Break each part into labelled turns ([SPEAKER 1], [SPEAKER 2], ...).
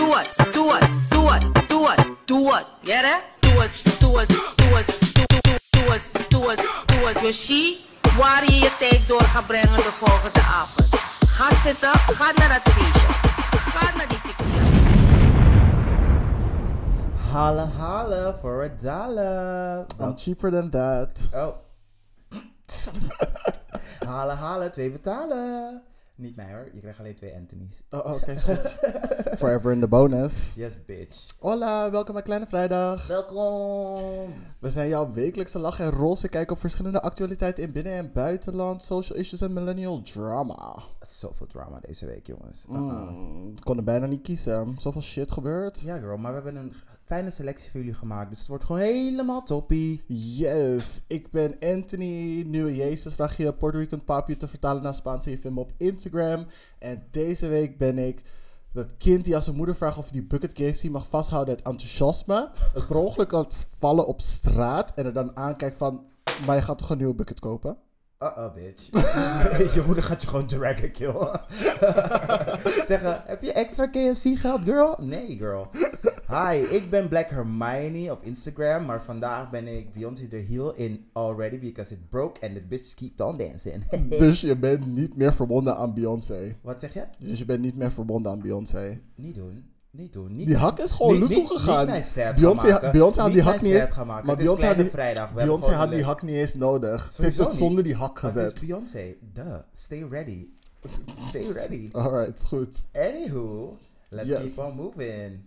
[SPEAKER 1] it, do it, do it, do it, do it. Get it? Do it, do it, do it, do do do do it, do het, doe het. Dus zie waar je je tijd door gaat brengen de volgende avond. Ga zitten, ga naar dat feestje. Ga naar die tequila.
[SPEAKER 2] Holla holla for a dollar.
[SPEAKER 3] I'm cheaper than that.
[SPEAKER 2] Oh. halen, halen, twee betalen. Niet mij hoor, je krijgt alleen twee Anthony's.
[SPEAKER 3] Oh, oké, is goed. Forever in the bonus.
[SPEAKER 2] Yes, bitch.
[SPEAKER 3] Hola, welkom bij Kleine Vrijdag.
[SPEAKER 2] Welkom.
[SPEAKER 3] We zijn jouw wekelijkse lach en roze kijk op verschillende actualiteiten in binnen- en buitenland, social issues en millennial drama.
[SPEAKER 2] Zoveel drama deze week, jongens. Uh-uh.
[SPEAKER 3] Mm, ik kon er bijna niet kiezen. Zoveel shit gebeurt.
[SPEAKER 2] Ja, girl, maar we hebben een fijne selectie voor jullie gemaakt. Dus het wordt gewoon helemaal toppie.
[SPEAKER 3] Yes, ik ben Anthony, nieuwe Jezus. Vraag je Puerto Rican papje te vertalen naar Spaans en je vindt me op Instagram. En deze week ben ik dat kind die aan zijn moeder vraagt of hij die bucket games die mag vasthouden uit enthousiasme. Het per ongeluk laat vallen op straat en er dan aankijkt van, maar je gaat toch een nieuwe bucket kopen?
[SPEAKER 2] Uh-oh, bitch. je moeder gaat je gewoon draggen, kill. Zeggen, heb je extra KFC geld, girl? Nee, girl. Hi, ik ben Black Hermione op Instagram, maar vandaag ben ik Beyoncé der Heel in Already Because It Broke and the bitch keep on dancing.
[SPEAKER 3] Dus je bent niet meer verbonden aan Beyoncé.
[SPEAKER 2] Wat zeg je?
[SPEAKER 3] Dus je bent niet meer verbonden aan Beyoncé.
[SPEAKER 2] Niet doen. Niet doen. Niet
[SPEAKER 3] Die hak is gewoon
[SPEAKER 2] Niet-
[SPEAKER 3] loesoe
[SPEAKER 2] niet-
[SPEAKER 3] gegaan.
[SPEAKER 2] niet mij sad
[SPEAKER 3] Beyoncé,
[SPEAKER 2] gaan
[SPEAKER 3] ha-
[SPEAKER 2] maken.
[SPEAKER 3] Beyoncé had
[SPEAKER 2] Niet
[SPEAKER 3] die hak
[SPEAKER 2] mij
[SPEAKER 3] niet
[SPEAKER 2] sad gaan maken.
[SPEAKER 3] Maar
[SPEAKER 2] Het is
[SPEAKER 3] Beyoncé had,
[SPEAKER 2] Kleine
[SPEAKER 3] die,
[SPEAKER 2] Vrijdag. We hebben
[SPEAKER 3] Beyoncé
[SPEAKER 2] gewoon
[SPEAKER 3] had die
[SPEAKER 2] geluk.
[SPEAKER 3] hak niet eens nodig. Ze heeft
[SPEAKER 2] Sowieso
[SPEAKER 3] het
[SPEAKER 2] niet.
[SPEAKER 3] zonder die hak
[SPEAKER 2] Maar Het
[SPEAKER 3] gezet.
[SPEAKER 2] is Beyoncé. Duh. Stay ready. Stay ready.
[SPEAKER 3] Alright, goed.
[SPEAKER 2] Anywho, let's
[SPEAKER 3] Yes.
[SPEAKER 2] keep on moving.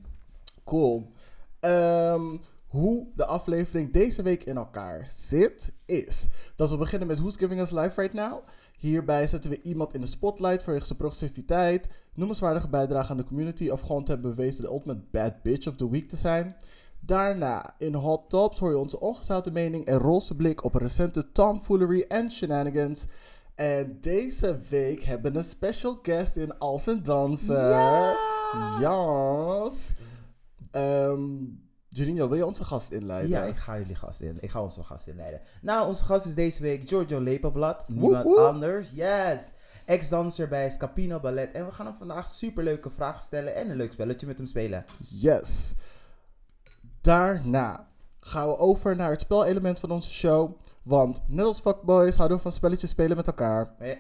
[SPEAKER 3] Cool. Ehm, hoe de aflevering deze week in elkaar zit, is dat we beginnen met Who's Giving Us Life Right Now. Hierbij zetten we iemand in de spotlight vanwege zijn progressiviteit, noemenswaardige bijdrage aan de community of gewoon te hebben bewezen de ultimate bad bitch of the week te zijn. Daarna, in Hot Tops, hoor je onze ongezouten mening en roze blik op recente tomfoolery en shenanigans. En deze week hebben we een special guest in Als en Dansen. Yes! Ehm Janino, wil je onze gast inleiden?
[SPEAKER 2] Ja, ik ga jullie gast in. Ik ga onze gast inleiden. Nou, onze gast is deze week Giorgio Lepelblad. Niemand
[SPEAKER 3] woep.
[SPEAKER 2] anders. Yes! Ex-danser bij Scapino Ballet. En we gaan hem vandaag superleuke vragen stellen en een leuk spelletje met hem spelen.
[SPEAKER 3] Yes. Daarna gaan we over naar het spelelement van onze show. Want net als fuckboys houden we van spelletjes spelen met elkaar.
[SPEAKER 2] Eh,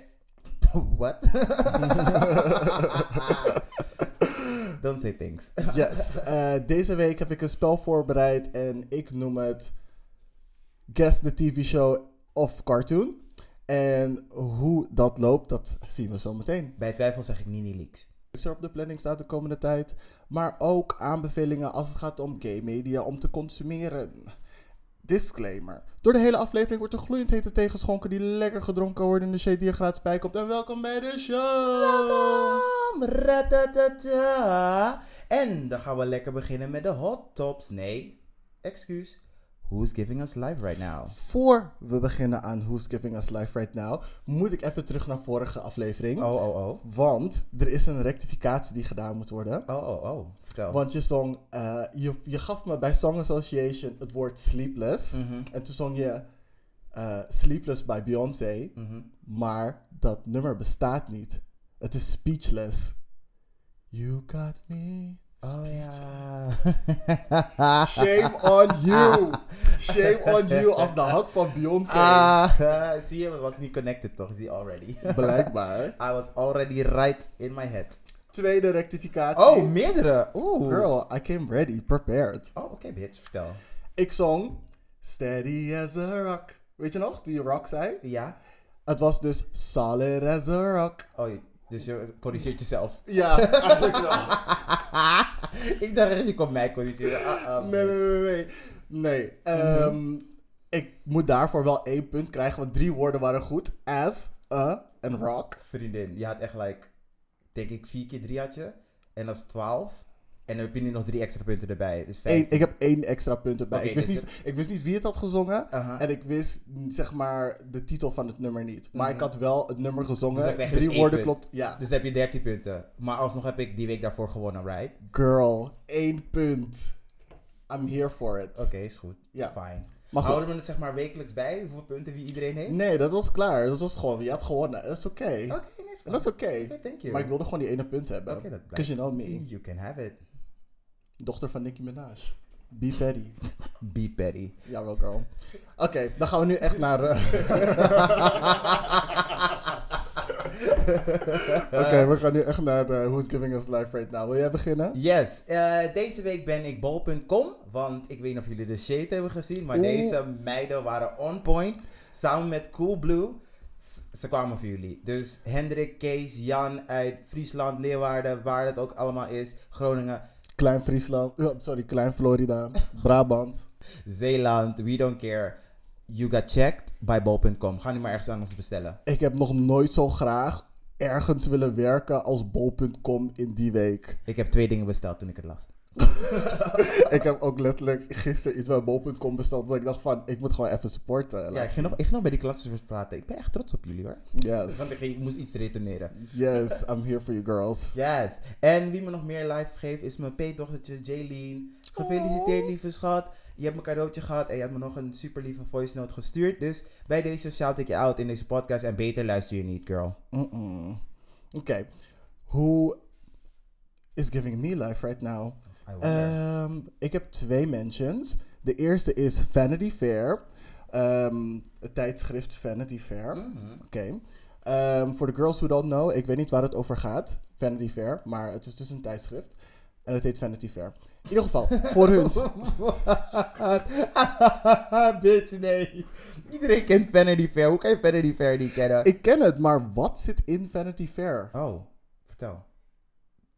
[SPEAKER 2] What? Don't say things.
[SPEAKER 3] Yes. Eh, deze week heb ik een spel voorbereid en ik noem het Guess the TV Show of Cartoon. En hoe dat loopt, dat zien we zo meteen.
[SPEAKER 2] Bij twijfel zeg ik Nini Leaks.
[SPEAKER 3] Pixar op de planning staat de komende tijd. Maar ook aanbevelingen als het gaat om gay media om te consumeren. Disclaimer. Door de hele aflevering wordt er gloeiend hete thee geschonken die lekker gedronken worden in de shade die er gratis bij komt. En welkom bij de show!
[SPEAKER 2] Bam, ratatata. En dan gaan we lekker beginnen met de hot tops. Nee, excuus. Who's giving us life right now?
[SPEAKER 3] Voor we beginnen aan Who's Giving Us Life Right Now, moet ik even terug naar vorige aflevering.
[SPEAKER 2] Oh, oh, oh.
[SPEAKER 3] Want er is een rectificatie die gedaan moet worden.
[SPEAKER 2] Oh, oh, oh. Vertel.
[SPEAKER 3] Want je zong, eh, je, je gaf me bij Song Association het woord sleepless.
[SPEAKER 2] Mhm.
[SPEAKER 3] En toen zong je eh, Sleepless bij Beyoncé.
[SPEAKER 2] Mhm.
[SPEAKER 3] Maar dat nummer bestaat niet. Het is speechless. You got me.
[SPEAKER 2] Oh ja.
[SPEAKER 3] Shame on you. Shame on you als de hak van Beyoncé.
[SPEAKER 2] Ah, zie je, het was niet connected toch? Zie je already.
[SPEAKER 3] Blijkbaar.
[SPEAKER 2] I was already right in my head.
[SPEAKER 3] Tweede rectificatie.
[SPEAKER 2] Oh, meerdere. Oeh.
[SPEAKER 3] girl, I came ready, prepared.
[SPEAKER 2] Oh, oké, bitch. Vertel.
[SPEAKER 3] Ik zong Steady as a rock. Weet je nog, die rock zei?
[SPEAKER 2] Ja?
[SPEAKER 3] Het was dus solid as a rock.
[SPEAKER 2] Oh, je- dus je corrigeert jezelf.
[SPEAKER 3] Ja, eigenlijk wel.
[SPEAKER 2] ik dacht echt, je komt mij corrigeren. Ah, ah,
[SPEAKER 3] Nee,
[SPEAKER 2] bitch.
[SPEAKER 3] nee, nee, nee.
[SPEAKER 2] Mhm.
[SPEAKER 3] Nee, ehm, ik moet daarvoor wel één punt krijgen, want drie woorden waren goed. As, a en rock.
[SPEAKER 2] Vriendin, je had echt, like, denk ik, vier keer drie had je. En dat is twaalf. En dan heb je nu nog drie extra punten erbij. Dus vijf.
[SPEAKER 3] Eén- ik heb één extra punt erbij.
[SPEAKER 2] Oké,
[SPEAKER 3] ik, wist
[SPEAKER 2] dus Uh-huh.
[SPEAKER 3] niet, ik wist niet wie het had gezongen.
[SPEAKER 2] Aha.
[SPEAKER 3] En ik wist, mm, zeg maar, de titel van het nummer niet. Maar ik had wel het nummer
[SPEAKER 2] Mhm. Dus dan
[SPEAKER 3] gezongen.
[SPEAKER 2] krijg je
[SPEAKER 3] drie
[SPEAKER 2] dus één
[SPEAKER 3] woorden
[SPEAKER 2] punt.
[SPEAKER 3] klopt. Ja.
[SPEAKER 2] Dus heb je 13 punten. Maar alsnog heb ik die week daarvoor gewonnen, right?
[SPEAKER 3] Girl, één punt. I'm here for it.
[SPEAKER 2] Oké, is goed.
[SPEAKER 3] Ja.
[SPEAKER 2] Fine.
[SPEAKER 3] Maar goed.
[SPEAKER 2] Houden we het zeg maar wekelijks bij? Hoeveel punten wie iedereen heeft?
[SPEAKER 3] Nee, dat was klaar. Dat was gewoon, je had gewonnen. Dat is oké.
[SPEAKER 2] Oké, nice.
[SPEAKER 3] En dat is oké.
[SPEAKER 2] Oké, thank you.
[SPEAKER 3] Maar ik wilde gewoon die ene punt hebben.
[SPEAKER 2] Oké, dat blijkt.
[SPEAKER 3] Because you know me.
[SPEAKER 2] You can have it.
[SPEAKER 3] Dochter van Nicki Minaj. Be Betty.
[SPEAKER 2] Be petty.
[SPEAKER 3] Jawel, girl. Oké, dan gaan we nu echt naar... eh, Oké, we gaan nu echt naar eh, Who's Giving Us Life Right Now. Wil jij beginnen?
[SPEAKER 2] Yes, eh, deze week ben ik bol.com, want ik weet niet of jullie de shade hebben gezien, maar
[SPEAKER 3] Oeh.
[SPEAKER 2] deze meiden waren on point, samen met Coolblue. S- Ze kwamen voor jullie. Dus Hendrik, Kees, Jan uit Friesland, Leeuwarden, waar dat ook allemaal is, Groningen,
[SPEAKER 3] Klein Friesland. eh, sorry, Klein Florida. Brabant.
[SPEAKER 2] Zeeland, we don't care. You got checked bij bol.com. Ga nu maar ergens anders bestellen.
[SPEAKER 3] Ik heb nog nooit zo graag ergens willen werken als bol.com in die week.
[SPEAKER 2] Ik heb twee dingen besteld toen ik het las.
[SPEAKER 3] ik heb ook letterlijk gisteren iets bij bol.com besteld. Want ik dacht van, ik moet gewoon even supporten.
[SPEAKER 2] Ja, ik ging nog, ik ging nog bij die klasservice praten. Ik ben echt trots op jullie hoor. Want ik,
[SPEAKER 3] Yes.
[SPEAKER 2] ging- ik moest iets retourneren.
[SPEAKER 3] Yes, I'm here for you girls.
[SPEAKER 2] Yes. En wie me nog meer live geeft is mijn peetdochtertje Jaylene. Gefeliciteerd, lieve schat. Je hebt mijn cadeautje gehad en je hebt me nog een super lieve voice note gestuurd. Dus bij deze shout ik je out in deze podcast. En beter luister je niet, girl.
[SPEAKER 3] Mm-mm. Oké. Who is giving me life right now?
[SPEAKER 2] I wonder.
[SPEAKER 3] Ehm, ik heb twee mentions. De eerste is Vanity Fair. Ehm, het tijdschrift Vanity Fair.
[SPEAKER 2] Mhm.
[SPEAKER 3] Oké. Ehm, Voor de girls who don't know, ik weet niet waar het over gaat. Vanity Fair, maar het is dus een tijdschrift. En het heet Vanity Fair. In ieder geval, voor hun.
[SPEAKER 2] Bitch, nee. Iedereen kent Vanity Fair. Hoe kan je Vanity Fair niet kennen?
[SPEAKER 3] Ik ken het, maar wat zit in Vanity Fair?
[SPEAKER 2] Oh, vertel.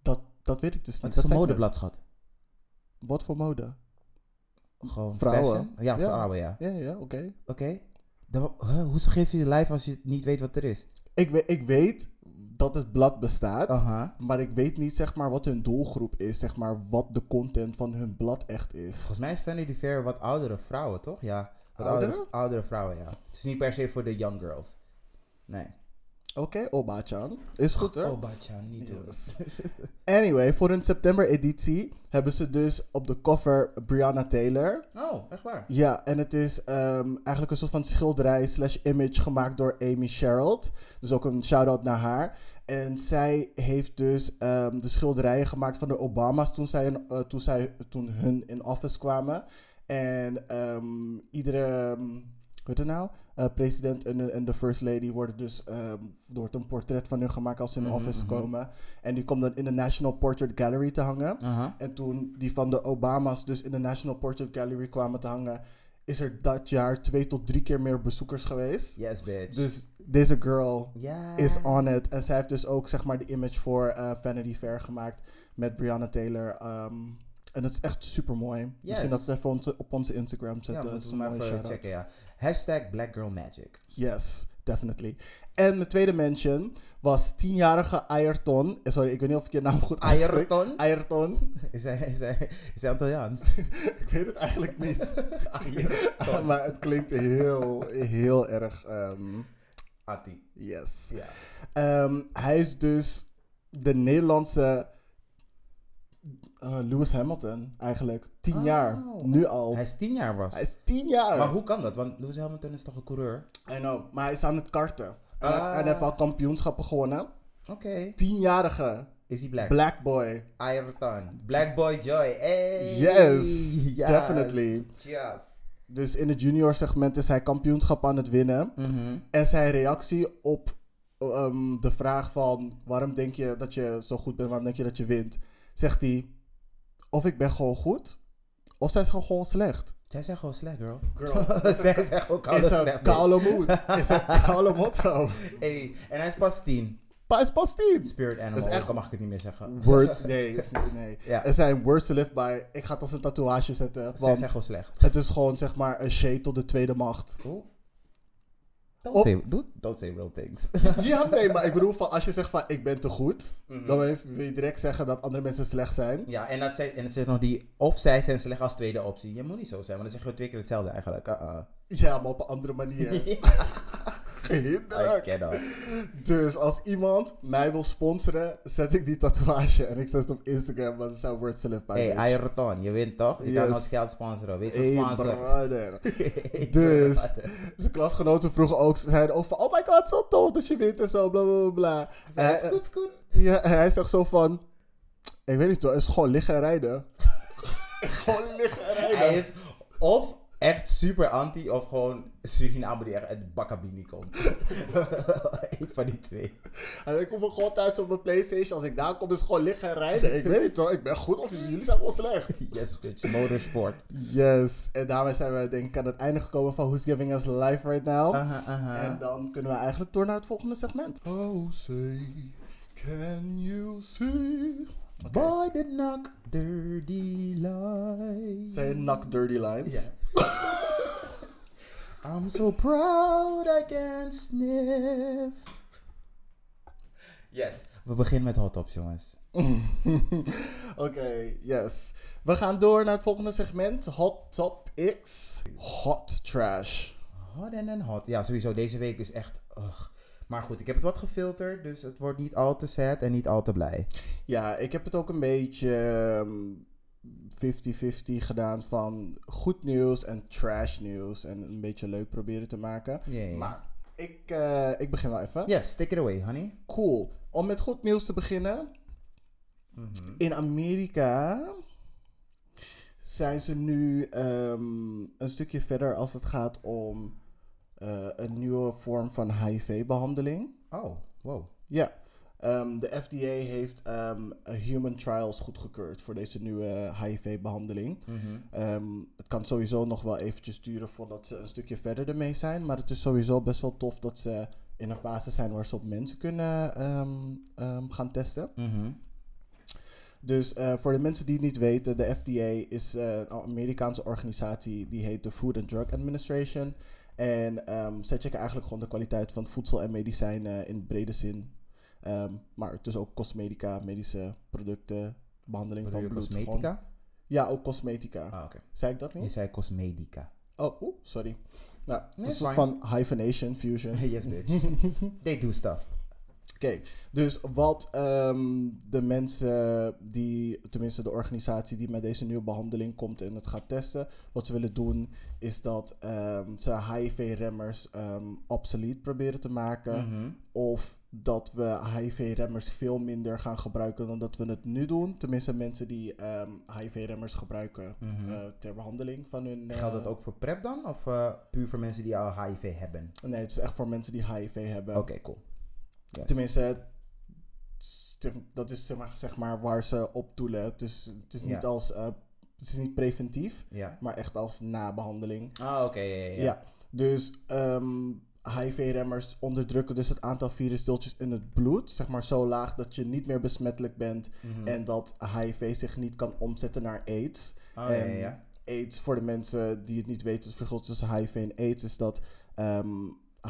[SPEAKER 3] Dat, dat weet ik dus niet.
[SPEAKER 2] Het is
[SPEAKER 3] Dat
[SPEAKER 2] een
[SPEAKER 3] zei ik
[SPEAKER 2] modeblad, schat.
[SPEAKER 3] net. Wat voor mode?
[SPEAKER 2] Gewoon
[SPEAKER 3] Vrouwen.
[SPEAKER 2] fashion? Ja,
[SPEAKER 3] Ja.
[SPEAKER 2] vrouwen, ja.
[SPEAKER 3] Ja, ja, oké.
[SPEAKER 2] Oké. Dan- huh, hoezo geef je je live als je niet weet wat er is?
[SPEAKER 3] Ik, we- ik weet dat het blad bestaat.
[SPEAKER 2] Aha.
[SPEAKER 3] Maar ik weet niet zeg maar wat hun doelgroep is, zeg maar wat de content van hun blad echt is.
[SPEAKER 2] Volgens mij is Vanity Fair wat oudere vrouwen, toch? Ja. Wat
[SPEAKER 3] Oudere?
[SPEAKER 2] oudere? Oudere vrouwen, ja. Het is niet per se voor de young girls. Nee.
[SPEAKER 3] Oké, Oba-chan. Is goed hoor.
[SPEAKER 2] Oh, Batja, niet doen.
[SPEAKER 3] Yes. Anyway, voor hun september editie hebben ze dus op de cover Brianna Taylor.
[SPEAKER 2] Oh, echt waar?
[SPEAKER 3] Ja, en het is ehm, eigenlijk een soort van schilderij slash image gemaakt door Amy Sherald. Dus ook een shout-out naar haar. En zij heeft dus ehm, de schilderijen gemaakt van de Obama's toen, zij, in- eh, toen, zij, toen hun in office kwamen. En ehm, iedere, ehm, hoe heet het nou? Eh, president en, en de first lady worden dus ehm wordt een portret van hun gemaakt als ze
[SPEAKER 2] Mhm,
[SPEAKER 3] in office komen. En die komt dan in de National Portrait Gallery te hangen.
[SPEAKER 2] Aha.
[SPEAKER 3] En toen die van de Obama's dus in de National Portrait Gallery kwamen te hangen, is er dat jaar twee tot drie keer meer bezoekers geweest.
[SPEAKER 2] Yes, bitch.
[SPEAKER 3] Dus deze girl
[SPEAKER 2] ja.
[SPEAKER 3] is on it. En zij heeft dus ook zeg maar de image voor eh, Vanity Fair gemaakt met Brianna Taylor. ehm, en dat is echt super mooi. Misschien dat ze even onze- op onze Instagram
[SPEAKER 2] Ja,
[SPEAKER 3] zetten. Dat
[SPEAKER 2] moeten
[SPEAKER 3] is
[SPEAKER 2] we
[SPEAKER 3] een
[SPEAKER 2] maar
[SPEAKER 3] mooie
[SPEAKER 2] even
[SPEAKER 3] shout-out.
[SPEAKER 2] checken, ja. Hashtag Black Girl Magic.
[SPEAKER 3] Yes, definitely. En mijn tweede mention was 10-jarige Ayrton. Eh, Sorry, ik weet niet of ik je naam goed uitspreek.
[SPEAKER 2] Ayrton?
[SPEAKER 3] Ayrton.
[SPEAKER 2] Is hij, is hij, is hij Antilliaans?
[SPEAKER 3] Ik weet het eigenlijk niet. maar het klinkt heel, heel erg. ehm,
[SPEAKER 2] Anti.
[SPEAKER 3] yes.
[SPEAKER 2] Ja.
[SPEAKER 3] Ehm, hij is dus de Nederlandse eh, Lewis Hamilton, eigenlijk. Tien
[SPEAKER 2] Oh.
[SPEAKER 3] jaar, nu al.
[SPEAKER 2] Hij
[SPEAKER 3] Hij
[SPEAKER 2] is tien jaar was.
[SPEAKER 3] is tien jaar.
[SPEAKER 2] Maar hoe kan dat? Want Lewis Hamilton is toch een coureur?
[SPEAKER 3] I know, maar hij is aan het karten. En hij-
[SPEAKER 2] Ah.
[SPEAKER 3] en hij heeft al kampioenschappen gewonnen.
[SPEAKER 2] Oké.
[SPEAKER 3] Tienjarige
[SPEAKER 2] Is hij black?
[SPEAKER 3] black boy.
[SPEAKER 2] Ayrton. Black Boy Joy. Hey.
[SPEAKER 3] Yes, definitely.
[SPEAKER 2] Yes.
[SPEAKER 3] Dus in het junior segment is hij kampioenschap aan het winnen.
[SPEAKER 2] Mhm.
[SPEAKER 3] En zijn reactie op ehm, de vraag van waarom denk je dat je zo goed bent, waarom denk je dat je wint, zegt hij of ik ben gewoon goed, of zij is gewoon, gewoon slecht.
[SPEAKER 2] Zij zijn gewoon slecht, girl.
[SPEAKER 3] Girl.
[SPEAKER 2] Zij zijn gewoon koude
[SPEAKER 3] Is een
[SPEAKER 2] slecht, bitch.
[SPEAKER 3] koude moed. Is een koude motto.
[SPEAKER 2] Hey, en hij is pas tien.
[SPEAKER 3] Maar hij is pas tien.
[SPEAKER 2] Spirit animal.
[SPEAKER 3] Dat is echt-
[SPEAKER 2] Dan mag ik het niet meer zeggen.
[SPEAKER 3] Word, nee. Is, nee.
[SPEAKER 2] Ja.
[SPEAKER 3] Er zijn words to live by. Ik ga het als een tatoeage zetten.
[SPEAKER 2] Zij
[SPEAKER 3] Want
[SPEAKER 2] zijn gewoon slecht.
[SPEAKER 3] het is gewoon zeg maar een shade tot de tweede macht.
[SPEAKER 2] Cool. Don't,
[SPEAKER 3] Op-
[SPEAKER 2] say, don't, don't say real things.
[SPEAKER 3] Ja, nee, maar ik bedoel van als je zegt van ik ben te goed, dan wil je- wil je direct zeggen dat andere mensen slecht zijn.
[SPEAKER 2] ja, en, dat zij, en dan zit nog die... Of zij zijn slecht als tweede optie. Je moet niet zo zijn, want dan zeg je twee keer hetzelfde eigenlijk. Uh-uh.
[SPEAKER 3] Ja, maar op een andere manier.
[SPEAKER 2] I
[SPEAKER 3] Hinderlijk.
[SPEAKER 2] cannot.
[SPEAKER 3] Dus als iemand mij wil sponsoren, zet ik die tatoeage en ik zet het op Instagram, want het zijn words to live by.
[SPEAKER 2] Hey,
[SPEAKER 3] bitch.
[SPEAKER 2] Ayrton, je wint toch? Je kan
[SPEAKER 3] Yes.
[SPEAKER 2] ons geld sponsoren. Wees een
[SPEAKER 3] Hey,
[SPEAKER 2] sponsor.
[SPEAKER 3] brother. Dus zijn klasgenoten vroegen ook, zeiden ook van, oh my god, zo tof dat je wint en zo, bla bla bla, bla. En eh,
[SPEAKER 2] Zij is
[SPEAKER 3] hij-
[SPEAKER 2] goed, goed.
[SPEAKER 3] Ja, en hij zegt zo van, ik weet niet hoor, het is gewoon liggen en rijden. Gewoon liggen en rijden.
[SPEAKER 2] Hij is of echt super anti of gewoon Suriname die echt uit Bakabini komt. Eén van die twee.
[SPEAKER 3] En ik kom wel gewoon thuis op mijn Playstation. Als ik daar kom, is het gewoon liggen en rijden. Ik weet niet hoor. Ik ben goed of jullie zijn gewoon slecht.
[SPEAKER 2] Yes, bitch. Motorsport.
[SPEAKER 3] Yes. En daarmee zijn we denk ik aan het einde gekomen van Who's Giving Us Life Right Now.
[SPEAKER 2] Aha, aha.
[SPEAKER 3] En dan kunnen we eigenlijk door naar het volgende segment. Oh, say, can you see?
[SPEAKER 2] Boy, the knock, dirty lies.
[SPEAKER 3] Zijn nak dirty lines.
[SPEAKER 2] Ja. I'm so proud I can sniff. Yes. We beginnen met hot tops, jongens.
[SPEAKER 3] Oké, yes. We gaan door naar het volgende segment. Hot Top X. Hot Trash.
[SPEAKER 2] Hot en en hot. Ja, sowieso. Deze week is echt... ugh. Maar goed, ik heb het wat gefilterd, dus het wordt niet al te sad en niet al te blij.
[SPEAKER 3] Ja, ik heb het ook een beetje ehm, 50-50 gedaan van goed nieuws en trash nieuws. En een beetje leuk proberen te maken.
[SPEAKER 2] Jee.
[SPEAKER 3] Maar ik, eh, ik begin wel even.
[SPEAKER 2] Yes, take it away, honey.
[SPEAKER 3] Cool. Om met goed nieuws te beginnen. In Amerika zijn ze nu ehm, een stukje verder als het gaat om eh, een nieuwe vorm van HIV-behandeling.
[SPEAKER 2] Oh, wow.
[SPEAKER 3] Ja. Ehm, de FDA heeft ehm, human trials goedgekeurd voor deze nieuwe HIV-behandeling. Ehm, het kan sowieso nog wel eventjes duren voordat ze een stukje verder ermee zijn. Maar het is sowieso best wel tof dat ze in een fase zijn waar ze op mensen kunnen ehm, ehm, gaan testen. Dus eh, voor de mensen die het niet weten, de FDA is eh, een Amerikaanse organisatie die heet de Food and Drug Administration. En ehm zij checken eigenlijk gewoon de kwaliteit van voedsel en medicijnen in brede zin. Ehm, maar dus ook cosmetica, medische producten, behandeling
[SPEAKER 2] Bedoel
[SPEAKER 3] van
[SPEAKER 2] je
[SPEAKER 3] bloed. gewoon-
[SPEAKER 2] cosmetica?
[SPEAKER 3] Ja, ook cosmetica.
[SPEAKER 2] Ah, oké.
[SPEAKER 3] Zei ik dat niet?
[SPEAKER 2] Je zei cosmetica.
[SPEAKER 3] Oh, oeh, sorry. Nou, dat is
[SPEAKER 2] is
[SPEAKER 3] een soort
[SPEAKER 2] fine.
[SPEAKER 3] van hyphenation, fusion.
[SPEAKER 2] Yes, bitch. They do stuff.
[SPEAKER 3] Oké, dus wat ehm, de mensen die, tenminste de organisatie die met deze nieuwe behandeling komt en het gaat testen, wat ze willen doen is dat ehm, ze HIV-remmers ehm obsolete proberen te maken. Of dat we HIV-remmers veel minder gaan gebruiken dan dat we het nu doen. Tenminste mensen die ehm, HIV-remmers gebruiken eh, ter behandeling van hun... eh,
[SPEAKER 2] Geldt dat ook voor prep dan? Of eh, puur voor mensen die al HIV hebben?
[SPEAKER 3] Nee, het is echt voor mensen die HIV hebben.
[SPEAKER 2] Oké, cool. Yes.
[SPEAKER 3] Tenminste, stem- dat is zeg maar, zeg maar waar ze op doelen. Dus het is niet,
[SPEAKER 2] Ja.
[SPEAKER 3] als, eh, het is niet preventief,
[SPEAKER 2] Ja.
[SPEAKER 3] maar echt als nabehandeling.
[SPEAKER 2] Ah, oké. ja,
[SPEAKER 3] Ja. Dus ehm, HIV-remmers onderdrukken dus het aantal virusdeeltjes in het bloed. Zeg maar zo laag dat je niet meer besmettelijk bent.
[SPEAKER 2] Mhm.
[SPEAKER 3] En dat HIV zich niet kan omzetten naar AIDS.
[SPEAKER 2] Oh, ja,
[SPEAKER 3] En
[SPEAKER 2] ja, ja.
[SPEAKER 3] AIDS, voor de mensen die het niet weten, het verschil tussen HIV en AIDS is dat ehm,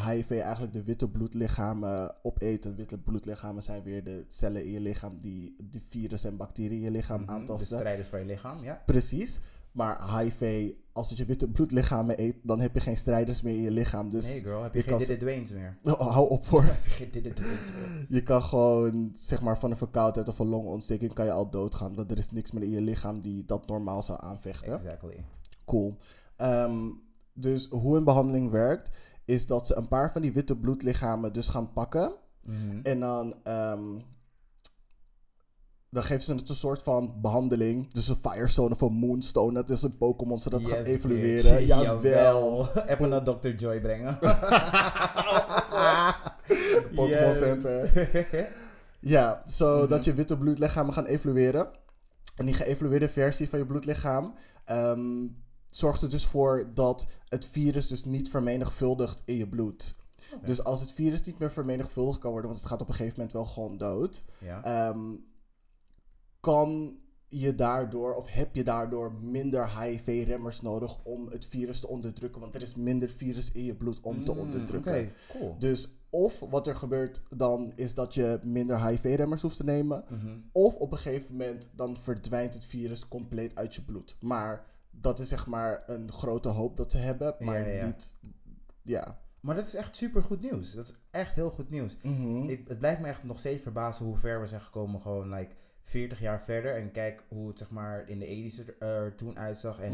[SPEAKER 3] HIV eigenlijk de witte bloedlichamen opeet. En witte bloedlichamen zijn weer de cellen in je lichaam die de virus en bacteriën in je lichaam
[SPEAKER 2] Mhm, De
[SPEAKER 3] aantasten.
[SPEAKER 2] strijders van je lichaam, ja.
[SPEAKER 3] Precies. Maar HIV, als het je witte bloedlichamen eet, dan heb je geen strijders meer in je lichaam. Dus
[SPEAKER 2] Nee, girl. Heb je geen
[SPEAKER 3] kan
[SPEAKER 2] Diddy Dwayne's meer?
[SPEAKER 3] Oh, hou op hoor.
[SPEAKER 2] Heb je geen Diddy Dwayne's meer?
[SPEAKER 3] Je kan gewoon, zeg maar, van een verkoudheid of een longontsteking kan je al doodgaan. Want er is niks meer in je lichaam die dat normaal zou aanvechten.
[SPEAKER 2] Exactly.
[SPEAKER 3] Cool. Ehm, dus hoe een behandeling werkt, is dat ze een paar van die witte bloedlichamen dus gaan pakken.
[SPEAKER 2] Mhm.
[SPEAKER 3] En dan, ehm, dan geven ze het een soort van behandeling. Dus een Firestone of een Moonstone. Dat is een Pokémon, zodat dat gaan
[SPEAKER 2] Yes,
[SPEAKER 3] evolueren.
[SPEAKER 2] bitch.
[SPEAKER 3] Jawel.
[SPEAKER 2] Even naar Dr. Joy brengen.
[SPEAKER 3] Pokémon
[SPEAKER 2] Yes.
[SPEAKER 3] Center. Ja, zodat
[SPEAKER 2] Mhm.
[SPEAKER 3] je witte bloedlichamen gaan evolueren. En die geëvolueerde versie van je bloedlichaam ehm, zorgt er dus voor dat het virus dus niet vermenigvuldigt in je bloed. Dus als het virus niet meer vermenigvuldigd kan worden, want het gaat op een gegeven moment wel gewoon dood,
[SPEAKER 2] ja.
[SPEAKER 3] ehm, kan je daardoor of heb je daardoor minder HIV-remmers nodig om het virus te onderdrukken, want er is minder virus in je bloed om te
[SPEAKER 2] Mm, Hmm, Oké,
[SPEAKER 3] onderdrukken.
[SPEAKER 2] cool.
[SPEAKER 3] Dus of wat er gebeurt dan is dat je minder HIV-remmers hoeft te nemen.
[SPEAKER 2] Mhm.
[SPEAKER 3] Of op een gegeven moment dan verdwijnt het virus compleet uit je bloed. Maar dat is zeg maar een grote hoop dat ze hebben. Maar
[SPEAKER 2] Ja, ja.
[SPEAKER 3] niet... Ja.
[SPEAKER 2] Maar dat is echt super goed nieuws. Dat is echt heel goed nieuws. Ik- het blijft me echt nog steeds verbazen hoe ver we zijn gekomen. Gewoon like 40 jaar verder. En kijk hoe het zeg maar in de 80s er, er toen uitzag. En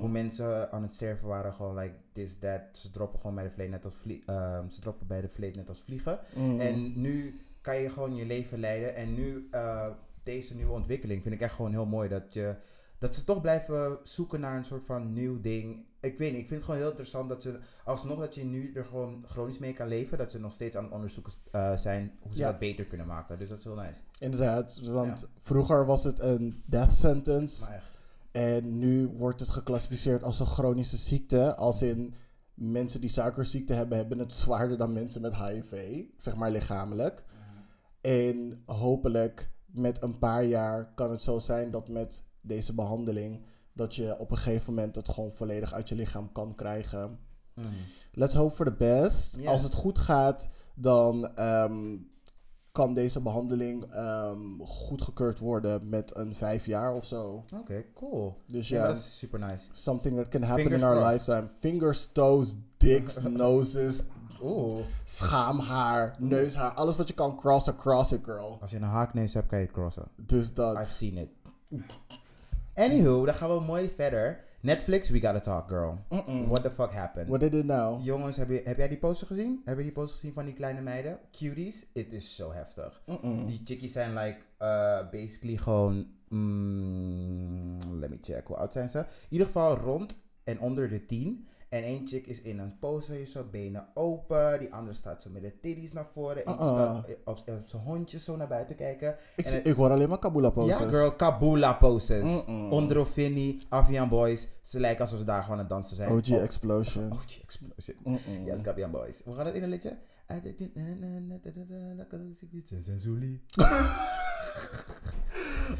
[SPEAKER 2] hoe mensen aan het sterven waren. Gewoon like this, that. Ze droppen gewoon bij de vleet net als vlie- ehm, Ze droppen bij de vleet net als vliegen. En nu kan je gewoon je leven leiden. En nu eh, deze nieuwe ontwikkeling vind ik echt gewoon heel mooi. Dat je Dat ze toch blijven zoeken naar een soort van nieuw ding. Ik weet niet, ik vind het gewoon heel interessant dat ze alsnog dat je nu er gewoon chronisch mee kan leven. Dat ze nog steeds aan het onderzoeken eh, zijn hoe ze
[SPEAKER 3] Ja.
[SPEAKER 2] dat beter kunnen maken. Dus dat is heel nice.
[SPEAKER 3] Inderdaad, want vroeger was het een death sentence.
[SPEAKER 2] Maar echt.
[SPEAKER 3] En nu wordt het geclassificeerd als een chronische ziekte. Als in mensen die suikerziekte hebben, hebben het zwaarder dan mensen met HIV. Zeg maar lichamelijk. En hopelijk met een paar jaar kan het zo zijn dat met deze behandeling... dat je op een gegeven moment het gewoon volledig uit je lichaam kan krijgen. Let's hope for the best.
[SPEAKER 2] Yes.
[SPEAKER 3] Als het goed gaat, dan ehm, kan deze behandeling ehm, goedgekeurd worden met een vijf jaar of zo.
[SPEAKER 2] Oké, cool.
[SPEAKER 3] Dus
[SPEAKER 2] Ja,
[SPEAKER 3] ja,
[SPEAKER 2] maar dat is super nice.
[SPEAKER 3] something that can happen
[SPEAKER 2] Fingers
[SPEAKER 3] in our
[SPEAKER 2] crossed.
[SPEAKER 3] lifetime. Fingers, toes, dicks, noses,
[SPEAKER 2] Oeh.
[SPEAKER 3] schaamhaar, neushaar. Alles wat je kan crossen, cross it girl.
[SPEAKER 2] Als je een haakneus hebt, kan je crossen.
[SPEAKER 3] Dus
[SPEAKER 2] I've
[SPEAKER 3] dat.
[SPEAKER 2] seen it. Anywho, dan gaan we mooi verder. Netflix, we gotta talk, girl. What the fuck happened?
[SPEAKER 3] What did it now?
[SPEAKER 2] Jongens, heb, je, heb jij die poster gezien? Heb je die poster gezien van die kleine meiden? Cuties, het is zo heftig. Die chickies zijn like, eh, basically gewoon, mm, let me check, hoe oud zijn ze? In ieder geval rond en onder de 10. En één chick is in een pose, zo benen open. Die andere staat zo met de titties naar voren. Eentje
[SPEAKER 3] Uh-uh.
[SPEAKER 2] staat op, op zijn hondjes zo naar buiten kijken.
[SPEAKER 3] Ik,
[SPEAKER 2] En
[SPEAKER 3] zie- ik hoor alleen maar kabula poses.
[SPEAKER 2] ja, girl, Kabula poses. Ondrofini, Avian Boys. Ze lijken alsof ze daar gewoon aan het dansen zijn.
[SPEAKER 3] OG
[SPEAKER 2] Oh,
[SPEAKER 3] Explosion.
[SPEAKER 2] OG Explosion. Ja, yes, Gabian Boys. We gaan het in een liedje. I did it, na, na, na, da, da, da, da, da, da, da, da, Zuli.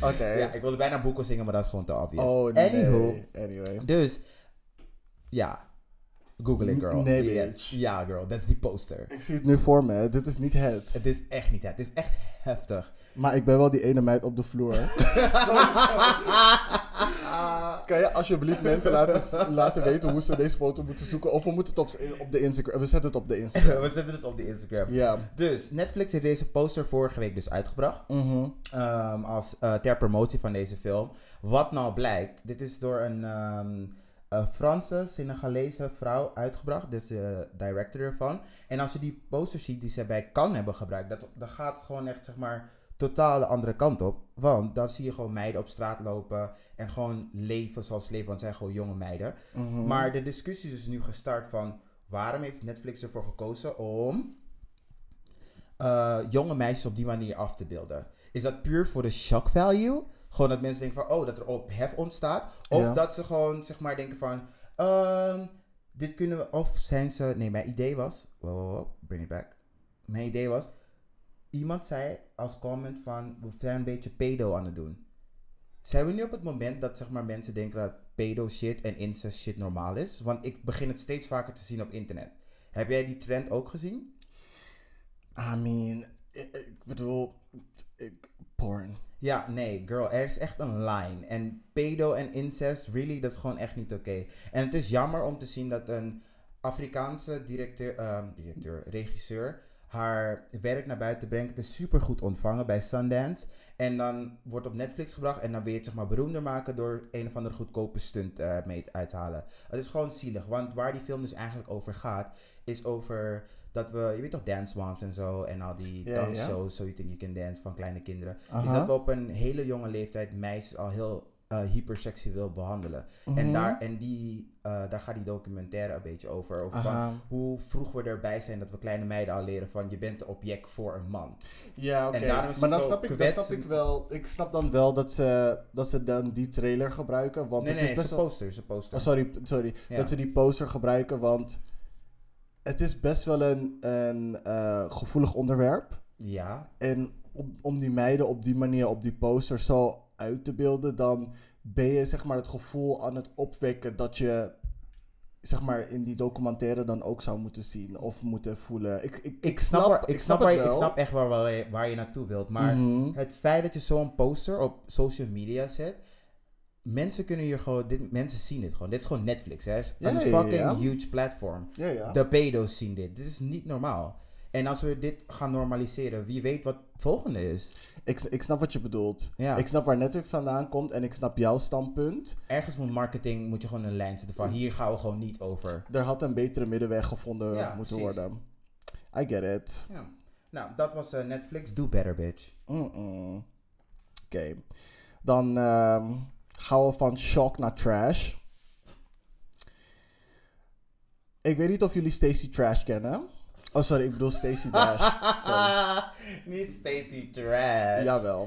[SPEAKER 3] Oké.
[SPEAKER 2] Ja, ik wilde bijna Boeko zingen, maar dat is gewoon te obvious.
[SPEAKER 3] Oh, nee.
[SPEAKER 2] Anywho,
[SPEAKER 3] Anyway.
[SPEAKER 2] dus, ja. Google it, girl.
[SPEAKER 3] Nee,
[SPEAKER 2] Yes.
[SPEAKER 3] bitch.
[SPEAKER 2] Ja, girl, dat is die poster.
[SPEAKER 3] Ik zie het nu voor me. Dit is niet het.
[SPEAKER 2] Het is echt niet het. Het is echt heftig.
[SPEAKER 3] Maar ik ben wel die ene meid op de vloer. kan je alsjeblieft mensen laten, laten weten hoe ze deze foto moeten zoeken? Of we moeten het op, op de Instagram. We zetten het op de Instagram.
[SPEAKER 2] We zetten het op de Instagram.
[SPEAKER 3] Ja.
[SPEAKER 2] Dus, Netflix heeft deze poster vorige week dus uitgebracht.
[SPEAKER 3] Mhm.
[SPEAKER 2] ehm, als, eh, ter promotie van deze film. Wat nou blijkt, dit is door een, ehm, een Franse Senegalese vrouw uitgebracht, dus de director ervan. En als je die poster ziet die ze bij Cannes hebben gebruikt, dat, dan gaat het gewoon echt zeg maar totaal de andere kant op. Want dan zie je gewoon meiden op straat lopen en gewoon leven zoals ze leven, want het zijn gewoon jonge meiden.
[SPEAKER 3] Mhm.
[SPEAKER 2] Maar de discussie is dus nu gestart van waarom heeft Netflix ervoor gekozen om eh, jonge meisjes op die manier af te beelden. Is dat puur voor de shock value? Gewoon dat mensen denken van, oh, dat er ophef ontstaat. Of
[SPEAKER 3] Ja.
[SPEAKER 2] dat ze gewoon, zeg maar, denken van, ehm, dit kunnen we, of zijn ze, nee, mijn idee was, wow, wow, wow, bring it back. Mijn idee was, iemand zei als comment van, we zijn een beetje pedo aan het doen. Zijn we nu op het moment dat, zeg maar, mensen denken dat pedo shit en incest shit normaal is? Want ik begin het steeds vaker te zien op internet. Heb jij die trend ook gezien?
[SPEAKER 3] I mean, ik, ik bedoel, ik- porn.
[SPEAKER 2] Ja, nee, girl, er is echt een line. En pedo en incest, really, dat is gewoon echt niet oké. En het is jammer om te zien dat een Afrikaanse directeur, ehm, directeur regisseur haar werk naar buiten brengt. Het is super goed ontvangen bij Sundance. En dan wordt op Netflix gebracht en dan weer het zeg maar, beroemder maken door een of andere goedkope stunt eh, mee uit te halen. Het is gewoon zielig, want waar die film dus eigenlijk over gaat, is over dat we, je weet toch, dance moms en zo en al die
[SPEAKER 3] Ja, ja.
[SPEAKER 2] dansshows, So You Think You Can Dance van kleine kinderen. Is
[SPEAKER 3] Aha.
[SPEAKER 2] dat we op een hele jonge leeftijd meisjes al heel eh, hyperseksueel behandelen.
[SPEAKER 3] Mhm.
[SPEAKER 2] En, daar, en die, eh, daar gaat die documentaire een beetje over. over
[SPEAKER 3] Aha.
[SPEAKER 2] van hoe vroeg we erbij zijn dat we kleine meiden al leren van je bent een object voor een man.
[SPEAKER 3] Ja, oké.
[SPEAKER 2] En daarom is
[SPEAKER 3] Maar
[SPEAKER 2] het
[SPEAKER 3] dan
[SPEAKER 2] zo
[SPEAKER 3] snap, ik, dan
[SPEAKER 2] kwetsend.
[SPEAKER 3] snap ik wel, ik snap dan wel dat ze, dat ze dan die trailer gebruiken. Want
[SPEAKER 2] nee,
[SPEAKER 3] het
[SPEAKER 2] nee, het
[SPEAKER 3] is best
[SPEAKER 2] is een
[SPEAKER 3] wel...
[SPEAKER 2] poster. het is een poster.
[SPEAKER 3] Oh, sorry, sorry.
[SPEAKER 2] Ja.
[SPEAKER 3] Dat ze die poster gebruiken, want het is best wel een, een eh, gevoelig onderwerp.
[SPEAKER 2] Ja,
[SPEAKER 3] En om, om die meiden op die manier op die poster zo uit te beelden, dan ben je zeg maar het gevoel aan het opwekken dat je zeg maar in die documentaire dan ook zou moeten zien of moeten voelen. Ik, ik,
[SPEAKER 2] ik snap, waar- ik snap, waar,
[SPEAKER 3] het
[SPEAKER 2] je- ik
[SPEAKER 3] wel.
[SPEAKER 2] snap echt waar, waar, je, waar je naartoe wilt. Maar
[SPEAKER 3] Mhm.
[SPEAKER 2] het feit dat je zo'n poster op social media zet. Mensen kunnen hier gewoon, dit, mensen zien dit gewoon. Dit is gewoon Netflix, hè? Het is
[SPEAKER 3] Ja,
[SPEAKER 2] een
[SPEAKER 3] ja, ja,
[SPEAKER 2] fucking
[SPEAKER 3] ja.
[SPEAKER 2] huge platform.
[SPEAKER 3] Ja, ja.
[SPEAKER 2] De pedo's zien dit. Dit is niet normaal. En als we dit gaan normaliseren, wie weet wat het volgende is.
[SPEAKER 3] Ik, ik snap wat je bedoelt.
[SPEAKER 2] Ja.
[SPEAKER 3] Ik snap waar Netflix vandaan komt en ik snap jouw standpunt.
[SPEAKER 2] Ergens moet marketing, moet je gewoon een lijn zetten van hier gaan we gewoon niet over.
[SPEAKER 3] Er had een betere middenweg gevonden
[SPEAKER 2] Ja,
[SPEAKER 3] moeten
[SPEAKER 2] precies.
[SPEAKER 3] worden. I get it.
[SPEAKER 2] Ja. Nou, dat was eh, Netflix. Do better, bitch.
[SPEAKER 3] Mm-mm. Oké. Dan ehm, Gaan we van shock naar trash. Ik weet niet of jullie Stacy Trash kennen. Oh, sorry, ik bedoel Stacy Dash. Sorry.
[SPEAKER 2] Ah, Niet Stacy Trash.
[SPEAKER 3] Jawel.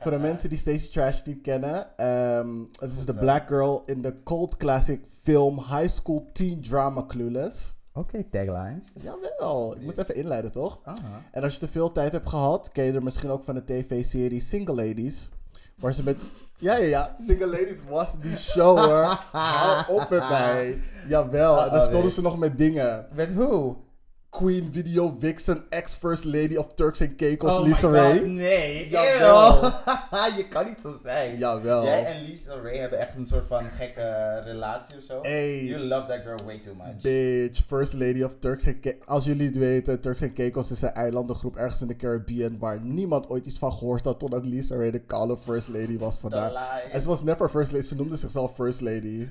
[SPEAKER 3] Voor de mensen die Stacey Trash niet kennen, ehm, het is de black girl in de cult classic film High School Teen Drama Clueless.
[SPEAKER 2] Oké, taglines.
[SPEAKER 3] Jawel, ik moet even inleiden toch?
[SPEAKER 2] Aha.
[SPEAKER 3] En als je te veel tijd hebt gehad, ken je er misschien ook van de tv-serie Single Ladies. Waar ze met... Ja, ja, ja. Single Ladies was die show hoor. Hou op erbij. Jawel. En dan
[SPEAKER 2] Uh-oh,
[SPEAKER 3] speelden
[SPEAKER 2] Ah, oh, nee.
[SPEAKER 3] ze nog met dingen.
[SPEAKER 2] Met who?
[SPEAKER 3] Queen, Video, Vixen, ex-first lady of Turks and Caicos,
[SPEAKER 2] Oh my
[SPEAKER 3] Lisa
[SPEAKER 2] God,
[SPEAKER 3] Ray.
[SPEAKER 2] Nee,
[SPEAKER 3] Jawel.
[SPEAKER 2] eeuw. je kan niet zo zijn.
[SPEAKER 3] Jawel.
[SPEAKER 2] Jij en Lisa Ray hebben echt een soort van gekke relatie of zo.
[SPEAKER 3] Hey.
[SPEAKER 2] You love that girl way too much.
[SPEAKER 3] Bitch, First Lady of Turks and Caicos. Als jullie het weten, Turks and Caicos is een eilandengroep ergens in de Caribbean waar niemand ooit iets van gehoord had totdat Lisa Ray de koude First Lady was vandaar.
[SPEAKER 2] lies.
[SPEAKER 3] En ze was never First Lady, ze noemde zichzelf First Lady.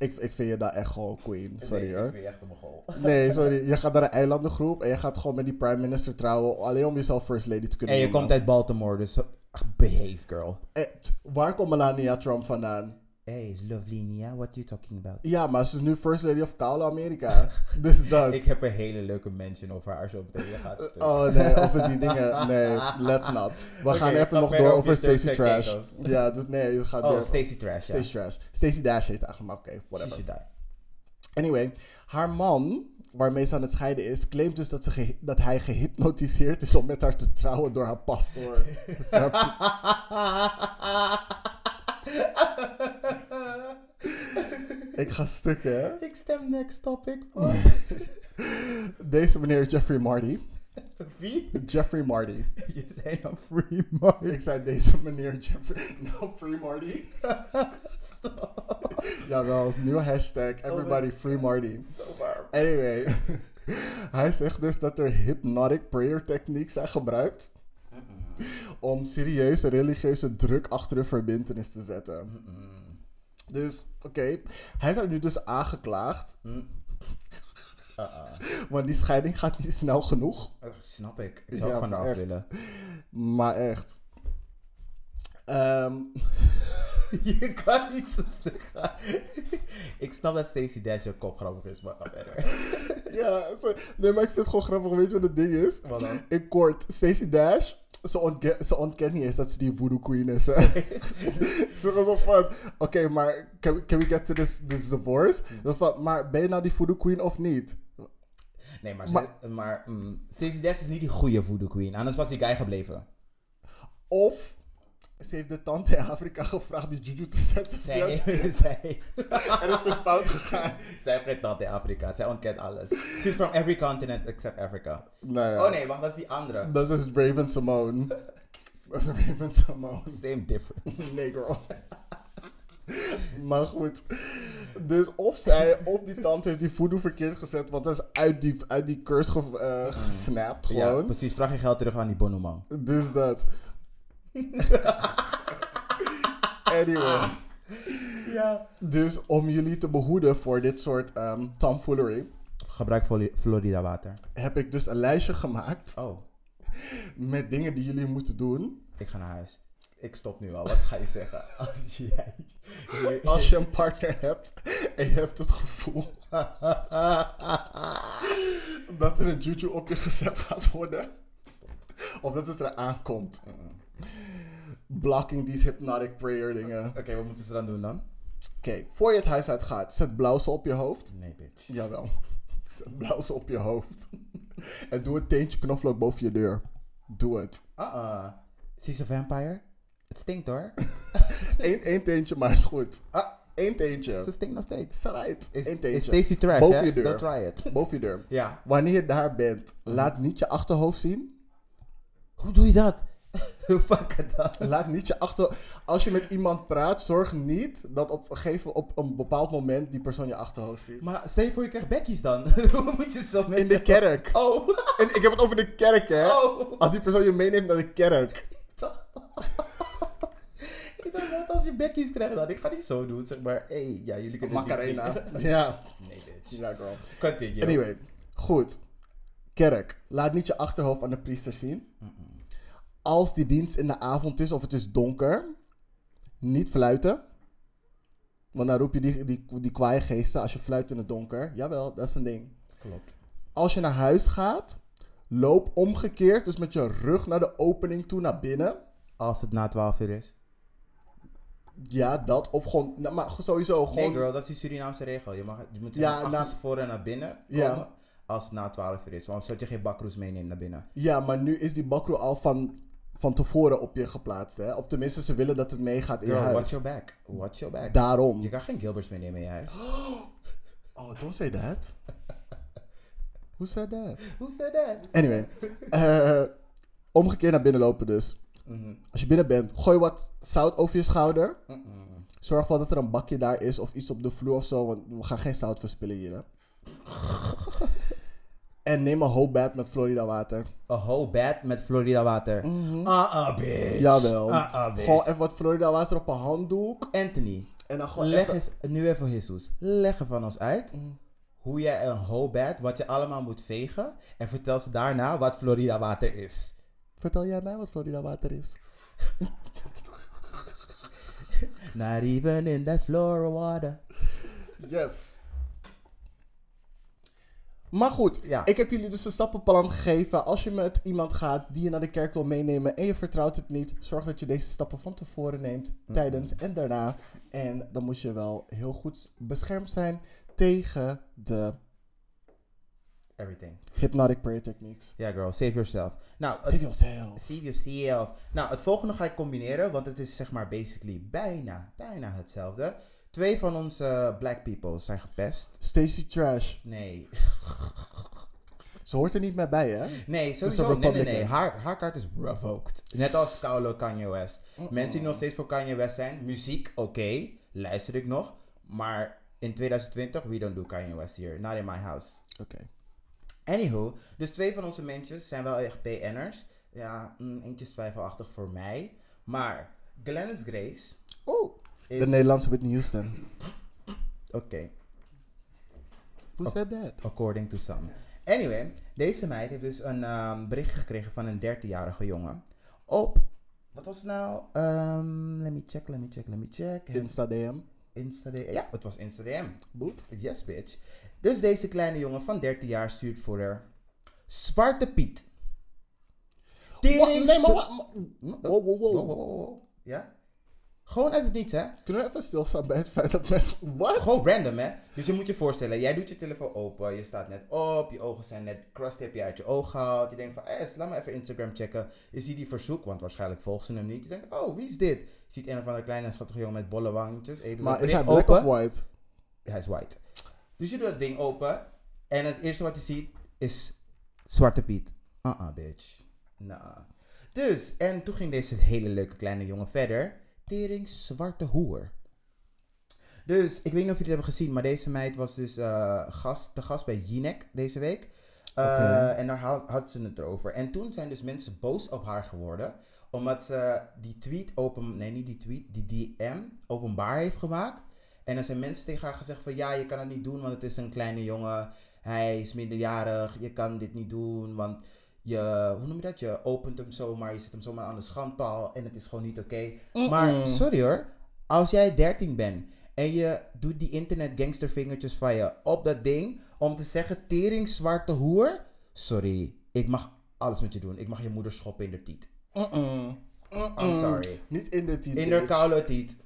[SPEAKER 3] Ik, ik vind je daar echt gewoon queen, sorry
[SPEAKER 2] nee,
[SPEAKER 3] hoor.
[SPEAKER 2] Ik ben echt een mogol.
[SPEAKER 3] Nee, sorry. Je gaat naar een eilandengroep en je gaat gewoon met die prime minister trouwen alleen om jezelf First Lady te kunnen
[SPEAKER 2] En je
[SPEAKER 3] noemen.
[SPEAKER 2] komt uit Baltimore, dus behave girl.
[SPEAKER 3] Eh, t- Waar komt Melania Trump vandaan?
[SPEAKER 2] Hey, is lovely Nia, what you talking about?
[SPEAKER 3] Ja, maar ze is nu First Lady of koude Amerika. dus dat.
[SPEAKER 2] Ik heb een hele leuke mention over haar zo meteen. Dat gaat stuk.
[SPEAKER 3] Oh nee, over die dingen. Nee, let's not. We gaan
[SPEAKER 2] Oké,
[SPEAKER 3] even
[SPEAKER 2] dan
[SPEAKER 3] nog
[SPEAKER 2] verder
[SPEAKER 3] door
[SPEAKER 2] op je
[SPEAKER 3] over Stacey
[SPEAKER 2] Turks
[SPEAKER 3] Trash.
[SPEAKER 2] en Caicos.
[SPEAKER 3] Ja, dus nee, het gaat
[SPEAKER 2] Oh,
[SPEAKER 3] door.
[SPEAKER 2] Stacey Trash, ja.
[SPEAKER 3] Stacey Trash. Stacey Dash heeft eigenlijk, maar oké,
[SPEAKER 2] She
[SPEAKER 3] whatever.
[SPEAKER 2] should die.
[SPEAKER 3] Anyway, haar man, waarmee ze aan het scheiden is, claimt dus dat, ze gehy- dat hij gehypnotiseerd is om met haar te trouwen door haar pastoor. Haar- Ik ga stukken, hè?
[SPEAKER 2] Ik stem next topic. man.
[SPEAKER 3] Deze meneer Jeffrey Marty.
[SPEAKER 2] Wie?
[SPEAKER 3] Jeffrey Marty.
[SPEAKER 2] Je zei dan Free Marty.
[SPEAKER 3] Ik zei deze meneer Jeffrey. No, free Marty. Jawel, nieuw hashtag.
[SPEAKER 2] Oh
[SPEAKER 3] Everybody free Marty.
[SPEAKER 2] Zo warm.
[SPEAKER 3] Anyway, hij zegt dus dat er hypnotic prayer techniques zijn gebruikt. Om serieuze religieuze druk achter een verbintenis te zetten. Dus, oké. Hij is daar nu dus aangeklaagd.
[SPEAKER 2] Mm.
[SPEAKER 3] Want die scheiding gaat niet snel genoeg.
[SPEAKER 2] Oh, snap ik. Ik zou
[SPEAKER 3] Ja,
[SPEAKER 2] ook van haar
[SPEAKER 3] maar
[SPEAKER 2] af
[SPEAKER 3] echt.
[SPEAKER 2] willen.
[SPEAKER 3] Maar echt. Ehm,
[SPEAKER 2] Je kan niet zo zeggen. ik snap dat Stacey Dash een kop grappig is, maar ga verder.
[SPEAKER 3] ja, zo- nee, maar ik vind het gewoon grappig. Weet je wat het ding is?
[SPEAKER 2] Wat dan?
[SPEAKER 3] In kort, Stacey Dash, ze, ontke- ze ontkent niet eens dat ze die voodoo queen is. Hè? ze was zo van, oké, maar can we, can we get to this, this divorce?
[SPEAKER 2] Hmm.
[SPEAKER 3] Dan van, maar ben je nou die voodoo queen of niet?
[SPEAKER 2] Nee, maar, ze- maar, mm, Stacey Dash is niet die goede voodoo queen. Anders was die guy gebleven.
[SPEAKER 3] Of, ze heeft de tante in Afrika gevraagd die juju te zetten.
[SPEAKER 2] Zij, zij,
[SPEAKER 3] En het is fout gegaan.
[SPEAKER 2] zij heeft geen tante in Afrika. Zij ontkent alles. She's from every continent except Africa.
[SPEAKER 3] Nou ja.
[SPEAKER 2] Oh nee, wacht, dat is die andere.
[SPEAKER 3] Dat is Raven Simone. Dat is Raven Simone.
[SPEAKER 2] Same difference.
[SPEAKER 3] Nee, girl. maar goed. Dus of zij, of die tante heeft die voodoo verkeerd gezet, want dat is uit die, uit die curse ge, eh, gesnapt
[SPEAKER 2] Ja,
[SPEAKER 3] gewoon.
[SPEAKER 2] precies. Vraag je geld terug aan die bonneman.
[SPEAKER 3] dus dat. anyway.
[SPEAKER 2] Ja.
[SPEAKER 3] Dus om jullie te behoeden voor dit soort ehm tomfoolery,
[SPEAKER 2] Gebruik Flo- Florida water.
[SPEAKER 3] heb ik dus een lijstje gemaakt
[SPEAKER 2] Oh,
[SPEAKER 3] met dingen die jullie moeten doen
[SPEAKER 2] ik ga naar huis. Ik stop nu al. Wat ga je zeggen? Als jij...
[SPEAKER 3] als je een partner hebt en je hebt het gevoel dat er een juju op je gezet gaat worden. Of dat het eraan komt. Blocking these hypnotic prayer dingen. Oké,
[SPEAKER 2] Oké, wat moeten ze dan doen dan?
[SPEAKER 3] voor je het huis uit gaat, zet blauwsel op je hoofd.
[SPEAKER 2] Nee, bitch.
[SPEAKER 3] Jawel. Zet blauwsel op je hoofd. En doe een teentje knoflook boven je deur. Doe het.
[SPEAKER 2] Uh-uh. She's a vampire. Het stinkt hoor.
[SPEAKER 3] Eén, één teentje, maar is goed. Ah, één
[SPEAKER 2] Ze
[SPEAKER 3] teentje.
[SPEAKER 2] stinkt nog steeds.
[SPEAKER 3] Sarait.
[SPEAKER 2] Is,
[SPEAKER 3] Eén
[SPEAKER 2] is
[SPEAKER 3] teentje.
[SPEAKER 2] Stacey trash,
[SPEAKER 3] Boven
[SPEAKER 2] hè?
[SPEAKER 3] je deur.
[SPEAKER 2] Don't try it.
[SPEAKER 3] Boven je deur.
[SPEAKER 2] Ja.
[SPEAKER 3] Wanneer je daar bent, laat niet je achterhoofd zien.
[SPEAKER 2] Hoe doe je dat? Fuck het dan.
[SPEAKER 3] Laat niet je achter. Als je met iemand praat, zorg niet dat op, een gegeven, op een bepaald moment die persoon je achterhoofd ziet.
[SPEAKER 2] Maar stel je voor je krijgt bekkies dan. Hoe moet je zo met
[SPEAKER 3] In de
[SPEAKER 2] je-
[SPEAKER 3] kerk.
[SPEAKER 2] Oh.
[SPEAKER 3] En ik heb het over de kerk, hè?
[SPEAKER 2] Oh.
[SPEAKER 3] Als die persoon je meeneemt naar de kerk.
[SPEAKER 2] Ik dacht wat als je bekkies krijgt dan. Ik ga niet zo doen, zeg maar. Hé, hey, ja, jullie kunnen het niet
[SPEAKER 3] Macarena.
[SPEAKER 2] zien.
[SPEAKER 3] Ja.
[SPEAKER 2] Nee, bitch.
[SPEAKER 3] Ja, girl.
[SPEAKER 2] Continue.
[SPEAKER 3] Anyway, goed. Kerk. Laat niet je achterhoofd aan de priester zien. Als die dienst in de avond is of het is donker, niet fluiten. Want dan roep je die, die, die kwaaie geesten als je fluit in het donker. Jawel, dat is een ding.
[SPEAKER 2] Klopt.
[SPEAKER 3] Als je naar huis gaat, loop omgekeerd. Dus met je rug naar de opening toe, naar binnen.
[SPEAKER 2] Als het na 12 uur is.
[SPEAKER 3] Ja, dat. Of gewoon, nou, maar sowieso
[SPEAKER 2] Nee,
[SPEAKER 3] gewoon.
[SPEAKER 2] girl, dat is die Surinaamse regel. Je, mag, je moet
[SPEAKER 3] Ja,
[SPEAKER 2] ja,
[SPEAKER 3] na-
[SPEAKER 2] achter tevoren naar binnen komen
[SPEAKER 3] Ja.
[SPEAKER 2] als het na 12 uur is. Want zodat je geen bakroes meeneemt naar binnen.
[SPEAKER 3] ja, maar nu is die bakro al van, van tevoren op je geplaatst. Hè? Of tenminste, ze willen dat het meegaat in je
[SPEAKER 2] Girl, watch
[SPEAKER 3] huis.
[SPEAKER 2] your back. Watch your back.
[SPEAKER 3] Daarom.
[SPEAKER 2] Je kan geen Gilberts meenemen in je huis.
[SPEAKER 3] Oh, don't say that. Who said that?
[SPEAKER 2] Who said that?
[SPEAKER 3] Anyway. eh, omgekeerd naar binnen lopen dus. Als je binnen bent, gooi wat zout over je schouder. Zorg wel dat er een bakje daar is of iets op de vloer of zo. Want we gaan geen zout verspillen hier. Hè? en neem een whole bath met Florida water.
[SPEAKER 2] A whole bed met Florida water. Ah, ah, bitch.
[SPEAKER 3] Mhm. Jawel.
[SPEAKER 2] Ah, ah, bitch.
[SPEAKER 3] Gewoon even wat Florida water op een handdoek.
[SPEAKER 2] Anthony,
[SPEAKER 3] En dan gewoon
[SPEAKER 2] leg
[SPEAKER 3] even- Mm.
[SPEAKER 2] eens, nu even Jesus, leg er van ons uit hoe jij een whole bed, wat je allemaal moet vegen. En vertel ze daarna wat Florida water is.
[SPEAKER 3] Vertel jij mij wat Florida water is?
[SPEAKER 2] Not even in that Florida water.
[SPEAKER 3] Yes. Maar goed,
[SPEAKER 2] Ja.
[SPEAKER 3] ik heb jullie dus een stappenplan gegeven. Als je met iemand gaat die je naar de kerk wil meenemen en je vertrouwt het niet, zorg dat je deze stappen van tevoren neemt,
[SPEAKER 2] Mhm.
[SPEAKER 3] tijdens en daarna. En dan moet je wel heel goed beschermd zijn tegen de
[SPEAKER 2] Everything.
[SPEAKER 3] hypnotic prayer techniques.
[SPEAKER 2] Ja, girl, save yourself. Nou, het,
[SPEAKER 3] Save yourself.
[SPEAKER 2] save yourself. Nou, het volgende ga ik combineren, want het is zeg maar basically bijna, bijna hetzelfde. Twee van onze eh, black people zijn gepest.
[SPEAKER 3] Stacey Trash.
[SPEAKER 2] Nee,
[SPEAKER 3] Ze hoort er niet meer bij, hè?
[SPEAKER 2] nee,
[SPEAKER 3] is
[SPEAKER 2] sowieso.
[SPEAKER 3] een
[SPEAKER 2] Nee, nee, nee.
[SPEAKER 3] Republican.
[SPEAKER 2] Haar, haar kaart is revoked. Net als Kaulo Kanye West. Mensen die nog steeds voor Kanye West zijn, muziek, oké, luister ik nog. Maar in 2020, we don't do Kanye West here. Not in my house.
[SPEAKER 3] Oké.
[SPEAKER 2] Anywho, dus twee van onze mensen zijn wel echt PN'ers. Ja, mm, eentje is twijfelachtig voor mij. Maar Glennis Grace
[SPEAKER 3] Oh,
[SPEAKER 2] is...
[SPEAKER 3] de Nederlandse Whitney Houston.
[SPEAKER 2] Oké, Oh.
[SPEAKER 3] Who said that?
[SPEAKER 2] according to some. Anyway, deze meid heeft dus een ehm, bericht gekregen van een 13-jarige jongen. Op, wat was het nou? Ehm, let me check, let me check, let me check.
[SPEAKER 3] Insta DM.
[SPEAKER 2] Insta DM. Ja, het was Insta DM.
[SPEAKER 3] Boep.
[SPEAKER 2] Yes, bitch. Dus deze kleine jongen van 13 jaar stuurt voor haar Zwarte Piet.
[SPEAKER 3] Wa- Nee, maar
[SPEAKER 2] zo-
[SPEAKER 3] wa- ma-
[SPEAKER 2] Wow,
[SPEAKER 3] wow, wow, wow.
[SPEAKER 2] Ja? Gewoon uit het niets, hè?
[SPEAKER 3] Kunnen we even stilstaan bij het feit dat mensen... What?
[SPEAKER 2] Gewoon random, hè? Dus je moet je voorstellen, jij doet je telefoon open, je staat net op, je ogen zijn net crust, heb je uit je oog gehaald. Je denkt van, eh, laat maar even Instagram checken. Je ziet die verzoek, want waarschijnlijk volgen ze hem niet. Je denkt, oh, wie is dit? Je ziet een of andere kleine schattige jongen met bolle wangjes. en je doet
[SPEAKER 3] Maar
[SPEAKER 2] dat
[SPEAKER 3] is hij
[SPEAKER 2] bericht
[SPEAKER 3] black
[SPEAKER 2] open.
[SPEAKER 3] of white?
[SPEAKER 2] Hij is white. Dus je doet dat ding open en het eerste wat je ziet is Zwarte Piet. Uh-uh, bitch. Nah. Dus, en toen ging deze hele leuke kleine jongen verder. Tering zwarte hoer. Dus, ik weet niet of jullie het hebben gezien, maar deze meid was dus eh, gast, te gast bij Jinek deze week. Eh,
[SPEAKER 3] Oké.
[SPEAKER 2] En daar ha- had ze het erover. En toen zijn dus mensen boos op haar geworden. Omdat ze die tweet open... Nee, niet die tweet. Die DM openbaar heeft gemaakt. En dan zijn mensen tegen haar gezegd van... Ja, je kan het niet doen, want het is een kleine jongen. Hij is minderjarig. Je kan dit niet doen, want... Je, hoe noem je dat? Je opent hem zomaar, je zet hem zomaar aan de schandpaal en het is gewoon niet oké. Maar sorry hoor, als jij 13 bent en je doet die internet gangstervingertjes van je op dat ding om te zeggen tering zwarte hoer. Sorry, ik mag alles met je doen. Ik mag je moeder schoppen in de tiet. I'm sorry.
[SPEAKER 3] Niet in de titel.
[SPEAKER 2] In de koude tiet.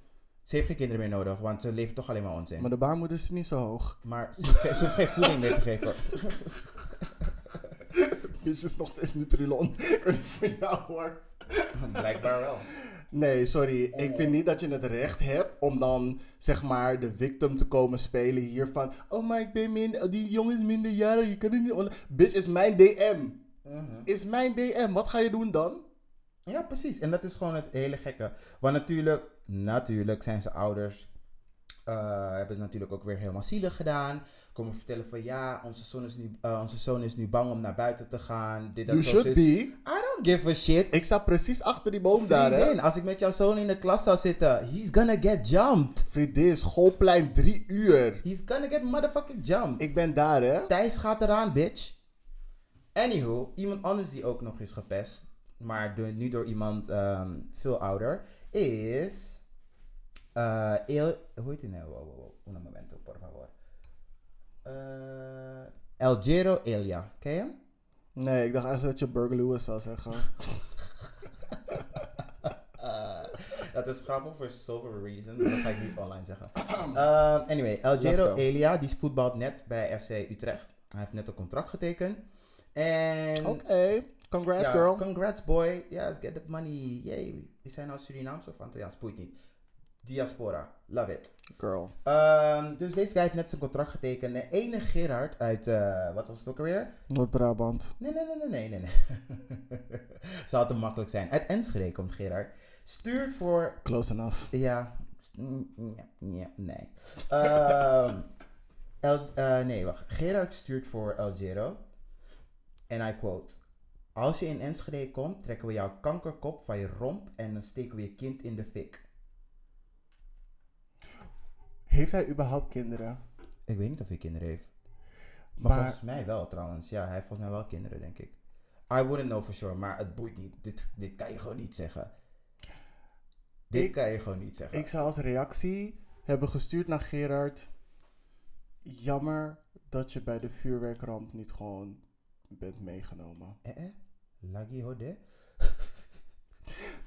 [SPEAKER 2] Ze heeft geen kinderen meer nodig, want ze leeft toch alleen maar onzin.
[SPEAKER 3] Maar de baarmoeder is niet zo hoog.
[SPEAKER 2] Maar ze hoeft, geen- ze hoeft geen voeding meer te geven.
[SPEAKER 3] Bitch is nog steeds Nutrilon. Ik weet niet voor jou hoor.
[SPEAKER 2] Blijkbaar wel.
[SPEAKER 3] Nee, sorry. Ik vind niet dat je het recht hebt om dan zeg maar de victim te komen spelen hiervan. Oh, maar ik ben min... Die jongen is minderjarig. Je kan er niet... onder- Bitch, is mijn DM.
[SPEAKER 2] Uh-huh.
[SPEAKER 3] Is mijn DM. Wat ga je doen dan?
[SPEAKER 2] Ja, precies. En dat is gewoon het hele gekke. Want natuurlijk, natuurlijk zijn ze ouders. eh, hebben het natuurlijk ook weer helemaal zielig gedaan. Komen vertellen van ja, onze zoon is nu, eh, onze zoon is nu bang om naar buiten te gaan. Dit, dat,
[SPEAKER 3] You
[SPEAKER 2] zo,
[SPEAKER 3] should
[SPEAKER 2] zus.
[SPEAKER 3] be.
[SPEAKER 2] I don't give a shit.
[SPEAKER 3] Ik sta precies achter die boom daar, hè.
[SPEAKER 2] Vriendin, als ik met jouw zoon in de klas zou zitten, he's gonna get jumped.
[SPEAKER 3] Vriendin, schoolplein, drie uur.
[SPEAKER 2] He's gonna get motherfucking jumped.
[SPEAKER 3] Ik ben daar, hè.
[SPEAKER 2] Thijs gaat eraan, bitch. Anywho, iemand anders die ook nog is gepest, maar do- nu door iemand ehm, veel ouder, is Ah, el, hoe heet die nou? Wow, wow, wow. Un momento, por favor. Eh Elgero Elia. Ken je hem?
[SPEAKER 3] Nee, ik dacht eigenlijk dat je Burger Lewis zou zeggen.
[SPEAKER 2] Dat is grappig voor zoveel reasons, maar dat ga ik niet online zeggen. Ehm, anyway, Elgero
[SPEAKER 3] go.
[SPEAKER 2] Elia, die voetbalt net bij FC Utrecht. Hij heeft net een contract getekend. En...
[SPEAKER 3] Oké, congrats
[SPEAKER 2] ja,
[SPEAKER 3] girl.
[SPEAKER 2] Congrats boy. Yes, get that money. Yay. Is hij nou Surinaams of Antilliaans? Boeit niet. Diaspora. Love it.
[SPEAKER 3] Girl.
[SPEAKER 2] Ehm, dus deze guy heeft net zijn contract getekend. De ene Gerard uit, eh, wat was het ook alweer?
[SPEAKER 3] Noord-Brabant.
[SPEAKER 2] Nee, nee, nee, nee, nee, nee. nee. Zou te makkelijk zijn. Uit Enschede komt Gerard. Stuurt voor
[SPEAKER 3] Close enough.
[SPEAKER 2] ja. Mm, ja, ja, nee. Ehm, El, eh, nee, wacht. Gerard stuurt voor El Giro. En I quote. Als je in Enschede komt, trekken we jouw kankerkop van je romp en dan steken we je kind in de fik.
[SPEAKER 3] Heeft hij überhaupt kinderen?
[SPEAKER 2] Ik weet niet of hij kinderen heeft. Maar,
[SPEAKER 3] Maar-
[SPEAKER 2] volgens mij wel trouwens. Ja, hij heeft volgens mij wel kinderen, denk ik. I wouldn't know for sure, maar het boeit niet. Dit, dit kan je gewoon niet zeggen. Dit
[SPEAKER 3] Ik-
[SPEAKER 2] kan je gewoon niet zeggen.
[SPEAKER 3] Ik zou als reactie hebben gestuurd naar Gerard. Jammer dat je bij de vuurwerkramp niet gewoon bent meegenomen.
[SPEAKER 2] Eh, eh? Lagi hode?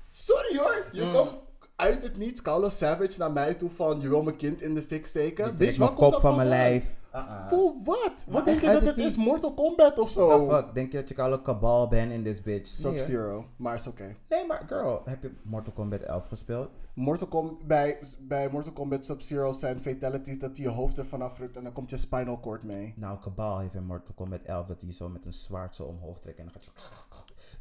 [SPEAKER 3] Sorry hoor, je
[SPEAKER 2] Hmm.
[SPEAKER 3] komt uit het niets Carlos Savage naar mij toe van je wil mijn kind in de fik steken.
[SPEAKER 2] Ik
[SPEAKER 3] Weet
[SPEAKER 2] trek
[SPEAKER 3] je,
[SPEAKER 2] mijn
[SPEAKER 3] waar komt
[SPEAKER 2] kop
[SPEAKER 3] dat
[SPEAKER 2] van mijn
[SPEAKER 3] vandaan?
[SPEAKER 2] lijf.
[SPEAKER 3] Ah,
[SPEAKER 2] Uh-uh.
[SPEAKER 3] Voor wat?
[SPEAKER 2] Maar
[SPEAKER 3] Wat denk
[SPEAKER 2] echt
[SPEAKER 3] je
[SPEAKER 2] uit
[SPEAKER 3] dat
[SPEAKER 2] het
[SPEAKER 3] het is?
[SPEAKER 2] niets.
[SPEAKER 3] Mortal Kombat of
[SPEAKER 2] The
[SPEAKER 3] zo?
[SPEAKER 2] Nou, fuck? Denk je dat je alle kabal bent in this bitch? Oh. Nee, hoor.
[SPEAKER 3] Sub-Zero, maar is oké.
[SPEAKER 2] Nee, maar girl, heb je Mortal Kombat 11 gespeeld?
[SPEAKER 3] Mortal Kombat, bij, bij Mortal Kombat Sub-Zero zijn fatalities dat hij je hoofd ervan afrukt en dan komt je spinal cord mee.
[SPEAKER 2] Nou, kabal heeft in Mortal Kombat 11 dat hij zo met een zwaard zo omhoog trekt en dan gaat je...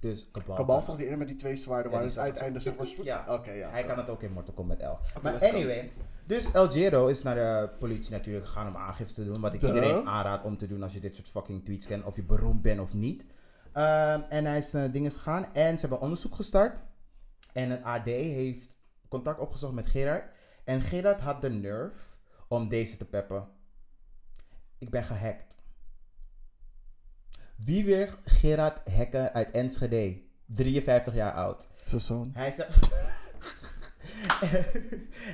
[SPEAKER 2] Dus kabal...
[SPEAKER 3] Kabal zag die eerder met die twee zwaarden
[SPEAKER 2] Ja, die
[SPEAKER 3] waar het
[SPEAKER 2] zag-
[SPEAKER 3] uiteinde zeg maar...
[SPEAKER 2] Ja,
[SPEAKER 3] Oké, ja.
[SPEAKER 2] hij kan het ook in Mortal Kombat 11. maar
[SPEAKER 3] let's go.
[SPEAKER 2] anyway, dus El Giro is naar de politie natuurlijk gegaan om aangifte te doen. Wat ik
[SPEAKER 3] Duh.
[SPEAKER 2] iedereen aanraad om te doen als je dit soort fucking tweets kent. Of je beroemd bent of niet. Ehm, en hij is naar dingen gegaan en ze hebben onderzoek gestart. En het AD heeft contact opgezocht met Gerard. En Gerard had de nerve om deze te peppen. Ik ben gehackt. Wie weer Gerard hacken uit Enschede? 53 jaar oud.
[SPEAKER 3] Zijn zoon.
[SPEAKER 2] Hij zegt.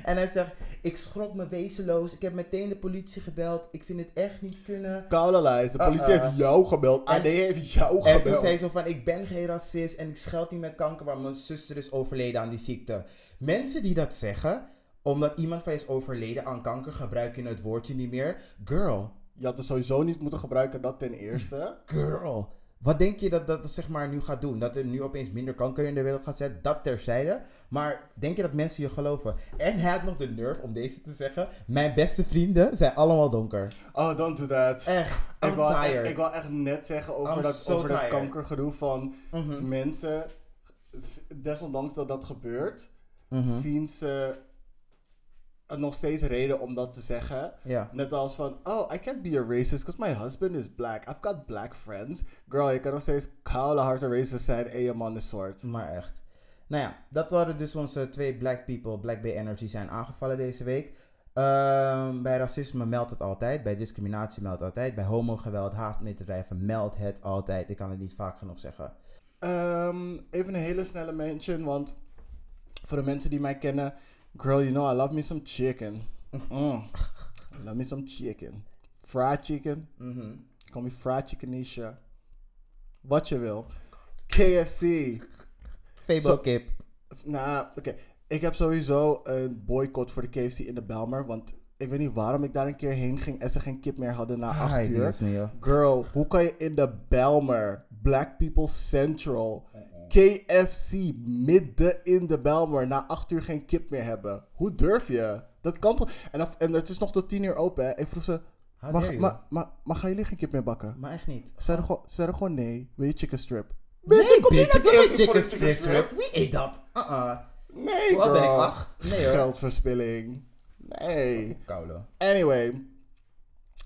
[SPEAKER 2] en hij zegt: Ik schrok me wezenloos. Ik heb meteen de politie gebeld. Ik vind het echt niet kunnen.
[SPEAKER 3] Kauwelijs, de politie
[SPEAKER 2] Uh-uh.
[SPEAKER 3] heeft jou gebeld.
[SPEAKER 2] En-
[SPEAKER 3] AD heeft jou
[SPEAKER 2] En toen
[SPEAKER 3] gebeld.
[SPEAKER 2] zei ze van, ik ben geen racist en ik scheld niet met kanker, maar mijn zuster is overleden aan die ziekte. Mensen die dat zeggen, omdat iemand van je is overleden aan kanker, gebruiken het woordje niet meer. Girl,
[SPEAKER 3] Je had het sowieso niet moeten gebruiken, dat ten eerste.
[SPEAKER 2] girl. Wat denk je dat dat zeg maar nu gaat doen? Dat er nu opeens minder kanker in de wereld gaat zetten? Dat terzijde. Maar denk je dat mensen je geloven? En hij had nog de nerve om deze te zeggen. Mijn beste vrienden zijn allemaal donker.
[SPEAKER 3] Oh, don't do that.
[SPEAKER 2] Echt, I'm
[SPEAKER 3] ik wou,
[SPEAKER 2] tired.
[SPEAKER 3] Ik wou echt net zeggen
[SPEAKER 2] I'm
[SPEAKER 3] over, dat,
[SPEAKER 2] so
[SPEAKER 3] over dat
[SPEAKER 2] tired. Mhm.
[SPEAKER 3] kankergedoe van mensen. s- Desondanks dat dat gebeurt,
[SPEAKER 2] Mhm.
[SPEAKER 3] zien ze er nog steeds reden om dat te zeggen.
[SPEAKER 2] Ja.
[SPEAKER 3] Net als van, oh, I can't be a racist because my husband is black. I've got black friends. Girl, je kan nog steeds koude harde racist zijn en je man is zwart.
[SPEAKER 2] Maar echt. Nou ja, dat waren dus onze twee Black People, Black Bay Energy zijn aangevallen deze week. Ehm, bij racisme meldt het altijd, bij discriminatie meldt het altijd, bij homogeweld, haatmisdrijven meldt het altijd. Ik kan het niet vaak genoeg zeggen.
[SPEAKER 3] Ehm, even een hele snelle mention, want voor de mensen die mij kennen, girl, you know I love me some chicken. Mm. I love me some chicken. Fried chicken. Call me fried chickenisha. Wat je wil. KFC.
[SPEAKER 2] Febo kip.
[SPEAKER 3] Nou, oké. Ik heb sowieso een boycott voor de KFC in de Belmer, want ik weet niet waarom ik daar een keer heen ging en ze geen kip meer hadden na acht
[SPEAKER 2] Ai,
[SPEAKER 3] uur.
[SPEAKER 2] Dios mio.
[SPEAKER 3] Girl, hoe kan je in de Belmer, Black People Central, KFC midden in de Belmer na acht uur geen kip meer hebben? Hoe durf je? Dat kan toch? En, af- en het is nog tot tien uur open, hè? Ik vroeg ze,
[SPEAKER 2] How
[SPEAKER 3] maar,
[SPEAKER 2] dare
[SPEAKER 3] maar,
[SPEAKER 2] you?
[SPEAKER 3] maar, maar gaan jullie geen kip meer bakken?
[SPEAKER 2] Maar echt niet.
[SPEAKER 3] Ze zeiden gewoon, ze zeiden gewoon nee, wil je chicken strip?
[SPEAKER 2] Nee,
[SPEAKER 3] kom niet
[SPEAKER 2] bitch, ik
[SPEAKER 3] naar
[SPEAKER 2] wil geen
[SPEAKER 3] KFC voor
[SPEAKER 2] chicken
[SPEAKER 3] een chicken
[SPEAKER 2] strip. strip. Wie eet dat? Uh-uh.
[SPEAKER 3] Nee,
[SPEAKER 2] Hoe oud ben ik?
[SPEAKER 3] girl.
[SPEAKER 2] Acht? Nee, hoor.
[SPEAKER 3] Geldverspilling. Nee.
[SPEAKER 2] Koude.
[SPEAKER 3] Anyway,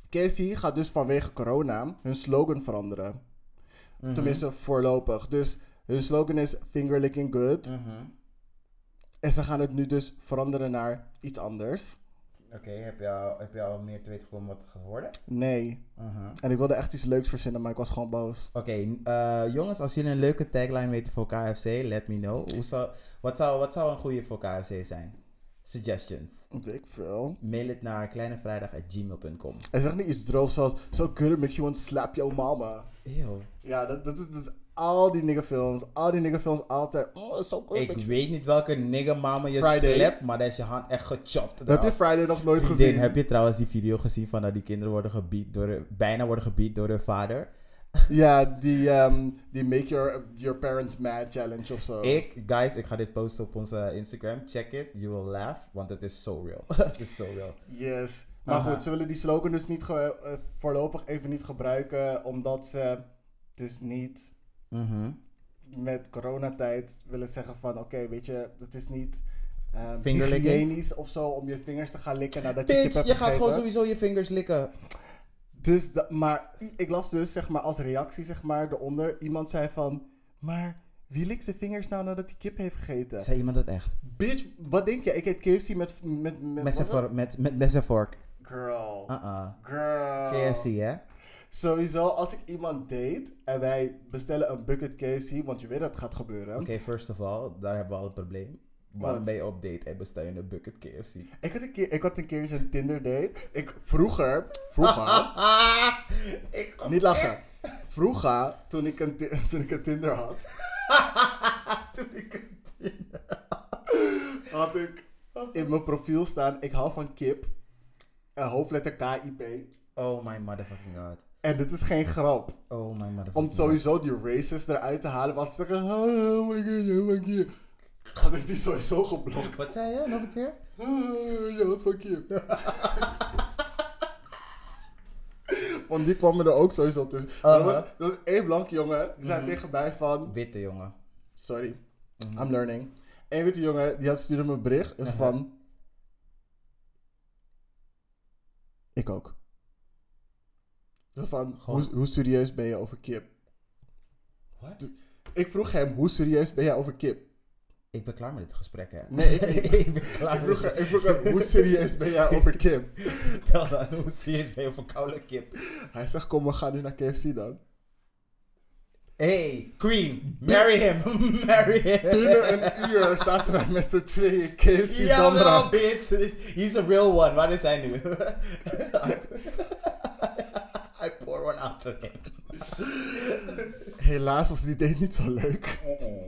[SPEAKER 3] KFC gaat dus vanwege corona hun slogan veranderen.
[SPEAKER 2] Mhm.
[SPEAKER 3] Tenminste, voorlopig. Dus hun slogan is finger licking good.
[SPEAKER 2] Mhm.
[SPEAKER 3] En ze gaan het nu dus veranderen naar iets anders.
[SPEAKER 2] Oké, heb, je al- heb je al meer te weten gekomen wat het gaat worden?
[SPEAKER 3] Nee.
[SPEAKER 2] Mhm.
[SPEAKER 3] En ik wilde echt iets leuks verzinnen, maar ik was gewoon boos.
[SPEAKER 2] Oké, eh, jongens, als jullie een leuke tagline weten voor KFC, let me know. Hoe zou, wat, zou, wat zou een goede voor KFC zijn? suggestions.
[SPEAKER 3] Weet ik veel.
[SPEAKER 2] Mail het naar kleinevrijdag.gmail.com.
[SPEAKER 3] Hij zegt niet iets droog zoals, so good it makes you want to slap your mama.
[SPEAKER 2] Eeuw.
[SPEAKER 3] Ja, dat, dat, is, dat is al die niggerfilms. Al die niggerfilms altijd. Oh, it's so good. it
[SPEAKER 2] Ik
[SPEAKER 3] makes you-
[SPEAKER 2] weet niet welke nigger mama je
[SPEAKER 3] Friday.
[SPEAKER 2] slept, maar dan is je hand echt gechopt.
[SPEAKER 3] Heb je
[SPEAKER 2] eraf.
[SPEAKER 3] Friday nog nooit
[SPEAKER 2] Vriendin,
[SPEAKER 3] gezien?
[SPEAKER 2] heb je trouwens die video gezien van dat die kinderen worden gebied door, hun- bijna worden gebied door hun vader?
[SPEAKER 3] Ja, die, ehm, die Make your, your Parents Mad Challenge of zo.
[SPEAKER 2] Ik, guys, ik ga dit posten op onze Instagram. Check it, you will laugh, want het is so real. Het is so real.
[SPEAKER 3] Yes. Maar
[SPEAKER 2] Aha.
[SPEAKER 3] goed, ze willen die slogan dus niet ge- eh, voorlopig even niet gebruiken, omdat ze dus niet
[SPEAKER 2] Mhm.
[SPEAKER 3] met coronatijd willen zeggen van, oké, weet je, het is niet ehm
[SPEAKER 2] Vingerlikken?
[SPEAKER 3] hygiënisch of zo om je vingers te gaan likken nadat je kip
[SPEAKER 2] Bitch,
[SPEAKER 3] hebt
[SPEAKER 2] je gaat gewoon
[SPEAKER 3] gegeten.
[SPEAKER 2] sowieso je vingers likken.
[SPEAKER 3] Dus, dat- maar i- ik las dus, zeg maar, als reactie, zeg maar, eronder, iemand zei van, maar wie likt zijn vingers nou nadat hij kip heeft gegeten?
[SPEAKER 2] Zei iemand dat echt?
[SPEAKER 3] Bitch, wat denk je? Ik eet KFC met... met, met
[SPEAKER 2] Mes en
[SPEAKER 3] wat-
[SPEAKER 2] vork- met- met mes en vork.
[SPEAKER 3] Girl.
[SPEAKER 2] Uh-uh.
[SPEAKER 3] Girl.
[SPEAKER 2] KFC, hè?
[SPEAKER 3] Sowieso, als ik iemand date en wij bestellen een bucket KFC, want je weet dat het gaat gebeuren.
[SPEAKER 2] Oké, first of all, daar hebben we al het probleem. Waarom ben je op date en bestel je een bucket KFC?
[SPEAKER 3] Ik, had een keer, ik had een keertje een Tinder date. Ik, vroeger, vroeger,
[SPEAKER 2] ik
[SPEAKER 3] niet lachen. Vroeger, toen ik een, Ti- toen ik een Tinder had,
[SPEAKER 2] toen ik het
[SPEAKER 3] had ik in mijn profiel staan, ik hou van kip, een hoofdletter KIP.
[SPEAKER 2] Oh my motherfucking god.
[SPEAKER 3] En dit is geen grap.
[SPEAKER 2] Oh my motherfucking
[SPEAKER 3] Om sowieso die racist eruit te halen, was ik zeggen, oh my god, oh my god. Had ik die sowieso geblokt.
[SPEAKER 2] god. Wat zei je nog een keer?
[SPEAKER 3] Ah, Je houdt van kip. Want die kwam me er ook sowieso tussen. Maar Er, was,
[SPEAKER 2] Uh-huh.
[SPEAKER 3] er was één blanke jongen, die
[SPEAKER 2] Mhm.
[SPEAKER 3] zei tegen mij van...
[SPEAKER 2] Witte jongen.
[SPEAKER 3] Sorry,
[SPEAKER 2] Mhm.
[SPEAKER 3] I'm learning. Eén witte jongen, die had stuurde me een bericht. Dus van... Ik ook. Zo van,
[SPEAKER 2] Goh.
[SPEAKER 3] hoe, hoe serieus ben je over kip? Dus
[SPEAKER 2] Wat?
[SPEAKER 3] Ik vroeg hem, hoe serieus ben jij over kip?
[SPEAKER 2] Ik ben klaar met dit gesprek, hè?
[SPEAKER 3] Nee, ik niet.
[SPEAKER 2] ik ben klaar
[SPEAKER 3] Ik vroeg,
[SPEAKER 2] met
[SPEAKER 3] hem- ik vroeg hem, hoe serieus ben jij over kip?
[SPEAKER 2] dit. Tel dan, hoe serieus ben je voor koude kip?
[SPEAKER 3] Hij zegt, kom, we gaan nu naar KFC dan.
[SPEAKER 2] Hey, queen, marry him, marry him.
[SPEAKER 3] Binnen een uur zaten wij met z'n tweeën KFC
[SPEAKER 2] Jawel,
[SPEAKER 3] Damra.
[SPEAKER 2] bitch. He's a real one. Waar is hij nu? I pour one out to him.
[SPEAKER 3] Helaas was die date niet zo leuk. Oh.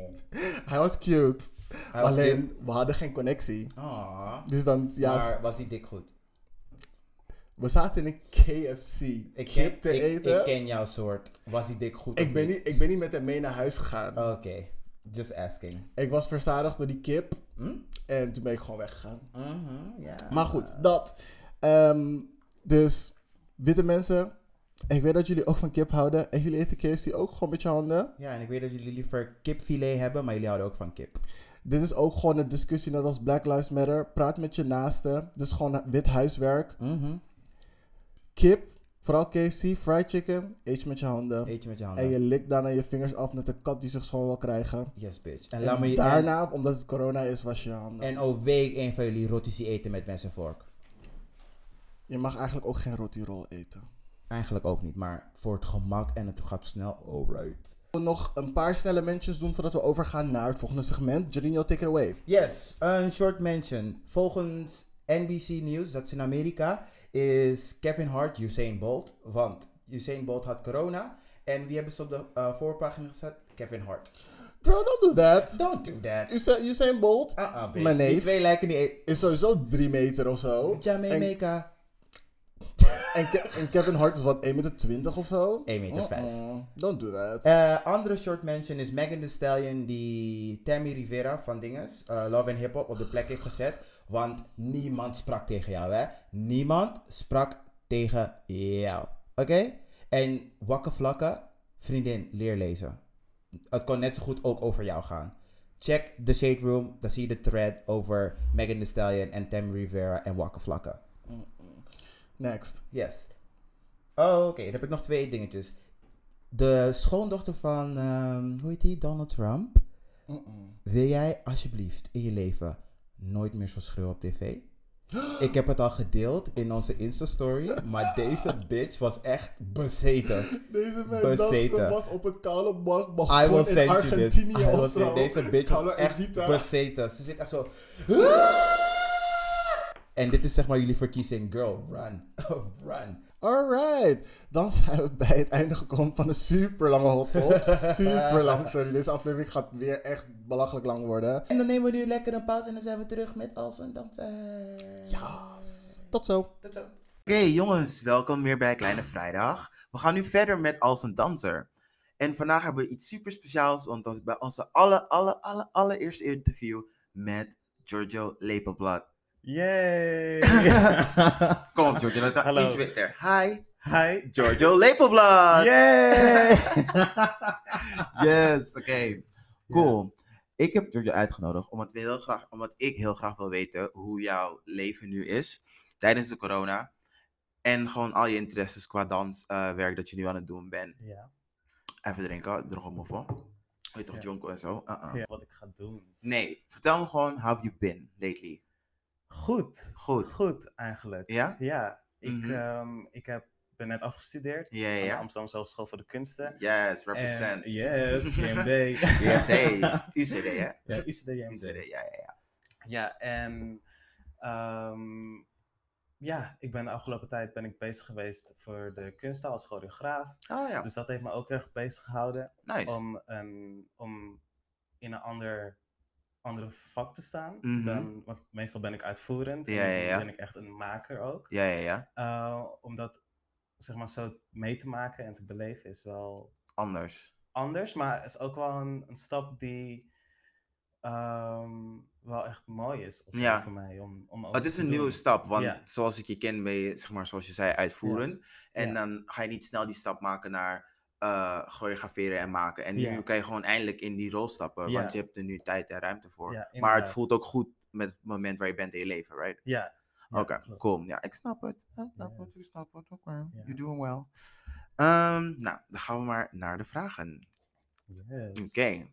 [SPEAKER 3] Hij was cute.
[SPEAKER 2] Hij was
[SPEAKER 3] Alleen, we hadden geen connectie.
[SPEAKER 2] Aw.
[SPEAKER 3] Dus dan, ja,
[SPEAKER 2] Maar was hij dik goed?
[SPEAKER 3] we zaten in een KFC.
[SPEAKER 2] Ik ken,
[SPEAKER 3] Ik kip te
[SPEAKER 2] ik,
[SPEAKER 3] eten.
[SPEAKER 2] ik
[SPEAKER 3] Ik,
[SPEAKER 2] ken jouw soort. Was hij dik goed? of
[SPEAKER 3] ben niet, ik ben niet met hem mee naar huis gegaan.
[SPEAKER 2] Oké, just asking.
[SPEAKER 3] Ik was verzadigd door die kip.
[SPEAKER 2] Hm?
[SPEAKER 3] En toen ben ik gewoon weggegaan.
[SPEAKER 2] Mhm, ja.
[SPEAKER 3] Maar goed, dat. Ehm, dus, witte mensen. Ik weet dat jullie ook van kip houden. En jullie eten KFC ook gewoon met je handen.
[SPEAKER 2] Ja, en ik weet dat jullie liever kipfilet hebben, maar jullie houden ook van kip.
[SPEAKER 3] Dit is ook gewoon een discussie net als Black Lives Matter. Praat met je naasten. Dit is gewoon wit huiswerk.
[SPEAKER 2] Mhm.
[SPEAKER 3] Kip, vooral KFC, fried chicken. Eet je met je handen.
[SPEAKER 2] Eet je met je
[SPEAKER 3] En
[SPEAKER 2] handen.
[SPEAKER 3] je likt daarna je vingers af met de kat die zich schoon wil krijgen.
[SPEAKER 2] Yes, bitch. En, laat me je, en,
[SPEAKER 3] daarna, omdat het corona is, was je je handen.
[SPEAKER 2] en oh, week één van jullie rotisie eten met mes en vork.
[SPEAKER 3] Je mag eigenlijk ook geen rotirol eten.
[SPEAKER 2] Eigenlijk ook niet, maar voor het gemak en het gaat snel. Alright.
[SPEAKER 3] We nog een paar snelle mensjes doen voordat we overgaan naar het volgende segment. Jorginho, take it away.
[SPEAKER 2] Yes, een short mention. Volgens NBC News, dat is in Amerika, is Kevin Hart Usain Bolt. Want Usain Bolt had corona. En wie hebben ze op de eh, voorpagina gezet? Kevin Hart.
[SPEAKER 3] Bro, don't do that.
[SPEAKER 2] Don't do that.
[SPEAKER 3] Usa- Usain Bolt
[SPEAKER 2] Uh-uh, bitch.
[SPEAKER 3] Maar nee.
[SPEAKER 2] Die twee lijken niet... e-
[SPEAKER 3] is sowieso 3 meter of zo. En,
[SPEAKER 2] Jamaica.
[SPEAKER 3] en, Ke- en Kevin Hart is wat 1,20 meter of zo.
[SPEAKER 2] 1,5 meter.
[SPEAKER 3] Mm-mm, Don't do that.
[SPEAKER 2] Eh, andere short mention is Megan Thee Stallion die Tammy Rivera van Dinges, eh, Love and Hip Hop, op de plek heeft gezet. Want niemand sprak tegen jou, hè? Niemand sprak tegen jou. Oké? En wakke vlakken, vriendin, leer lezen. Het kon net zo goed ook over jou gaan. Check de shade room, dan zie je de thread over Megan Thee Stallion en Tammy Rivera en wakke vlakken.
[SPEAKER 3] Next.
[SPEAKER 2] Yes. Oh, oké. Dan heb ik nog twee dingetjes. De schoondochter van, ehm, hoe heet die? Donald Trump. Wil jij alsjeblieft in je leven nooit meer zo schreeuwen op tv? Ik heb het al gedeeld in onze Insta-story, maar deze bitch was echt bezeten.
[SPEAKER 3] Deze mijn
[SPEAKER 2] Bezeten.
[SPEAKER 3] dansen was op een koude markt
[SPEAKER 2] I will
[SPEAKER 3] begonnen in
[SPEAKER 2] send you this.
[SPEAKER 3] Argentinië
[SPEAKER 2] I will
[SPEAKER 3] of zo.
[SPEAKER 2] send- Deze bitch was
[SPEAKER 3] Carla
[SPEAKER 2] echt
[SPEAKER 3] Evita.
[SPEAKER 2] bezeten. Ze zit echt zo...
[SPEAKER 4] En dit is zeg maar jullie verkiezing. Girl, run.
[SPEAKER 3] Oh,
[SPEAKER 4] run.
[SPEAKER 3] Alright, dan zijn we bij het einde gekomen van een super lange hot top. Super lang, sorry. Deze aflevering gaat weer echt belachelijk lang worden.
[SPEAKER 4] En dan nemen we nu lekker een pauze en dan zijn we terug met als en dat. eh
[SPEAKER 3] Yes. Tot zo.
[SPEAKER 4] Tot zo.
[SPEAKER 2] Oké jongens, welkom weer bij Kleine Vrijdag. We gaan nu verder met Als een Danser. En vandaag hebben we iets super speciaals, want dat is bij onze alle, alle, alle, allereerste interview met Giorgio Lepelblad.
[SPEAKER 5] Yay!
[SPEAKER 2] Kom op Giorgio, dat
[SPEAKER 5] Hallo.
[SPEAKER 2] is Twitter. Hi,
[SPEAKER 5] Hi.
[SPEAKER 2] Giorgio Lepelblad!
[SPEAKER 5] Yay!
[SPEAKER 2] Yes, oké. Cool. Ik heb Giorgio uitgenodigd omdat, we heel graag, omdat ik heel graag wil weten hoe jouw leven nu is tijdens de corona. En gewoon al je interesses qua danswerk dat je nu aan het doen bent.
[SPEAKER 5] ja,
[SPEAKER 2] Even drinken, droogmoffel. Weet toch,
[SPEAKER 5] Ja.
[SPEAKER 2] jonko en zo? Uh-uh.
[SPEAKER 5] ja, wat ik ga doen.
[SPEAKER 2] Nee, vertel me gewoon, how have you been lately?
[SPEAKER 5] Goed.
[SPEAKER 2] Goed.
[SPEAKER 5] Goed, eigenlijk.
[SPEAKER 2] Ja?
[SPEAKER 5] Ja, ik,
[SPEAKER 2] Mhm.
[SPEAKER 5] ehm, ik heb, ben net afgestudeerd
[SPEAKER 2] Ja,
[SPEAKER 5] aan de
[SPEAKER 2] ja,
[SPEAKER 5] Amsterdamse Hogeschool voor de Kunsten.
[SPEAKER 2] ja. Yes, represent.
[SPEAKER 5] En- yes, JMD.
[SPEAKER 2] UCD, UCD, hè?
[SPEAKER 5] ja, UCD, JMD.
[SPEAKER 2] UCD, ja, ja, ja.
[SPEAKER 5] Ja, en ehm, ja, ik ben de afgelopen tijd ben ik bezig geweest voor de kunsten als choreograaf.
[SPEAKER 2] Oh ja,
[SPEAKER 5] Dus dat heeft me ook erg bezig gehouden.
[SPEAKER 2] nice.
[SPEAKER 5] om, een, om in een ander, andere vak te staan.
[SPEAKER 2] Mhm.
[SPEAKER 5] dan, want meestal ben ik uitvoerend
[SPEAKER 2] Ja,
[SPEAKER 5] en
[SPEAKER 2] ja, ja.
[SPEAKER 5] ben ik echt een maker ook.
[SPEAKER 2] Ja, ja, ja.
[SPEAKER 5] Eh, om dat zeg maar, zo mee te maken en te beleven is wel
[SPEAKER 2] Anders.
[SPEAKER 5] anders, maar is ook wel een, een stap die ehm, wel echt mooi is of zo
[SPEAKER 2] Ja.
[SPEAKER 5] voor mij. Om, om ook
[SPEAKER 2] Het is
[SPEAKER 5] te
[SPEAKER 2] een nieuwe
[SPEAKER 5] doen.
[SPEAKER 2] stap, want
[SPEAKER 5] Ja.
[SPEAKER 2] zoals ik je ken ben je, zeg maar, zoals je zei, uitvoerend. En
[SPEAKER 5] Ja.
[SPEAKER 2] dan ga je niet snel die stap maken naar eh choreograferen en maken. En
[SPEAKER 5] Ja.
[SPEAKER 2] nu kan je gewoon eindelijk in die rol stappen,
[SPEAKER 5] Ja.
[SPEAKER 2] want je hebt er nu tijd en ruimte voor.
[SPEAKER 5] Ja,
[SPEAKER 2] maar het
[SPEAKER 5] inderdaad.
[SPEAKER 2] voelt ook goed met het moment waar je bent in je leven, right?
[SPEAKER 5] Ja. ja,
[SPEAKER 2] Oké,
[SPEAKER 5] klopt.
[SPEAKER 2] cool. Ja, ik snap het. Ik snap het, ik
[SPEAKER 5] Yes.
[SPEAKER 2] snap het. Oké, okay.
[SPEAKER 5] Ja.
[SPEAKER 2] you're doing well. Ehm, nou, dan gaan we maar naar de vragen.
[SPEAKER 5] Yes.
[SPEAKER 2] Oké.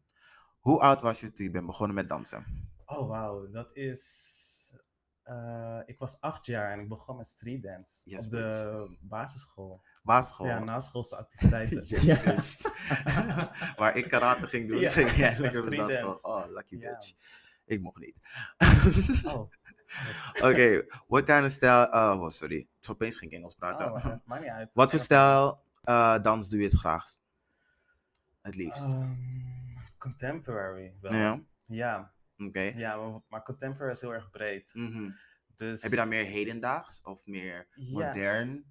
[SPEAKER 2] Hoe oud was je toen je bent begonnen met dansen?
[SPEAKER 5] Oh, wauw. Dat is... eh, ik was acht jaar en ik begon met street dance
[SPEAKER 2] Yes,
[SPEAKER 5] op de basisschool.
[SPEAKER 2] Basisschool.
[SPEAKER 5] Ja, naschoolse activiteiten.
[SPEAKER 2] Yes, bitch. Waar ik karate ging doen,
[SPEAKER 5] Ja,
[SPEAKER 2] ging jij lekker op de
[SPEAKER 5] street
[SPEAKER 2] basisschool.
[SPEAKER 5] dance.
[SPEAKER 2] Oh, lucky
[SPEAKER 5] Ja.
[SPEAKER 2] bitch. Ik mocht niet.
[SPEAKER 5] Oh,
[SPEAKER 2] Oké, what kind of style... eh, oh, sorry. Opeens ging ik Engels praten.
[SPEAKER 5] oh, eh, maakt niet
[SPEAKER 2] Wat
[SPEAKER 5] uit.
[SPEAKER 2] voor
[SPEAKER 5] Engels-
[SPEAKER 2] stijl eh, dans doe je het graagst? Het liefst.
[SPEAKER 5] Ehm, contemporary wel.
[SPEAKER 2] ja,
[SPEAKER 5] Ja,
[SPEAKER 2] oké.
[SPEAKER 5] ja, maar, maar contemporary is heel erg breed.
[SPEAKER 2] Mhm.
[SPEAKER 5] Dus
[SPEAKER 2] Heb je dan meer hedendaags of meer
[SPEAKER 5] ja,
[SPEAKER 2] modern?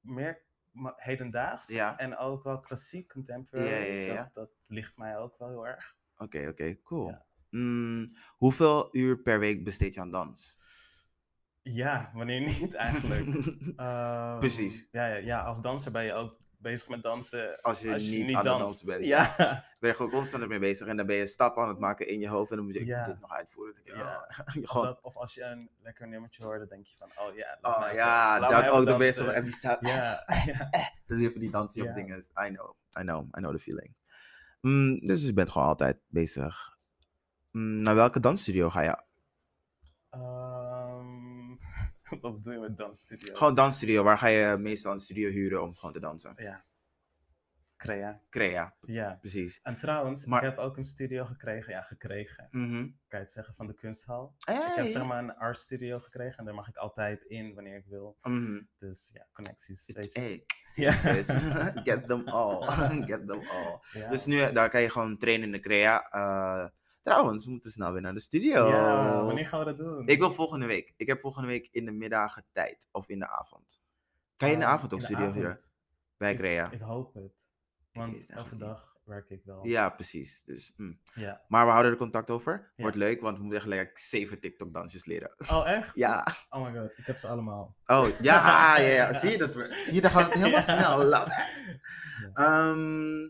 [SPEAKER 5] meer ma- hedendaags
[SPEAKER 2] Ja.
[SPEAKER 5] en ook wel klassiek contemporary.
[SPEAKER 2] Ja, ja, ja.
[SPEAKER 5] Dat, dat ligt mij ook wel heel erg.
[SPEAKER 2] Oké, oké, cool.
[SPEAKER 5] Ja.
[SPEAKER 2] Mm, hoeveel uur per week besteed je aan dans?
[SPEAKER 5] Ja, wanneer niet eigenlijk. Ehm,
[SPEAKER 2] Precies.
[SPEAKER 5] Ja, ja, ja, als danser ben je ook bezig met dansen
[SPEAKER 2] Als je,
[SPEAKER 5] als je
[SPEAKER 2] niet,
[SPEAKER 5] niet,
[SPEAKER 2] aan het
[SPEAKER 5] danst.
[SPEAKER 2] dansen bent.
[SPEAKER 5] Ja,
[SPEAKER 2] ben je gewoon constant mee bezig en dan ben je stappen aan het maken in je hoofd en dan moet je ik moet
[SPEAKER 5] Ja.
[SPEAKER 2] dit nog uitvoeren. Dan denk je,
[SPEAKER 5] Ja.
[SPEAKER 2] oh, je
[SPEAKER 5] Of,
[SPEAKER 2] gewoon,
[SPEAKER 5] dat- of als je een lekker nummertje hoort, dan denk je van, oh ja, laat
[SPEAKER 2] oh
[SPEAKER 5] mij even-
[SPEAKER 2] ja,
[SPEAKER 5] laat
[SPEAKER 2] dat
[SPEAKER 5] mij
[SPEAKER 2] ook
[SPEAKER 5] even
[SPEAKER 2] de beste.
[SPEAKER 5] dansen.
[SPEAKER 2] En die staat,
[SPEAKER 5] Ja, ja.
[SPEAKER 2] dat is even die dansen op
[SPEAKER 5] Ja.
[SPEAKER 2] dingen. is. I know, I know, I know the feeling. Mm, dus je bent gewoon altijd bezig. Mm, naar welke dansstudio ga je?
[SPEAKER 5] Ehm, wat bedoel je met dansstudio?
[SPEAKER 2] Gewoon dansstudio. Waar ga je meestal een studio huren om gewoon te dansen?
[SPEAKER 5] Ja. Crea.
[SPEAKER 2] Crea,
[SPEAKER 5] Ja.
[SPEAKER 2] precies.
[SPEAKER 5] En trouwens,
[SPEAKER 2] Maar-
[SPEAKER 5] ik heb ook een studio gekregen. Ja, gekregen.
[SPEAKER 2] Mhm.
[SPEAKER 5] Kan je het zeggen, van de kunsthal. Ik heb
[SPEAKER 2] Hey.
[SPEAKER 5] zeg maar een art studio gekregen. En daar mag ik altijd in wanneer ik wil.
[SPEAKER 2] Mhm.
[SPEAKER 5] Dus ja, connecties. Weet je.
[SPEAKER 2] Hey,
[SPEAKER 5] Ja.
[SPEAKER 2] bitch. Get them all. Get them all.
[SPEAKER 5] Ja.
[SPEAKER 2] Dus nu, daar kan je gewoon trainen in de crea. Eh, trouwens, we moeten snel weer naar de studio.
[SPEAKER 5] Ja, wanneer gaan we dat doen?
[SPEAKER 2] Ik wil volgende week. Ik heb volgende week in de middagen tijd of in de avond. Kan je in de
[SPEAKER 5] Ehm,
[SPEAKER 2] avond ook
[SPEAKER 5] in de
[SPEAKER 2] studio huren?
[SPEAKER 5] avond.
[SPEAKER 2] Bij Crea.
[SPEAKER 5] Ik hoop het.
[SPEAKER 2] weet
[SPEAKER 5] Want
[SPEAKER 2] het eigenlijk
[SPEAKER 5] overdag werk ik wel.
[SPEAKER 2] Ja, precies. Dus, mm.
[SPEAKER 5] Ja.
[SPEAKER 2] Maar we houden er contact over.
[SPEAKER 5] Ja.
[SPEAKER 2] Wordt leuk, want we moeten echt lekker zeven TikTok-dansjes leren.
[SPEAKER 5] Oh, echt?
[SPEAKER 2] Ja.
[SPEAKER 5] Oh my god, ik heb ze allemaal.
[SPEAKER 2] Oh, ja, ja, ja. Zie je dat? we- Zie je, dan gaat het helemaal
[SPEAKER 5] Ja.
[SPEAKER 2] snel. Love it. Ehm,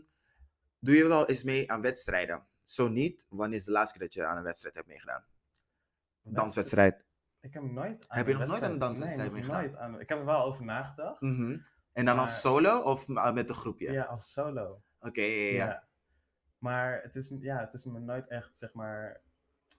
[SPEAKER 2] doe je wel eens mee aan wedstrijden? Zo niet, wanneer is de laatste keer dat je aan een wedstrijd hebt meegedaan? Danswedstrijd.
[SPEAKER 5] Ik heb nooit aan
[SPEAKER 2] Heb
[SPEAKER 5] een
[SPEAKER 2] je nog nooit aan een
[SPEAKER 5] wedstrijd-
[SPEAKER 2] danswedstrijd
[SPEAKER 5] nee, nog
[SPEAKER 2] meegedaan?
[SPEAKER 5] nooit aan- Ik heb er wel over nagedacht.
[SPEAKER 2] Mhm. En dan als
[SPEAKER 5] Maar-
[SPEAKER 2] solo of eh, met een groepje?
[SPEAKER 5] Ja, als solo.
[SPEAKER 2] Oké, ja, ja, ja.
[SPEAKER 5] Maar het is, ja, het is me nooit echt, zeg maar,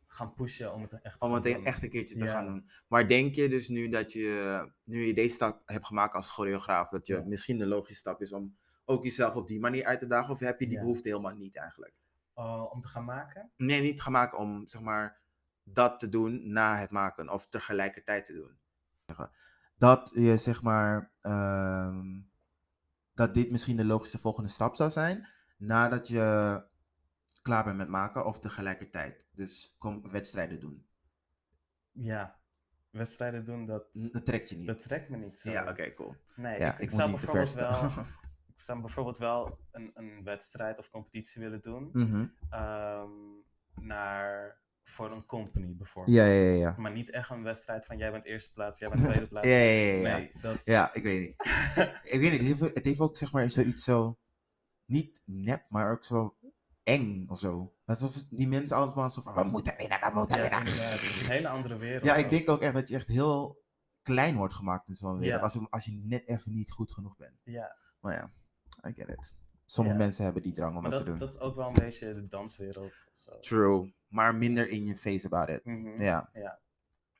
[SPEAKER 5] gaan pushen om het echt te
[SPEAKER 2] Om
[SPEAKER 5] gaan
[SPEAKER 2] het een-
[SPEAKER 5] doen.
[SPEAKER 2] echt een keertje te
[SPEAKER 5] Ja.
[SPEAKER 2] gaan doen. Maar denk je dus nu dat je, nu je deze stap hebt gemaakt als choreograaf, dat je
[SPEAKER 5] Ja.
[SPEAKER 2] misschien de logische stap is om ook jezelf op die manier uit te dagen? Of heb je die
[SPEAKER 5] Ja. Oh,
[SPEAKER 2] behoefte helemaal niet eigenlijk?
[SPEAKER 5] Eh, om te gaan maken.
[SPEAKER 2] Nee, niet gaan maken om zeg maar dat te doen na het maken of tegelijkertijd te doen. Zeggen, Dat je zeg maar ehm, dat dit misschien de logische volgende stap zou zijn nadat je klaar bent met maken of tegelijkertijd. Dus kom wedstrijden doen.
[SPEAKER 5] Ja, wedstrijden doen, dat,
[SPEAKER 2] N- Dat trekt je niet.
[SPEAKER 5] dat eh, trekt me niet zo.
[SPEAKER 2] ja, oké, cool.
[SPEAKER 5] Nee,
[SPEAKER 2] Ja,
[SPEAKER 5] ik, ik zou bijvoorbeeld wel,
[SPEAKER 2] staan.
[SPEAKER 5] ik zou bijvoorbeeld wel een, een wedstrijd of competitie willen doen.
[SPEAKER 2] Mhm.
[SPEAKER 5] ehm, naar, voor een company bijvoorbeeld.
[SPEAKER 2] Ja, ja, ja, ja.
[SPEAKER 5] Maar niet echt een wedstrijd van jij bent eerste plaats, jij bent tweede plaats.
[SPEAKER 2] Ja, ja, ja, ja, ja.
[SPEAKER 5] Nee, dat,
[SPEAKER 2] Ja, ik weet niet. ik weet niet, het heeft, het heeft ook zeg maar zoiets zo, niet nep, maar ook zo eng of zo. Alsof die mensen allemaal zo van, we moeten winnen, we moeten
[SPEAKER 5] ja,
[SPEAKER 2] winnen.
[SPEAKER 5] inderdaad, het is een hele andere wereld.
[SPEAKER 2] Ja, ik
[SPEAKER 5] ook.
[SPEAKER 2] denk ook echt dat je echt heel klein wordt gemaakt in zo'n wereld,
[SPEAKER 5] Ja.
[SPEAKER 2] als, je- als je net even niet goed genoeg bent.
[SPEAKER 5] Ja,
[SPEAKER 2] Maar ja, I get it. Sommige
[SPEAKER 5] Ja.
[SPEAKER 2] mensen hebben die drang om
[SPEAKER 5] maar
[SPEAKER 2] dat, te
[SPEAKER 5] dat,
[SPEAKER 2] doen.
[SPEAKER 5] dat is ook wel een beetje de danswereld. Zo.
[SPEAKER 2] True, maar minder in je face about it.
[SPEAKER 5] Mhm.
[SPEAKER 2] Ja.
[SPEAKER 5] Ja.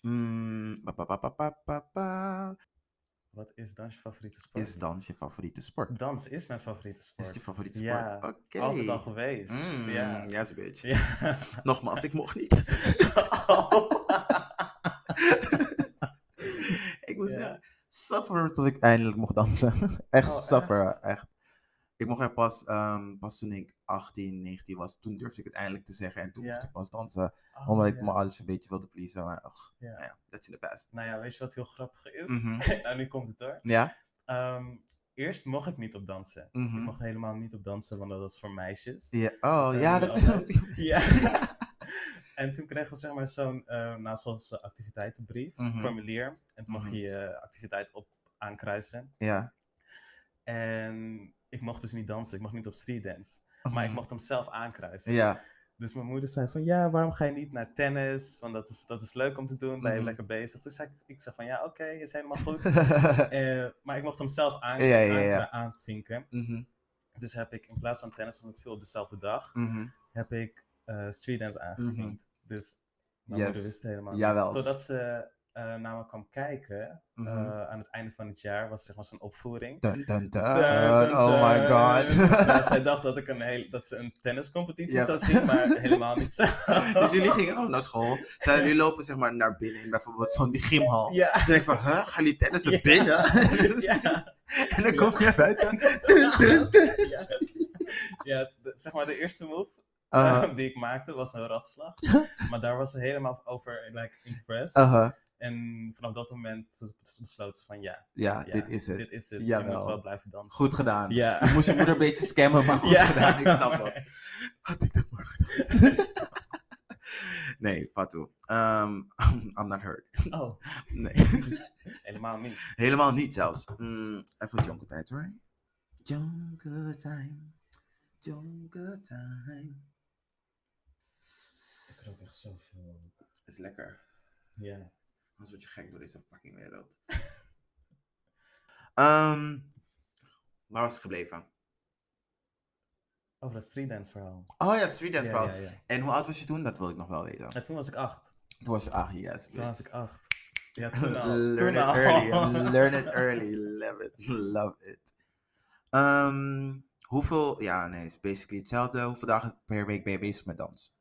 [SPEAKER 2] Mm, ba, ba, ba, ba, ba, ba, ba.
[SPEAKER 5] Wat is dans je favoriete sport?
[SPEAKER 2] Is dans je favoriete sport?
[SPEAKER 5] Dans is mijn favoriete sport.
[SPEAKER 2] Is het je favoriete sport?
[SPEAKER 5] Ja,
[SPEAKER 2] Oké.
[SPEAKER 5] altijd al geweest.
[SPEAKER 2] Mm,
[SPEAKER 5] ja.
[SPEAKER 2] ja, zo'n beetje.
[SPEAKER 5] Ja.
[SPEAKER 2] Nogmaals, ik mocht niet.
[SPEAKER 5] Oh,
[SPEAKER 2] ik moest
[SPEAKER 5] Ja.
[SPEAKER 2] ja. suffer tot ik eindelijk mocht dansen. Echt
[SPEAKER 5] Oh,
[SPEAKER 2] suffer,
[SPEAKER 5] echt?
[SPEAKER 2] echt. Ik mocht er pas, ehm, pas toen ik 18, 19 was, toen durfde ik het eindelijk te zeggen. En toen
[SPEAKER 5] Ja.
[SPEAKER 2] mocht ik pas dansen,
[SPEAKER 5] Oh,
[SPEAKER 2] omdat ik
[SPEAKER 5] ja.
[SPEAKER 2] me alles een beetje wilde pleasen. Maar ach,
[SPEAKER 5] Ja.
[SPEAKER 2] nou ja, that's in the past.
[SPEAKER 5] Nou ja, weet je wat heel grappig is?
[SPEAKER 2] Mhm.
[SPEAKER 5] nou, nu komt het hoor.
[SPEAKER 2] Ja?
[SPEAKER 5] Ehm, eerst mocht ik niet op dansen.
[SPEAKER 2] Mhm.
[SPEAKER 5] Ik mocht helemaal niet op dansen, want dat was voor meisjes.
[SPEAKER 2] ja. Oh,
[SPEAKER 5] zijn
[SPEAKER 2] ja,
[SPEAKER 5] jullie
[SPEAKER 2] dat is...
[SPEAKER 5] Ja. en toen kregen we zeg maar zo'n eh naast onze activiteitenbrief,
[SPEAKER 2] Mhm.
[SPEAKER 5] formulier. En toen mag
[SPEAKER 2] Mhm.
[SPEAKER 5] je je activiteit op aankruisen.
[SPEAKER 2] ja.
[SPEAKER 5] En ik mocht dus niet dansen, ik mocht niet op streetdance. Maar ik mocht hem zelf aankruisen.
[SPEAKER 2] Mhm. Ja.
[SPEAKER 5] Dus mijn moeder zei van, ja, waarom ga je niet naar tennis? Want dat is, dat is leuk om te doen, ben je
[SPEAKER 2] Mhm.
[SPEAKER 5] lekker bezig. Dus ik, ik zei van, ja, oké, is helemaal goed. Eh, maar ik mocht hem zelf aan,
[SPEAKER 2] Ja, ja, ja.
[SPEAKER 5] aankra- aanvinken.
[SPEAKER 2] Mhm,
[SPEAKER 5] Dus heb ik in plaats van tennis, want het viel op dezelfde dag,
[SPEAKER 2] mhm.
[SPEAKER 5] heb ik eh streetdance aangevinkt. Dus mijn
[SPEAKER 2] Yes.
[SPEAKER 5] moeder wist het helemaal niet.
[SPEAKER 2] Jawel.
[SPEAKER 5] Totdat ze eh, naar me kwam kijken,
[SPEAKER 2] Mhm.
[SPEAKER 5] eh, aan het einde van het jaar, was zeg maar zo'n opvoering.
[SPEAKER 2] Dun, dun, dun.
[SPEAKER 5] Dun, dun,
[SPEAKER 2] Oh my
[SPEAKER 5] dun.
[SPEAKER 2] god.
[SPEAKER 5] Nou, zij dacht dat, ik een heel, dat ze een tenniscompetitie
[SPEAKER 2] Ja.
[SPEAKER 5] zou zien, maar helemaal niet zo.
[SPEAKER 2] Dus jullie gingen gewoon naar school. Zij jullie lopen zeg maar naar binnen in bijvoorbeeld zo'n die gymhal.
[SPEAKER 5] Ja.
[SPEAKER 2] Ze denken van, huh, gaan jullie tennissen
[SPEAKER 5] Ja.
[SPEAKER 2] binnen?
[SPEAKER 5] Ja.
[SPEAKER 2] en dan kom je naar buiten.
[SPEAKER 5] Ja. Ja, de- zeg maar de eerste move eh,
[SPEAKER 2] Uh,
[SPEAKER 5] die ik maakte was een ratslag. maar daar was ze helemaal over like, impressed.
[SPEAKER 2] uh-huh.
[SPEAKER 5] En vanaf dat moment bes- besloot ze van ja,
[SPEAKER 2] Ja, Ah,
[SPEAKER 5] ja,
[SPEAKER 2] dit is het.
[SPEAKER 5] Dit is het. Je
[SPEAKER 2] Jawel.
[SPEAKER 5] moet wel blijven dansen.
[SPEAKER 2] Goed gedaan.
[SPEAKER 5] Ja.
[SPEAKER 2] Je moest je moeder een beetje scammen, maar goed
[SPEAKER 5] Ja.
[SPEAKER 2] gedaan. Ik snap dat. Had ik dat maar gedaan. nee, Fatou. Ehm, I'm not hurt.
[SPEAKER 5] Oh,
[SPEAKER 2] Nee.
[SPEAKER 5] helemaal niet.
[SPEAKER 2] Helemaal niet zelfs. Mm, even jonker tijd hoor. Jonker time. Jonker time.
[SPEAKER 5] Ik rook echt zoveel.
[SPEAKER 2] Dat is lekker.
[SPEAKER 5] Ja.
[SPEAKER 2] Anders word je gek door deze fucking wereld. Ehm, waar was ik gebleven?
[SPEAKER 5] Oh, dat streetdance verhaal.
[SPEAKER 2] Oh ja, street dance
[SPEAKER 5] Ja,
[SPEAKER 2] verhaal.
[SPEAKER 5] ja, ja.
[SPEAKER 2] En hoe oud was je toen? Dat wil ik nog wel weten.
[SPEAKER 5] En toen was ik acht.
[SPEAKER 2] Toen was je ah yes.
[SPEAKER 5] Toen was
[SPEAKER 2] bitch.
[SPEAKER 5] ik acht. Ja, toen al.
[SPEAKER 2] Learn
[SPEAKER 5] toen
[SPEAKER 2] it
[SPEAKER 5] al.
[SPEAKER 2] early. Learn it early. Love it. Love it. Ehm, hoeveel, ja nee, het is basically hetzelfde. Hoeveel dagen per week ben je bezig met dans?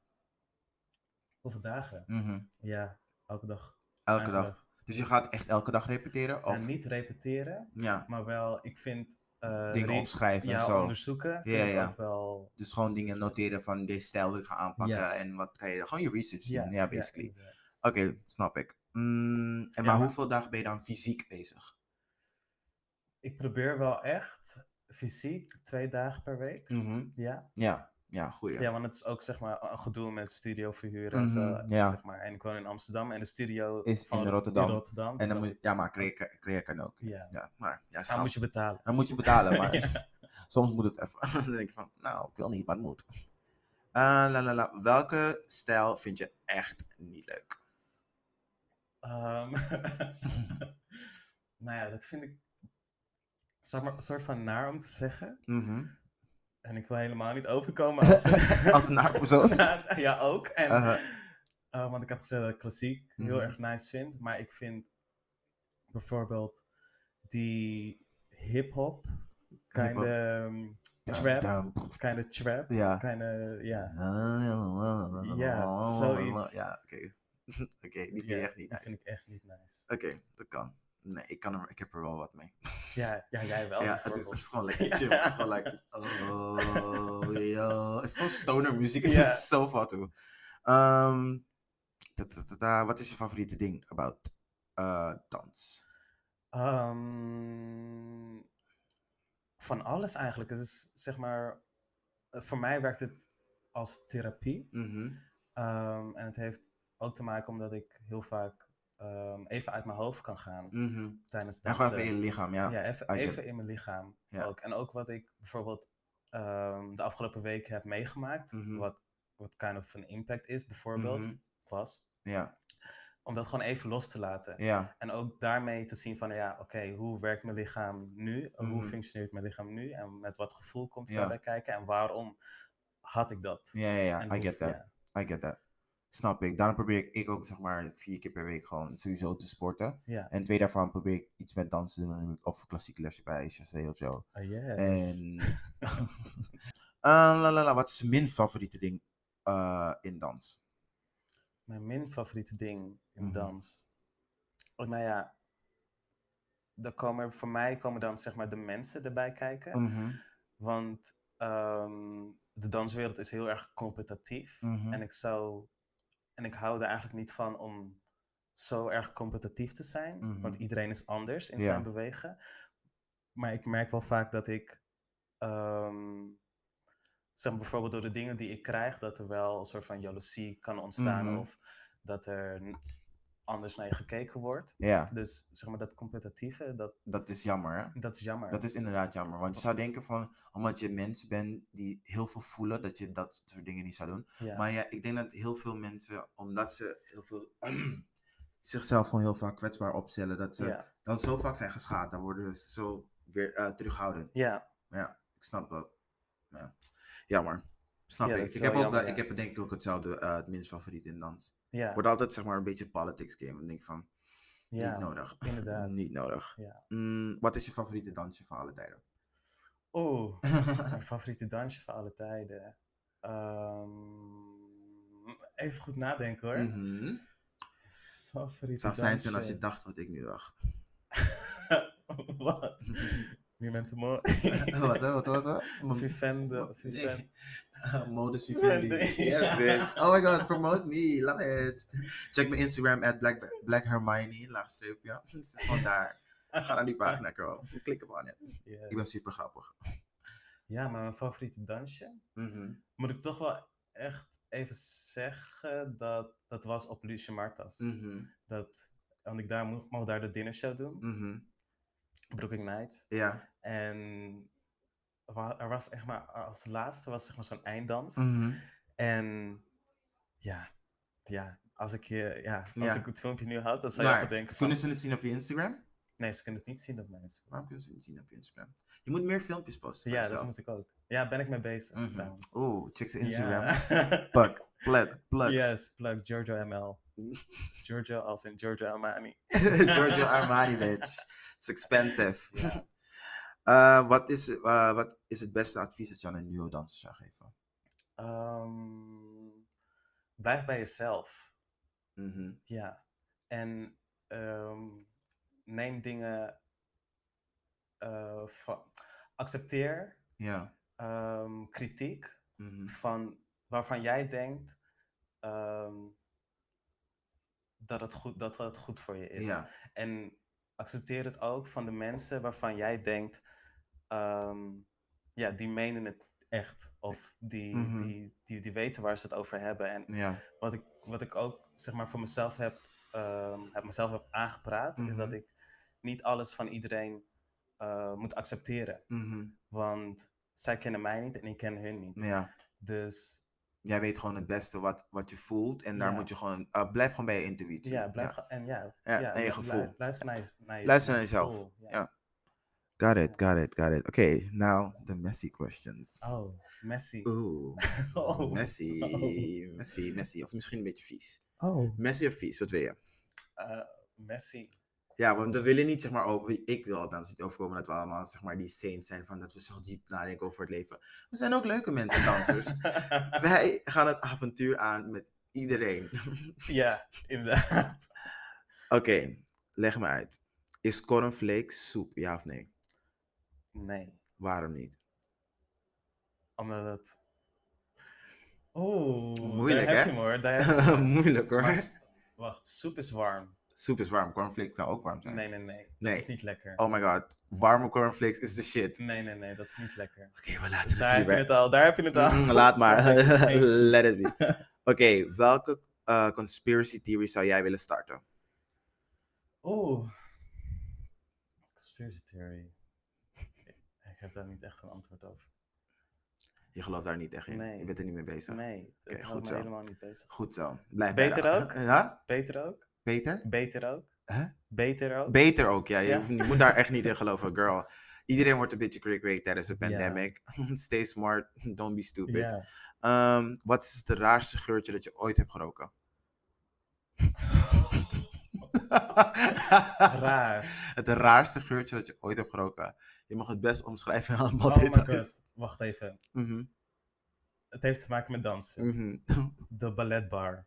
[SPEAKER 5] Hoeveel dagen?
[SPEAKER 2] Mhm.
[SPEAKER 5] Ja, elke dag.
[SPEAKER 2] Elke
[SPEAKER 5] Elke
[SPEAKER 2] dag. Dus je gaat echt elke dag repeteren? Of
[SPEAKER 5] En niet repeteren,
[SPEAKER 2] ja,
[SPEAKER 5] maar wel, ik vind... eh,
[SPEAKER 2] dingen
[SPEAKER 5] re-
[SPEAKER 2] opschrijven en
[SPEAKER 5] Ja,
[SPEAKER 2] zo.
[SPEAKER 5] onderzoeken vind
[SPEAKER 2] Ja,
[SPEAKER 5] ik
[SPEAKER 2] ja.
[SPEAKER 5] ook wel...
[SPEAKER 2] Dus gewoon dingen noteren van deze stijl wil ik gaan aanpakken.
[SPEAKER 5] Ja.
[SPEAKER 2] En wat ga je. Gewoon je research doen. Ja, basically.
[SPEAKER 5] inderdaad.
[SPEAKER 2] Oké, snap ik. Mm, en maar
[SPEAKER 5] maar-
[SPEAKER 2] hoeveel dagen ben je dan fysiek bezig?
[SPEAKER 5] ik probeer wel echt fysiek twee dagen per week.
[SPEAKER 2] Mhm.
[SPEAKER 5] Ja.
[SPEAKER 2] Ja, ja, goeie.
[SPEAKER 5] ja, want het is ook zeg maar een gedoe met studio verhuren en
[SPEAKER 2] Mhm,
[SPEAKER 5] zo.
[SPEAKER 2] ja.
[SPEAKER 5] Zeg maar. En ik woon in Amsterdam en de studio
[SPEAKER 2] Is in Rotterdam.
[SPEAKER 5] Rotterdam,
[SPEAKER 2] en
[SPEAKER 5] dus
[SPEAKER 2] dan moet je, ja, maar creëren creëren kan ook.
[SPEAKER 5] Ja, dan
[SPEAKER 2] Ja, maar ja, snap.
[SPEAKER 5] moet je betalen.
[SPEAKER 2] dan moet je betalen. Maar soms moet het even. dan denk je van, nou, ik wil niet, maar het moet. Eh, la, la, la. Welke stijl vind je echt niet leuk?
[SPEAKER 5] Ehm, nou ja, dat vind ik zeg maar, een soort van naar om te zeggen.
[SPEAKER 2] Mhm.
[SPEAKER 5] En ik wil helemaal niet overkomen als,
[SPEAKER 2] Als een aardig persoon.
[SPEAKER 5] ja, ook. En,
[SPEAKER 2] Aha.
[SPEAKER 5] eh, want ik heb gezegd dat ik klassiek heel
[SPEAKER 2] Mhm.
[SPEAKER 5] erg nice vind. Maar ik vind bijvoorbeeld die hip-hop, kind
[SPEAKER 2] Hip-hop.
[SPEAKER 5] trap,
[SPEAKER 2] Dum, dum.
[SPEAKER 5] kind of trap,
[SPEAKER 2] Ja.
[SPEAKER 5] kind ja.
[SPEAKER 2] Ja,
[SPEAKER 5] zoiets.
[SPEAKER 2] Ja, oké. Oké, die vind je
[SPEAKER 5] Ja,
[SPEAKER 2] echt niet
[SPEAKER 5] Die
[SPEAKER 2] nice.
[SPEAKER 5] vind ik echt niet nice.
[SPEAKER 2] Oké, dat kan. Nee, ik, kan er, ik heb er wel wat mee.
[SPEAKER 5] Ja, ja jij wel.
[SPEAKER 2] ja, het is, het
[SPEAKER 5] bijvoorbeeld.
[SPEAKER 2] is gewoon lekker chill. Het is gewoon like, oh, yo. Het is gewoon stoner muziek. Het
[SPEAKER 5] Ja.
[SPEAKER 2] is zo fat, hoor. Ehm, ta- ta- ta- ta, Wat is je favoriete ding about eh, dans?
[SPEAKER 5] Ehm, van alles eigenlijk. Het is zeg maar, eh, voor mij werkt het als therapie.
[SPEAKER 2] Mhm.
[SPEAKER 5] Ehm, en het heeft ook te maken omdat ik heel vaak ehm, even uit mijn hoofd kan gaan
[SPEAKER 2] mhm.
[SPEAKER 5] tijdens
[SPEAKER 2] En
[SPEAKER 5] dansen.
[SPEAKER 2] gewoon even in je lichaam, ja.
[SPEAKER 5] Ja, even,
[SPEAKER 2] I get
[SPEAKER 5] even
[SPEAKER 2] it.
[SPEAKER 5] in mijn lichaam
[SPEAKER 2] Ja.
[SPEAKER 5] ook. En ook wat ik bijvoorbeeld ehm, de afgelopen week heb meegemaakt,
[SPEAKER 2] Mhm.
[SPEAKER 5] wat, wat kind of een impact is bijvoorbeeld,
[SPEAKER 2] Mhm.
[SPEAKER 5] was,
[SPEAKER 2] Ja,
[SPEAKER 5] om dat gewoon even los te laten.
[SPEAKER 2] ja.
[SPEAKER 5] En ook daarmee te zien van, ja, oké, hoe werkt mijn lichaam nu? Hoe
[SPEAKER 2] Mhm.
[SPEAKER 5] functioneert mijn lichaam nu? En met wat gevoel komt
[SPEAKER 2] Ja.
[SPEAKER 5] daarbij kijken? En waarom had ik dat?
[SPEAKER 2] Ja, ja, ja.
[SPEAKER 5] En
[SPEAKER 2] I
[SPEAKER 5] hoe-
[SPEAKER 2] get that.
[SPEAKER 5] ja.
[SPEAKER 2] I get that. Snap ik. Daarom probeer ik, ik ook zeg maar vier keer per week gewoon sowieso te sporten.
[SPEAKER 5] Ja.
[SPEAKER 2] En twee daarvan probeer ik iets met dansen te doen. dan doe ik Of klassieke lesje bij HSC of zo.
[SPEAKER 5] Oh, yes.
[SPEAKER 2] En. Ah, la, la, la, wat is mijn favoriete ding eh, in dans?
[SPEAKER 5] Mijn min favoriete ding in
[SPEAKER 2] Mhm.
[SPEAKER 5] dans. Oh, nou ja, dan komen er- voor mij komen dan zeg maar de mensen erbij kijken.
[SPEAKER 2] Mhm,
[SPEAKER 5] Want ehm, de danswereld is heel erg competitief.
[SPEAKER 2] mhm.
[SPEAKER 5] En ik zou. En ik hou er eigenlijk niet van om zo erg competitief te zijn. Want
[SPEAKER 2] Mhm.
[SPEAKER 5] iedereen is anders in
[SPEAKER 2] Ja.
[SPEAKER 5] zijn bewegen. Maar ik merk wel vaak dat ik. ehm, zeg maar bijvoorbeeld door de dingen die ik krijg, dat er wel een soort van jaloezie kan ontstaan.
[SPEAKER 2] Mhm.
[SPEAKER 5] Of dat er n- anders naar je gekeken wordt.
[SPEAKER 2] Ja,
[SPEAKER 5] Dus zeg maar dat competitieve, dat,
[SPEAKER 2] dat is jammer. Hè?
[SPEAKER 5] dat is jammer.
[SPEAKER 2] Dat is inderdaad jammer. Want je zou denken van, omdat je mensen bent die heel veel voelen, dat je dat soort dingen niet zou doen.
[SPEAKER 5] Ja.
[SPEAKER 2] Maar ja, ik denk dat heel veel mensen, omdat ze heel veel zichzelf gewoon heel vaak kwetsbaar opstellen, dat ze
[SPEAKER 5] ja.
[SPEAKER 2] dan zo vaak zijn geschaad, dan worden ze zo weer eh terughoudend.
[SPEAKER 5] ja,
[SPEAKER 2] Ik snap dat. Ja. Jammer. Snap
[SPEAKER 5] Ja, dat
[SPEAKER 2] ik.
[SPEAKER 5] is
[SPEAKER 2] Ik
[SPEAKER 5] wel
[SPEAKER 2] heb, ook,
[SPEAKER 5] jammer,
[SPEAKER 2] wel- ik
[SPEAKER 5] ja.
[SPEAKER 2] heb denk ik ook hetzelfde, eh, het minst favoriet in dans.
[SPEAKER 5] Ja,
[SPEAKER 2] Wordt altijd zeg maar een beetje politics game. Dan denk ik van,
[SPEAKER 5] ja
[SPEAKER 2] niet nodig.
[SPEAKER 5] inderdaad.
[SPEAKER 2] niet nodig.
[SPEAKER 5] Ja.
[SPEAKER 2] Mm, wat is je favoriete dansje van alle tijden?
[SPEAKER 5] Oeh, mijn favoriete dansje van alle tijden. Ehm, even goed nadenken hoor.
[SPEAKER 2] Mhm. Het
[SPEAKER 5] Favoriete
[SPEAKER 2] zou fijn zijn als je
[SPEAKER 5] dansje.
[SPEAKER 2] dacht wat ik nu dacht.
[SPEAKER 5] Wat? Wie bent de mo?
[SPEAKER 2] wat, hè, wat, wat, wat?
[SPEAKER 5] Vivende,
[SPEAKER 2] Wat?
[SPEAKER 5] Vivende.
[SPEAKER 2] Nee. Modus Vivendi. Yes, bitch. Oh my god, promote me. Love it. Check mijn Instagram at Black, Black Hermione, laagstreep, ja. Het is gewoon daar. Ga naar die pagina, girl. Klik hem aan.
[SPEAKER 5] Yes.
[SPEAKER 2] Ik ben super grappig.
[SPEAKER 5] Ja, maar mijn favoriete dansje.
[SPEAKER 2] Mhm.
[SPEAKER 5] Moet ik toch wel echt even zeggen dat dat was op Lucia Martas.
[SPEAKER 2] Mhm.
[SPEAKER 5] Mm-hmm. Dat, want ik daar mocht, mocht daar de dinnershow doen,
[SPEAKER 2] Mhm.
[SPEAKER 5] Brooking Nights.
[SPEAKER 2] Ja.
[SPEAKER 5] En wa- er was echt maar als laatste was zeg maar zo'n einddans.
[SPEAKER 2] Mhm.
[SPEAKER 5] En ja, ja, als ik je, ja, als
[SPEAKER 2] Ja.
[SPEAKER 5] ik het filmpje nu houd, dan zou je
[SPEAKER 2] Maar,
[SPEAKER 5] echt denken van,
[SPEAKER 2] kunnen ze het zien op je Instagram?
[SPEAKER 5] nee, ze kunnen het niet zien op mijn Instagram.
[SPEAKER 2] Waarom kunnen ze het niet zien op je Instagram? Je moet meer filmpjes posten.
[SPEAKER 5] Ja, dat moet ik ook. Ja, ben ik mee bezig trouwens.
[SPEAKER 2] Oh, check zijn
[SPEAKER 5] Ja.
[SPEAKER 2] Instagram. Plug, plug, plug.
[SPEAKER 5] yes, plug Giorgio ML. Giorgio als in Giorgio Armani.
[SPEAKER 2] Giorgio Armani, bitch. It's expensive.
[SPEAKER 5] Ja.
[SPEAKER 2] Eh, wat, is, eh, wat is het beste advies dat je aan een nieuwe danser zou geven?
[SPEAKER 5] Ehm, blijf bij jezelf.
[SPEAKER 2] Mhm,
[SPEAKER 5] Mm-hmm. Ja, en ehm, neem dingen. eh, va- accepteer
[SPEAKER 2] Ja.
[SPEAKER 5] ehm, kritiek
[SPEAKER 2] mhm,
[SPEAKER 5] van waarvan jij denkt ehm, dat, het goed, dat het goed voor je is.
[SPEAKER 2] ja.
[SPEAKER 5] En accepteer het ook van de mensen waarvan jij denkt, ehm, ja, die menen het echt. Of die,
[SPEAKER 2] Mhm.
[SPEAKER 5] die, die, die weten waar ze het over hebben. En
[SPEAKER 2] Ja.
[SPEAKER 5] wat ik, wat ik ook zeg maar voor mezelf heb, ehm, heb mezelf heb aangepraat, is dat
[SPEAKER 2] Mhm.
[SPEAKER 5] ik niet alles van iedereen eh, moet accepteren.
[SPEAKER 2] mhm,
[SPEAKER 5] Want zij kennen mij niet en ik ken hun niet.
[SPEAKER 2] ja.
[SPEAKER 5] Dus
[SPEAKER 2] Jij weet gewoon het beste wat, wat je voelt. En daar
[SPEAKER 5] Ja.
[SPEAKER 2] moet je gewoon... eh, blijf gewoon bij je intuïtie.
[SPEAKER 5] ja, blijf ge- en ja,
[SPEAKER 2] Ja, en je
[SPEAKER 5] lu-
[SPEAKER 2] gevoel.
[SPEAKER 5] luister naar, je, naar, je,
[SPEAKER 2] Luister
[SPEAKER 5] je
[SPEAKER 2] naar jezelf.
[SPEAKER 5] gevoel,
[SPEAKER 2] Ja. Got it, got it, got it. Oké, now the messy questions.
[SPEAKER 5] Oh, Messi.
[SPEAKER 2] Oeh.
[SPEAKER 5] Oh.
[SPEAKER 2] Messy.
[SPEAKER 5] Oh.
[SPEAKER 2] Messy, messy. Of misschien een beetje vies.
[SPEAKER 5] Oh. Eh,
[SPEAKER 2] Messy of vies, wat wil je?
[SPEAKER 5] Messi.
[SPEAKER 2] Ja, want we willen niet, zeg maar, over, ik wil althans niet overkomen dat we allemaal, zeg maar, die saints zijn van dat we zo diep nadenken over het leven. We zijn ook leuke mensen, dansers. Wij gaan het avontuur aan met iedereen.
[SPEAKER 5] Ja, inderdaad.
[SPEAKER 2] Oké, leg me uit. Is cornflakes soep, ja of nee?
[SPEAKER 5] Nee,
[SPEAKER 2] Waarom niet?
[SPEAKER 5] omdat het... Oeh,
[SPEAKER 2] Moeilijk,
[SPEAKER 5] daar heb
[SPEAKER 2] hè?
[SPEAKER 5] je hem hoor. Daar heb je hem.
[SPEAKER 2] Moeilijk hoor.
[SPEAKER 5] Maar s- wacht, soep is warm.
[SPEAKER 2] Soep is warm, cornflakes zou ook warm zijn.
[SPEAKER 5] Nee, nee, nee. Dat
[SPEAKER 2] Nee.
[SPEAKER 5] is niet lekker.
[SPEAKER 2] Oh my god, warme cornflakes is de shit.
[SPEAKER 5] Nee, nee, nee, dat is niet lekker.
[SPEAKER 2] Oké, we laten het
[SPEAKER 5] Daar heb je
[SPEAKER 2] hierbij.
[SPEAKER 5] het al, daar heb je het al.
[SPEAKER 2] Mm, Laat maar.
[SPEAKER 5] Cornflakes is geen soep.
[SPEAKER 2] Let it be. Oké, welke eh, conspiracy theory zou jij willen starten?
[SPEAKER 5] Oeh. Conspiracy theory. Ik, ik heb daar niet echt een antwoord over.
[SPEAKER 2] Je gelooft daar niet echt in.
[SPEAKER 5] Nee.
[SPEAKER 2] Je bent er niet mee bezig.
[SPEAKER 5] Nee,
[SPEAKER 2] Oké, goed
[SPEAKER 5] dat houdt
[SPEAKER 2] zo.
[SPEAKER 5] me helemaal niet bezig.
[SPEAKER 2] Goed zo. Blijf
[SPEAKER 5] Beter
[SPEAKER 2] bij de-
[SPEAKER 5] ook?
[SPEAKER 2] Ja?
[SPEAKER 5] Beter ook?
[SPEAKER 2] Beter?
[SPEAKER 5] Beter ook?
[SPEAKER 2] Huh?
[SPEAKER 5] Beter ook?
[SPEAKER 2] Beter ook, ja. Je,
[SPEAKER 5] Ja.
[SPEAKER 2] hoeft niet- je moet daar echt niet in geloven, girl. Iedereen wordt een beetje cray-cray tijdens de
[SPEAKER 5] Ja.
[SPEAKER 2] pandemic. Stay smart, don't be stupid.
[SPEAKER 5] Ja.
[SPEAKER 2] Ehm, wat is het raarste geurtje dat je ooit hebt geroken?
[SPEAKER 5] Raar.
[SPEAKER 2] Het raarste geurtje dat je ooit hebt geroken. Je mag het best omschrijven aan wat
[SPEAKER 5] Oh my
[SPEAKER 2] dit
[SPEAKER 5] god.
[SPEAKER 2] dan is.
[SPEAKER 5] Wacht even.
[SPEAKER 2] Mhm,
[SPEAKER 5] Het heeft te maken met dansen.
[SPEAKER 2] mhm.
[SPEAKER 5] De balletbar.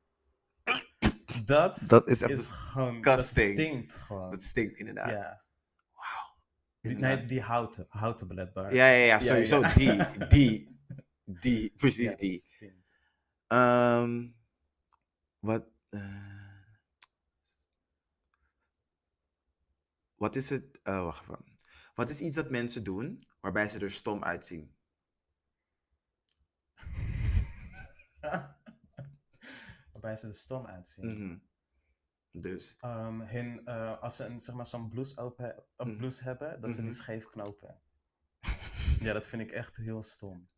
[SPEAKER 5] Dat,
[SPEAKER 2] Dat is echt
[SPEAKER 5] is gewoon... Dat
[SPEAKER 2] disgusting.
[SPEAKER 5] stinkt gewoon.
[SPEAKER 2] Dat stinkt inderdaad.
[SPEAKER 5] ja. Die,
[SPEAKER 2] Inderdaad.
[SPEAKER 5] nee, die houten, houten balletbar.
[SPEAKER 2] Ja, ja, ja, sowieso
[SPEAKER 5] ja.
[SPEAKER 2] die, die, die,
[SPEAKER 5] Ja,
[SPEAKER 2] precies
[SPEAKER 5] dat
[SPEAKER 2] die.
[SPEAKER 5] stinkt.
[SPEAKER 2] Ehm, wat, eh, wat is het, eh, wacht even. Wat is iets dat mensen doen waarbij ze er stom uitzien?
[SPEAKER 5] Waarbij ze er stom uitzien.
[SPEAKER 2] Mhm. Dus,
[SPEAKER 5] Ehm, hun, eh, als ze een, zeg maar, zo'n blouse, open, he- een
[SPEAKER 2] Mhm.
[SPEAKER 5] blouse hebben, dat ze die
[SPEAKER 2] Mhm.
[SPEAKER 5] scheef knopen. ja, dat vind ik echt heel stom.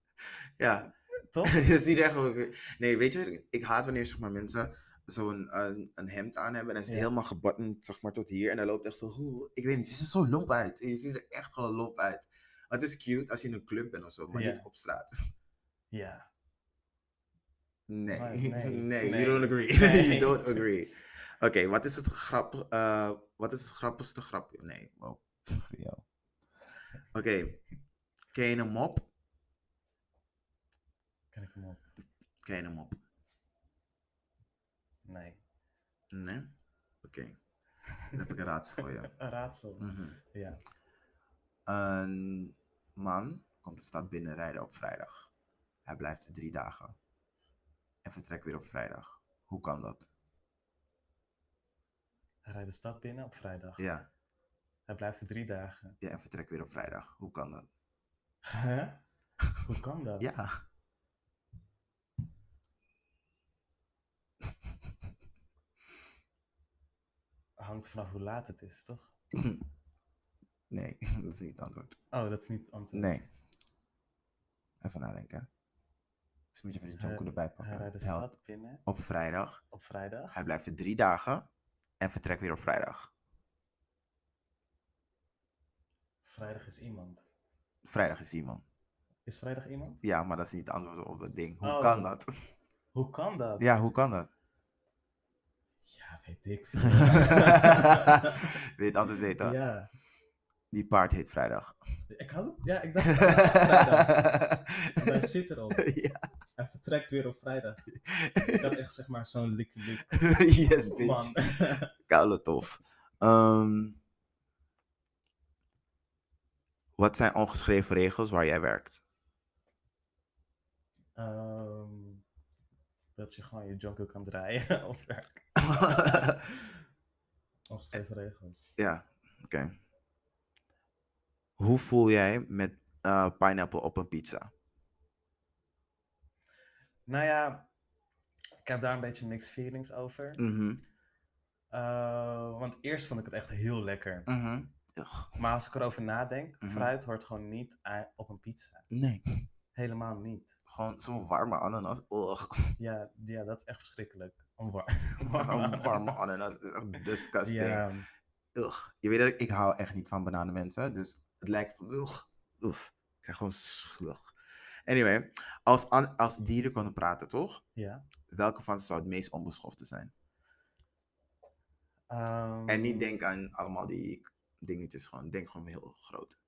[SPEAKER 2] ja,
[SPEAKER 5] Toch?
[SPEAKER 2] Je ziet echt ook weer- Nee, weet je, ik haat wanneer zeg maar, mensen zo'n eh, een, hemd aan hebben en dan is het
[SPEAKER 5] Ja.
[SPEAKER 2] helemaal gebattend zeg maar, tot hier. En dan loopt echt zo, "Oeh," ik weet niet, je ziet er zo lomp uit. Je ziet er echt gewoon lomp uit. Het is cute als je in een club bent of zo, maar
[SPEAKER 5] Ja.
[SPEAKER 2] niet op straat.
[SPEAKER 5] Ja.
[SPEAKER 2] Nee,
[SPEAKER 5] Maar
[SPEAKER 2] nee,
[SPEAKER 5] nee,
[SPEAKER 2] you
[SPEAKER 5] nee.
[SPEAKER 2] don't agree. you
[SPEAKER 5] Nee.
[SPEAKER 2] don't agree. Oké, wat is het grappig, eh, wat is het grappigste grapje? Nee, wow. Oké, ken je een mop?
[SPEAKER 5] Kan ik hem op?
[SPEAKER 2] Ken je een mop?
[SPEAKER 5] Nee.
[SPEAKER 2] Nee? Oké, dan heb ik een raadsel voor je.
[SPEAKER 5] Een raadsel.
[SPEAKER 2] Mhm.
[SPEAKER 5] Ja.
[SPEAKER 2] Een man komt de stad binnenrijden op vrijdag. Hij blijft er drie dagen. En vertrekt weer op vrijdag. Hoe kan dat?
[SPEAKER 5] Hij rijdt de stad binnen op vrijdag.
[SPEAKER 2] Ja,
[SPEAKER 5] Hij blijft er drie dagen.
[SPEAKER 2] ja en vertrekt weer op vrijdag. Hoe kan dat?
[SPEAKER 5] Huh? Hoe kan dat?
[SPEAKER 2] Ja.
[SPEAKER 5] Hangt vanaf hoe laat het is, toch?
[SPEAKER 2] Nee, dat is niet het antwoord.
[SPEAKER 5] Oh, dat is niet het antwoord.
[SPEAKER 2] Nee. Even nadenken. Dus moet je even de
[SPEAKER 5] Hij-
[SPEAKER 2] jonko erbij
[SPEAKER 5] Hij
[SPEAKER 2] pakken.
[SPEAKER 5] rijdt de
[SPEAKER 2] Hel-
[SPEAKER 5] stad binnen
[SPEAKER 2] Op vrijdag.
[SPEAKER 5] op vrijdag.
[SPEAKER 2] Hij blijft er drie dagen. En vertrekt weer op vrijdag.
[SPEAKER 5] Vrijdag is iemand.
[SPEAKER 2] Vrijdag is iemand.
[SPEAKER 5] Is vrijdag iemand?
[SPEAKER 2] Ja, maar dat is niet het antwoord op het ding. Hoe
[SPEAKER 5] Oh.
[SPEAKER 2] kan dat?
[SPEAKER 5] Hoe kan dat?
[SPEAKER 2] Ja, hoe kan dat?
[SPEAKER 5] Ja, weet ik veel.
[SPEAKER 2] Weet het antwoord weten.
[SPEAKER 5] Ja,
[SPEAKER 2] Die paard heet vrijdag.
[SPEAKER 5] ik had het. Ja, ik dacht. het ook op vrijdag. Want Hij zit erop.
[SPEAKER 2] ja.
[SPEAKER 5] Hij vertrekt weer op vrijdag. Ik had echt zeg maar zo'n lik lik.
[SPEAKER 2] yes, bitch.
[SPEAKER 5] Man.
[SPEAKER 2] Koude tof. Ehm, wat zijn ongeschreven regels waar jij werkt?
[SPEAKER 5] Ehm, dat je gewoon je jonko kan draaien op werk. Ongeschreven regels.
[SPEAKER 2] ja, oké. Hoe voel jij met eh, pineapple op een pizza?
[SPEAKER 5] Nou ja, ik heb daar een beetje mixed feelings over.
[SPEAKER 2] Mhm,
[SPEAKER 5] Eh, want eerst vond ik het echt heel lekker.
[SPEAKER 2] mhm. Ugh,
[SPEAKER 5] Maar als ik erover nadenk,
[SPEAKER 2] Mhm.
[SPEAKER 5] fruit hoort gewoon niet a- op een pizza.
[SPEAKER 2] nee,
[SPEAKER 5] Helemaal niet.
[SPEAKER 2] gewoon zo'n warme ananas. Ugh.
[SPEAKER 5] Ja, ja dat is echt verschrikkelijk. Een war-
[SPEAKER 2] Een warme ananas is echt disgusting.
[SPEAKER 5] Ja,
[SPEAKER 2] Ugh. Je weet dat ik hou echt niet van bananen mensen. Dus het lijkt van ugh. Oef. Ik krijg gewoon slug. Anyway, als, an- als dieren konden praten, toch?
[SPEAKER 5] ja.
[SPEAKER 2] Welke van ze zou het meest onbeschofte zijn? En
[SPEAKER 5] Ehm,
[SPEAKER 2] niet denk aan allemaal die dingetjes. Gewoon. Denk gewoon heel groot.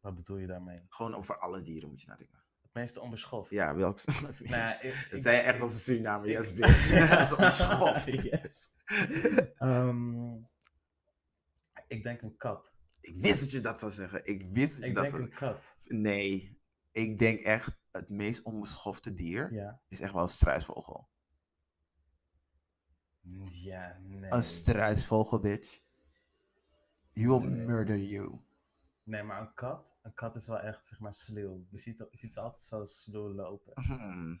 [SPEAKER 5] Wat bedoel je daarmee?
[SPEAKER 2] Gewoon over alle dieren moet je nadenken.
[SPEAKER 5] meeste onbeschoft.
[SPEAKER 2] Ja, Wilks.
[SPEAKER 5] Nou, ja, ik, ik-
[SPEAKER 2] Dat zei je echt
[SPEAKER 5] ik-
[SPEAKER 2] als een Suriname,
[SPEAKER 5] ik-
[SPEAKER 2] yes bitch. Dat is onbeschoft.
[SPEAKER 5] yes. Ehm, ik denk een kat.
[SPEAKER 2] Ik wist dat je dat zou zeggen. Ik wist dat je
[SPEAKER 5] Ik
[SPEAKER 2] dat
[SPEAKER 5] denk
[SPEAKER 2] zou
[SPEAKER 5] een kat.
[SPEAKER 2] Nee, ik denk echt het meest onbeschofte dier
[SPEAKER 5] Ja.
[SPEAKER 2] is echt wel een struisvogel.
[SPEAKER 5] Ja, nee.
[SPEAKER 2] Een struisvogel, bitch. He will murder you.
[SPEAKER 5] Nee, maar een kat, een kat is wel echt, zeg maar, sluw. Je ziet, je ziet ze altijd zo sluw lopen.
[SPEAKER 2] Mm.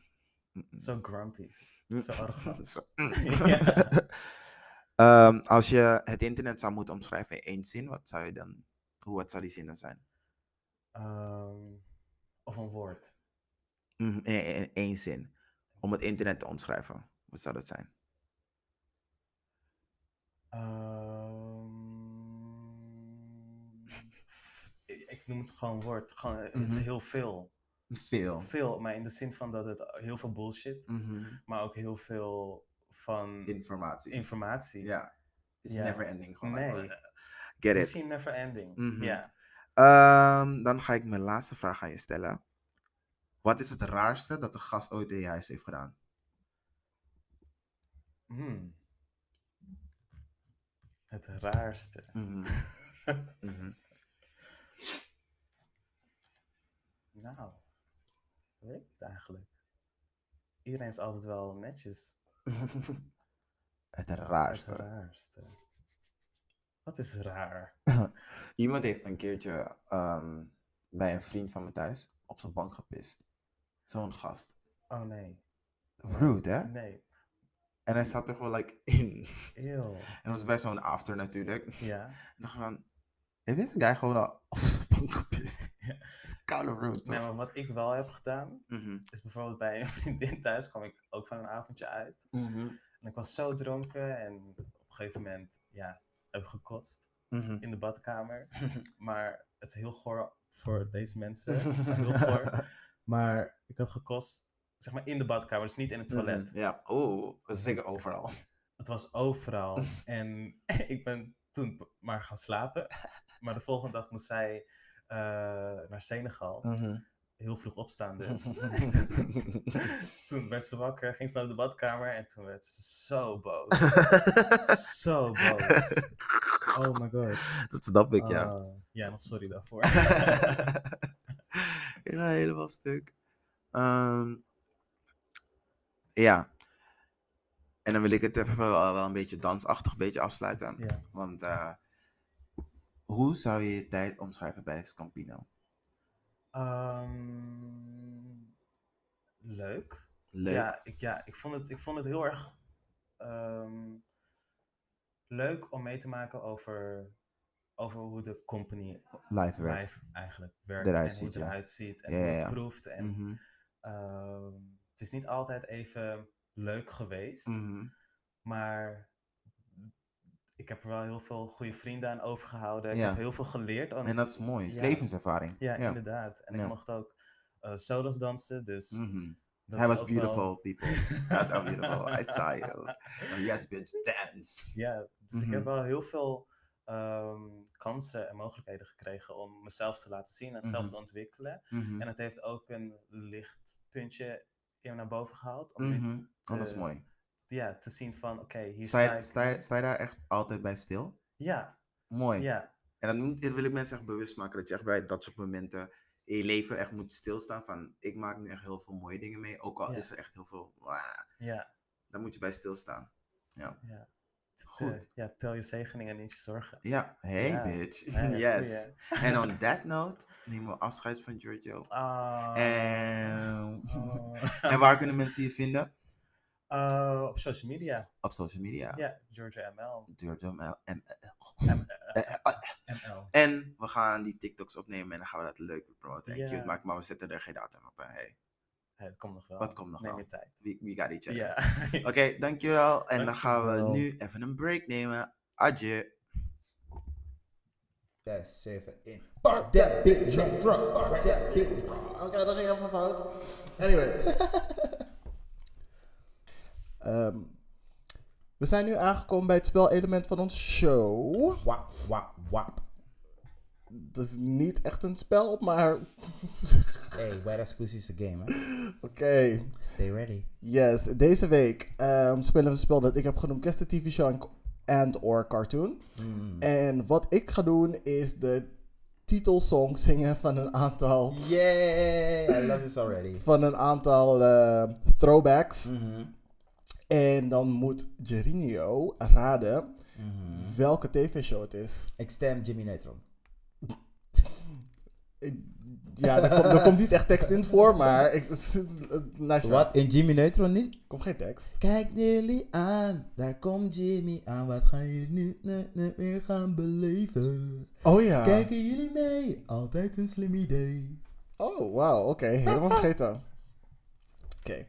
[SPEAKER 2] Mm-mm.
[SPEAKER 5] Zo grumpy. zo arrogant.
[SPEAKER 2] Zo, mm.
[SPEAKER 5] Ja.
[SPEAKER 2] Ehm, als je het internet zou moeten omschrijven in één zin, wat zou je dan, hoe, wat zou die zin dan zijn?
[SPEAKER 5] Ehm, of een woord.
[SPEAKER 2] Mm, in, in- in één zin. Om het internet te omschrijven. Wat zou dat zijn?
[SPEAKER 5] Ehm, f- ik- ik noem het gewoon woord. Gewoon, eh, Het is
[SPEAKER 2] Mhm.
[SPEAKER 5] heel veel.
[SPEAKER 2] Veel.
[SPEAKER 5] Veel, maar in de zin van dat het heel veel bullshit,
[SPEAKER 2] Mhm.
[SPEAKER 5] maar ook heel veel van
[SPEAKER 2] Informatie.
[SPEAKER 5] informatie.
[SPEAKER 2] Ja. It's
[SPEAKER 5] Ja.
[SPEAKER 2] never ending. Gewoon like,
[SPEAKER 5] Nee.
[SPEAKER 2] eh, get it.
[SPEAKER 5] Misschien never ending.
[SPEAKER 2] Mhm.
[SPEAKER 5] Ja.
[SPEAKER 2] Ehm, dan ga ik mijn laatste vraag aan je stellen. Wat is het raarste dat de gast ooit in je huis heeft gedaan?
[SPEAKER 5] Hmm. Het raarste.
[SPEAKER 2] Mhm, mhm.
[SPEAKER 5] nou, ik weet het eigenlijk. Iedereen is altijd wel netjes.
[SPEAKER 2] het
[SPEAKER 5] Het
[SPEAKER 2] raarste.
[SPEAKER 5] raarste. Wat is raar?
[SPEAKER 2] Iemand heeft een keertje ehm, bij een vriend van me thuis op zijn bank gepist. Zo'n gast.
[SPEAKER 5] Oh nee.
[SPEAKER 2] Rude, hè?
[SPEAKER 5] Nee.
[SPEAKER 2] En hij zat er gewoon like in.
[SPEAKER 5] Eeuw.
[SPEAKER 2] En dat was bij zo'n after natuurlijk. En
[SPEAKER 5] Ja.
[SPEAKER 2] dacht ik van, heeft deze guy gewoon al op zijn bank gepist?
[SPEAKER 5] Ja.
[SPEAKER 2] Het is koude rude, toch?
[SPEAKER 5] Nee, maar wat ik wel heb gedaan,
[SPEAKER 2] Mhm,
[SPEAKER 5] is bijvoorbeeld bij een vriendin thuis kwam ik ook van een avondje uit.
[SPEAKER 2] mhm,
[SPEAKER 5] En ik was zo dronken en op een gegeven moment, ja, heb ik gekotst
[SPEAKER 2] mhm.
[SPEAKER 5] in de badkamer. maar het is heel goor voor deze mensen. heel goor. Maar ik had gekost, zeg maar in de badkamer, dus niet in het toilet.
[SPEAKER 2] Mhm, Ja, oh, dat is zeker overal.
[SPEAKER 5] Het was overal. en ik ben toen p- maar gaan slapen. Maar de volgende dag moest zij eh, naar Senegal.
[SPEAKER 2] Mhm.
[SPEAKER 5] Heel vroeg opstaan dus. toen werd ze wakker, ging ze naar de badkamer en toen werd ze zo boos. zo boos. Oh my god.
[SPEAKER 2] dat snap ik, ja.
[SPEAKER 5] Ah, ja, nog sorry daarvoor.
[SPEAKER 2] ik ga helemaal stuk. Ehm, ja. En dan wil ik het even wel, wel een beetje dansachtig een beetje afsluiten.
[SPEAKER 5] ja.
[SPEAKER 2] Want eh, hoe zou je je tijd omschrijven bij Scampino?
[SPEAKER 5] Ehm, leuk.
[SPEAKER 2] Leuk.
[SPEAKER 5] Ja, ik, ja ik, vond het, ik vond het heel erg ehm, leuk om mee te maken over, over hoe de company
[SPEAKER 2] Live werk.
[SPEAKER 5] live eigenlijk werkt.
[SPEAKER 2] Eruit
[SPEAKER 5] en hoe
[SPEAKER 2] ziet,
[SPEAKER 5] het
[SPEAKER 2] ja.
[SPEAKER 5] eruit ziet en
[SPEAKER 2] Ja,
[SPEAKER 5] hoe
[SPEAKER 2] ja,
[SPEAKER 5] het
[SPEAKER 2] ja.
[SPEAKER 5] proeft. En,
[SPEAKER 2] Mhm,
[SPEAKER 5] ehm, het is niet altijd even leuk geweest,
[SPEAKER 2] mhm.
[SPEAKER 5] maar ik heb er wel heel veel goede vrienden aan overgehouden. Ik
[SPEAKER 2] Ja.
[SPEAKER 5] heb heel veel geleerd. aan-
[SPEAKER 2] En dat is mooi. Het is
[SPEAKER 5] Ja.
[SPEAKER 2] levenservaring.
[SPEAKER 5] ja, inderdaad. En
[SPEAKER 2] Ja.
[SPEAKER 5] ik mocht ook eh solos dansen, dus...
[SPEAKER 2] Mhm.
[SPEAKER 5] dat
[SPEAKER 2] Hij
[SPEAKER 5] is
[SPEAKER 2] was
[SPEAKER 5] ook wel-
[SPEAKER 2] beautiful, people. That's how beautiful. I saw you. Oh, yes, bitch, dance.
[SPEAKER 5] Ja, dus ik
[SPEAKER 2] Mhm.
[SPEAKER 5] heb wel heel veel ehm, kansen en mogelijkheden gekregen om mezelf te laten zien en zelf
[SPEAKER 2] Mhm.
[SPEAKER 5] te ontwikkelen.
[SPEAKER 2] Mhm,
[SPEAKER 5] En het heeft ook een lichtpuntje in naar boven gehaald. Om nu
[SPEAKER 2] mhm. Oh, dat is
[SPEAKER 5] te-
[SPEAKER 2] mooi.
[SPEAKER 5] ja, te zien van, oké, Eh, hier
[SPEAKER 2] Sta
[SPEAKER 5] sta
[SPEAKER 2] je,
[SPEAKER 5] ik.
[SPEAKER 2] sta, je, sta je daar echt altijd bij stil?
[SPEAKER 5] Ja,
[SPEAKER 2] Mooi.
[SPEAKER 5] ja,
[SPEAKER 2] En dat, moet- dit wil ik mensen echt bewust maken. Dat je echt bij dat soort momenten in je leven echt moet stilstaan. Van ik maak nu echt heel veel mooie dingen mee. Ook al
[SPEAKER 5] Ja.
[SPEAKER 2] is er echt heel veel. Wah,
[SPEAKER 5] ja.
[SPEAKER 2] daar moet je bij stilstaan. Ja.
[SPEAKER 5] Te-
[SPEAKER 2] Goed.
[SPEAKER 5] ja, tel je zegeningen en niet je zorgen.
[SPEAKER 2] Ja, hey
[SPEAKER 5] Ja.
[SPEAKER 2] bitch.
[SPEAKER 5] Ja, ja,
[SPEAKER 2] yes.
[SPEAKER 5] goeie.
[SPEAKER 2] En on that note nemen we afscheid van Giorgio.
[SPEAKER 5] Ah,
[SPEAKER 2] En,
[SPEAKER 5] ah.
[SPEAKER 2] en waar kunnen mensen je vinden?
[SPEAKER 5] Eh, op social media.
[SPEAKER 2] Op social media.
[SPEAKER 5] Ja, Georgia ML.
[SPEAKER 2] Giorgio ML.
[SPEAKER 5] M- ML.
[SPEAKER 2] En we gaan die TikToks opnemen en dan gaan we dat leuk promoten. En
[SPEAKER 5] Ja.
[SPEAKER 2] cute maken, maar we zetten er geen datum op. hè. Hey,
[SPEAKER 5] Hey, dat komt nog wel.
[SPEAKER 2] Wat komt nog
[SPEAKER 5] Neem
[SPEAKER 2] wel.
[SPEAKER 5] je tijd.
[SPEAKER 2] we, we got each other.
[SPEAKER 5] Ja.
[SPEAKER 2] Oké, dankjewel. En dan gaan we
[SPEAKER 5] Dankjewel.
[SPEAKER 2] nu even een break nemen. Adieu.
[SPEAKER 6] Zes, zeven, in. Park that bitch on drunk. Park that bitch.
[SPEAKER 3] Oké, dat ging helemaal fout. Anyway. Ehm, we zijn nu aangekomen bij het spelelement van ons show.
[SPEAKER 6] Wap, wap, wap.
[SPEAKER 3] dat is niet echt een spel, maar
[SPEAKER 6] Hey, Wet Ass Pussy is a game, hè?
[SPEAKER 3] oké.
[SPEAKER 6] Stay ready.
[SPEAKER 3] Yes, deze week ehm, spelen we een spel dat ik heb genoemd Kerst de TV Show en- and or cartoon. Hmm. En wat ik ga doen is de titelsong zingen van een aantal,
[SPEAKER 6] Yay! I love this already.
[SPEAKER 3] van een aantal eh, throwbacks. En dan moet Gerinio raden welke tv-show het is.
[SPEAKER 6] Ik stem Jimmy Neutron.
[SPEAKER 3] Ik- Ja, er, komt- er komt niet echt tekst in voor, maar ik, nice
[SPEAKER 6] Wat? In Jimmy Neutron niet?
[SPEAKER 3] Er komt geen tekst.
[SPEAKER 6] Kijk jullie aan, daar komt Jimmy aan. Wat gaan jullie nu nu- nu weer gaan beleven?
[SPEAKER 3] Oh ja.
[SPEAKER 6] Kijken jullie mee? Altijd een slim idee.
[SPEAKER 3] Oh, wauw. Oké, helemaal vergeten. Oké.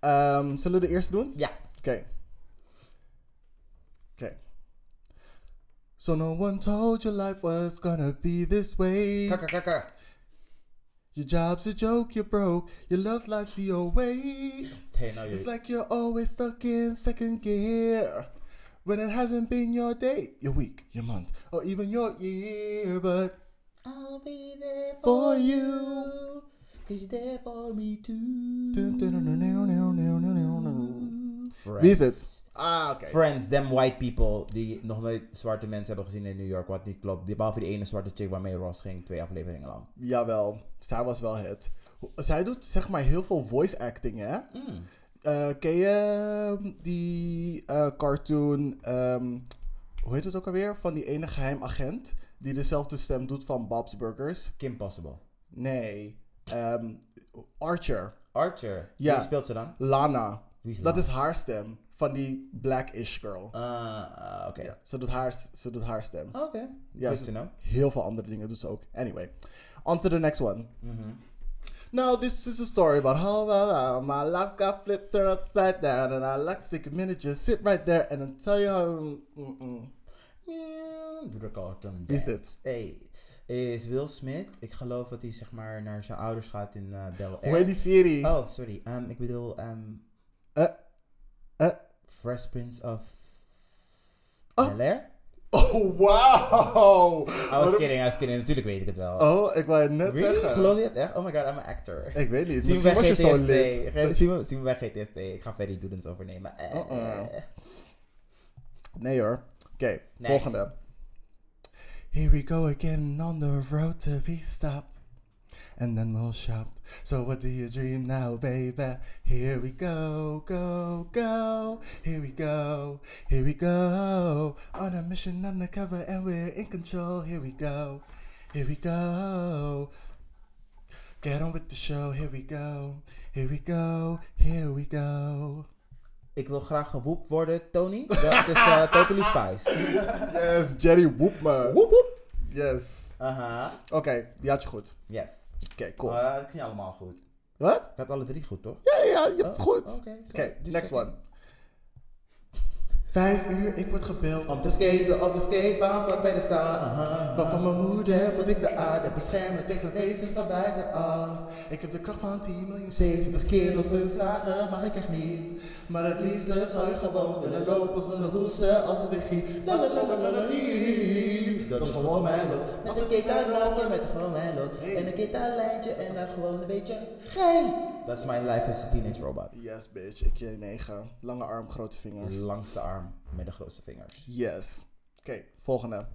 [SPEAKER 3] Ehm, zullen we de eerste doen?
[SPEAKER 6] Ja.
[SPEAKER 3] Oké. Oké. So no one told you life was gonna be this way.
[SPEAKER 6] Kakka kakka.
[SPEAKER 3] Your job's a joke, you're broke. Your love lies the old way.
[SPEAKER 6] Hey, nou
[SPEAKER 3] It's like you're always stuck in second gear. When it hasn't been your day, your week, your month, or even your year, but
[SPEAKER 6] I'll be there
[SPEAKER 3] for
[SPEAKER 6] for
[SPEAKER 3] you.
[SPEAKER 6] you. Cause you're there for me too. Friends.
[SPEAKER 3] Wie is het? Ah, oké.
[SPEAKER 6] Friends, them white people die nog nooit zwarte mensen hebben gezien in New York, wat niet klopt. Die- Behalve die ene zwarte chick waarmee Ross ging twee afleveringen lang.
[SPEAKER 3] Jawel, zij was wel het. Zij doet zeg maar heel veel voice acting, hè?
[SPEAKER 6] Mm.
[SPEAKER 3] Eh, ken je ehm, die eh, cartoon, ehm, hoe heet het ook alweer? Van die ene geheim agent die dezelfde stem doet van Bob's Burgers?
[SPEAKER 6] Kim Possible.
[SPEAKER 3] Nee, ehm, Archer,
[SPEAKER 6] Archer.
[SPEAKER 3] Ja.
[SPEAKER 6] Wie speelt ze dan?
[SPEAKER 3] Lana.
[SPEAKER 6] Wie is
[SPEAKER 3] Dat
[SPEAKER 6] Lana?
[SPEAKER 3] is haar stem van die black-ish girl.
[SPEAKER 6] Ah, ah, oké.
[SPEAKER 3] Ze, doet haar, ze doet haar stem.
[SPEAKER 6] Oké.
[SPEAKER 3] Ja,
[SPEAKER 6] Good
[SPEAKER 3] ze-
[SPEAKER 6] to know.
[SPEAKER 3] Heel veel andere dingen doet ze ook. Anyway, on to the next one.
[SPEAKER 6] Mm-hmm.
[SPEAKER 3] Now this is a story about how uh, my life got flipped turned upside down and I like to take a minute, just sit right there and I'll tell you how... mm, mm.
[SPEAKER 6] Yeah, Doe de cartoon.
[SPEAKER 3] Wie is
[SPEAKER 6] dance.
[SPEAKER 3] dit?
[SPEAKER 6] Hey, is Will Smith. Ik geloof dat hij zeg maar naar zijn ouders gaat in eh Bel Air.
[SPEAKER 3] Hoe heet die serie?
[SPEAKER 6] Oh, sorry. Ehm, ik bedoel, ehm
[SPEAKER 3] Eh, eh.
[SPEAKER 6] Fresh Prince of
[SPEAKER 3] Oh.
[SPEAKER 6] Bel Air?
[SPEAKER 3] Oh, wow!
[SPEAKER 6] I was kidding, I was kidding. Natuurlijk weet ik het wel.
[SPEAKER 3] Oh, ik wou het net
[SPEAKER 6] Really?
[SPEAKER 3] zeggen.
[SPEAKER 6] Geloof je het echt? Oh my god, I'm an actor.
[SPEAKER 3] Ik weet niet,
[SPEAKER 6] Zien we
[SPEAKER 3] misschien
[SPEAKER 6] bij
[SPEAKER 3] was je zo
[SPEAKER 6] GTSD.
[SPEAKER 3] lid.
[SPEAKER 6] Ge- Zien we- zien we bij GTSD. Ik ga Ferry Doedens overnemen. Eh,
[SPEAKER 3] Uh-uh.
[SPEAKER 6] eh.
[SPEAKER 3] Nee hoor. Oké,
[SPEAKER 6] Next.
[SPEAKER 3] volgende. Here we go again on the road to be stopped. And then we'll shop. So what do you dream now, baby? Here we go, go, go. Here we go, here we go. On a mission undercover and we're in control. Here we go, here we go. Get on with the show. Here we go, here we go, here we go.
[SPEAKER 6] Ik wil graag gewoept worden, Tony. Dat is eh, Totally Spice.
[SPEAKER 3] Yes, Jerry Woopman.
[SPEAKER 6] Woep woep.
[SPEAKER 3] Yes.
[SPEAKER 6] Aha.
[SPEAKER 3] Oké, die had je goed.
[SPEAKER 6] Yes.
[SPEAKER 3] Oké, cool.
[SPEAKER 6] Oh, ja, dat ging allemaal goed.
[SPEAKER 3] Wat?
[SPEAKER 6] Ik had alle drie goed, toch?
[SPEAKER 3] Ja, ja, je hebt het goed.
[SPEAKER 6] oké,
[SPEAKER 3] Oké,
[SPEAKER 6] sorry. Just
[SPEAKER 3] next
[SPEAKER 6] checking.
[SPEAKER 3] one. Vijf uur, ik word gebeld om
[SPEAKER 6] Om te skaten op de skatebaan vlak bij de stad. Aha.
[SPEAKER 3] van mijn moeder.
[SPEAKER 6] Moeder moet ik de aarde beschermen tegen wezens van buitenaf.
[SPEAKER 3] Ik heb de kracht van 10 miljoen.
[SPEAKER 6] 70 kilo's te slagen mag ik echt niet. Maar het liefste zou je gewoon willen lopen zonder hoesten als het weer giet. La, la, la, la, la, la, la. Dat is gewoon mijn lot. Met een gitaarlokje, met gewoon mijn lot. En een gitaarlijntje en dan gewoon een beetje gay. Dat is mijn life as a teenage robot.
[SPEAKER 3] Yes, bitch. Ik je 9. Lange arm, grote vingers.
[SPEAKER 6] Langste arm met de grootste vingers.
[SPEAKER 3] Yes. Oké, volgende.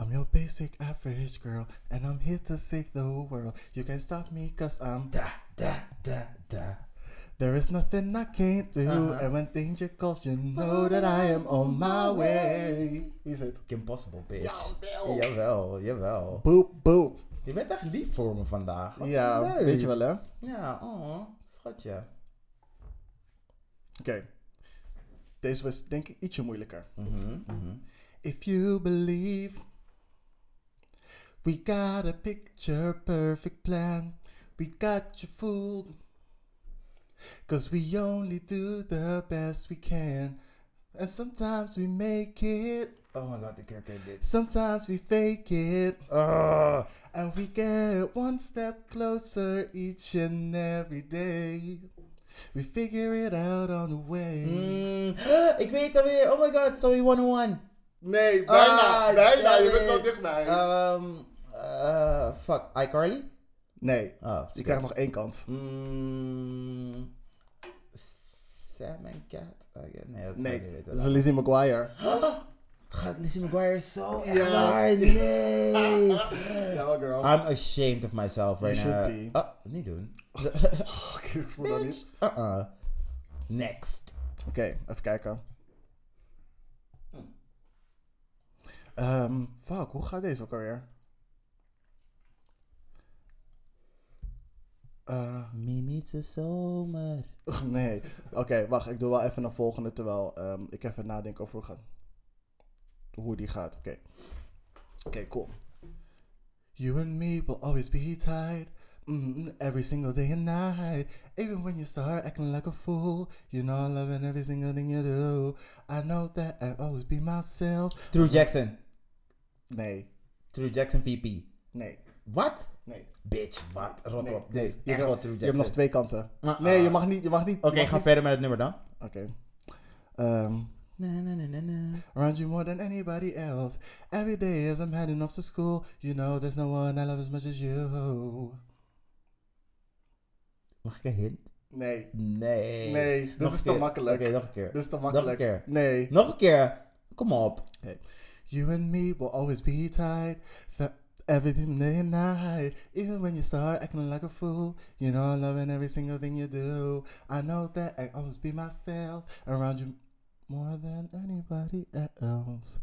[SPEAKER 3] I'm your basic average girl. And I'm here to save the whole world. You can stop me, cause I'm...
[SPEAKER 6] Da, da, da, da.
[SPEAKER 3] There is nothing I can't do. And when danger calls, you know that I am Uh-huh. on my way. Wie is het?
[SPEAKER 6] Kim Possible, bitch. Jawel. Jawel, jawel.
[SPEAKER 3] Boop, boop.
[SPEAKER 6] Je bent echt lief voor me vandaag. Wat
[SPEAKER 3] Ja,
[SPEAKER 6] leuk.
[SPEAKER 3] weet je wel hè? Oké.
[SPEAKER 6] Ja, oh, schatje.
[SPEAKER 3] Deze was denk ik ietsje moeilijker. If you believe we got a picture perfect plan, we got you fooled. Cause we only do the best we can. And sometimes we make it,
[SPEAKER 6] Oh my god, ik herken dit.
[SPEAKER 3] sometimes we fake it.
[SPEAKER 6] Ah.
[SPEAKER 3] And we get one step closer each and every day. We figure it out on the way.
[SPEAKER 6] Mm. Ah, ik weet het weer. Oh my god, sorry 101.
[SPEAKER 3] Nee,
[SPEAKER 6] Ah, damn it. Oh Ehm, eh, fuck, iCarly?
[SPEAKER 3] Nee,
[SPEAKER 6] Oh,
[SPEAKER 3] je krijgt nog één kans.
[SPEAKER 6] Mm, Sam and Cat? Oh, ja, nee, dat zou ik
[SPEAKER 3] Nee,
[SPEAKER 6] niet
[SPEAKER 3] dat is
[SPEAKER 6] weten.
[SPEAKER 3] Lizzie McGuire.
[SPEAKER 6] Gaat Lizzie McGuire zo
[SPEAKER 3] Ja.
[SPEAKER 6] hard? Nee!
[SPEAKER 3] Ja, girl.
[SPEAKER 6] I'm ashamed of myself right
[SPEAKER 3] You
[SPEAKER 6] now.
[SPEAKER 3] should be.
[SPEAKER 6] Oh, niet doen.
[SPEAKER 3] Fuck, ik voel dat niet.
[SPEAKER 6] Uh-uh. Next.
[SPEAKER 3] Oké, even kijken. Ehm, fuck, hoe gaat deze ook alweer? Eh,
[SPEAKER 6] Mimi's de zomer.
[SPEAKER 3] Och, nee. Oké, wacht. Ik doe wel even een volgende terwijl ehm, ik even nadenk over hoe, gaan, hoe die gaat. Oké. Oké, cool. You and me will always be tied. Mm, every single day and night. Even when you start acting like a fool. You know I'm loving every single thing you do. I know that I'll always be myself.
[SPEAKER 6] True Jackson.
[SPEAKER 3] Nee.
[SPEAKER 6] True Jackson VP.
[SPEAKER 3] Nee.
[SPEAKER 6] Wat?
[SPEAKER 3] Nee.
[SPEAKER 6] Bitch, wat? Rot
[SPEAKER 3] Nee.
[SPEAKER 6] op.
[SPEAKER 3] nee.
[SPEAKER 6] Dit is echt
[SPEAKER 3] kan-
[SPEAKER 6] wel True
[SPEAKER 3] je hebt nog
[SPEAKER 6] Jackson.
[SPEAKER 3] twee kansen.
[SPEAKER 6] Ah,
[SPEAKER 3] Nee, je
[SPEAKER 6] ah.
[SPEAKER 3] mag niet. Je mag niet. je
[SPEAKER 6] Oké,
[SPEAKER 3] mag
[SPEAKER 6] ga
[SPEAKER 3] niet-
[SPEAKER 6] verder met het nummer dan.
[SPEAKER 3] Oké. Ehm Around you more than anybody else. Every day as I'm heading off to school, you know there's no one I love as much as you.
[SPEAKER 6] Mag ik een hint?
[SPEAKER 3] Nee,
[SPEAKER 6] Nee.
[SPEAKER 3] Nee, dit
[SPEAKER 6] Nog
[SPEAKER 3] is
[SPEAKER 6] een
[SPEAKER 3] te
[SPEAKER 6] keer.
[SPEAKER 3] makkelijk.
[SPEAKER 6] Oké, nog een keer.
[SPEAKER 3] dit is te
[SPEAKER 6] Nog een
[SPEAKER 3] makkelijk.
[SPEAKER 6] keer.
[SPEAKER 3] Nee.
[SPEAKER 6] Nog een keer. Kom op.
[SPEAKER 3] Hey. You and me will always be tied for everything day and night. Even when you start acting like a fool, you know I'm loving every single thing you do. I know that I always be myself around you more than anybody else.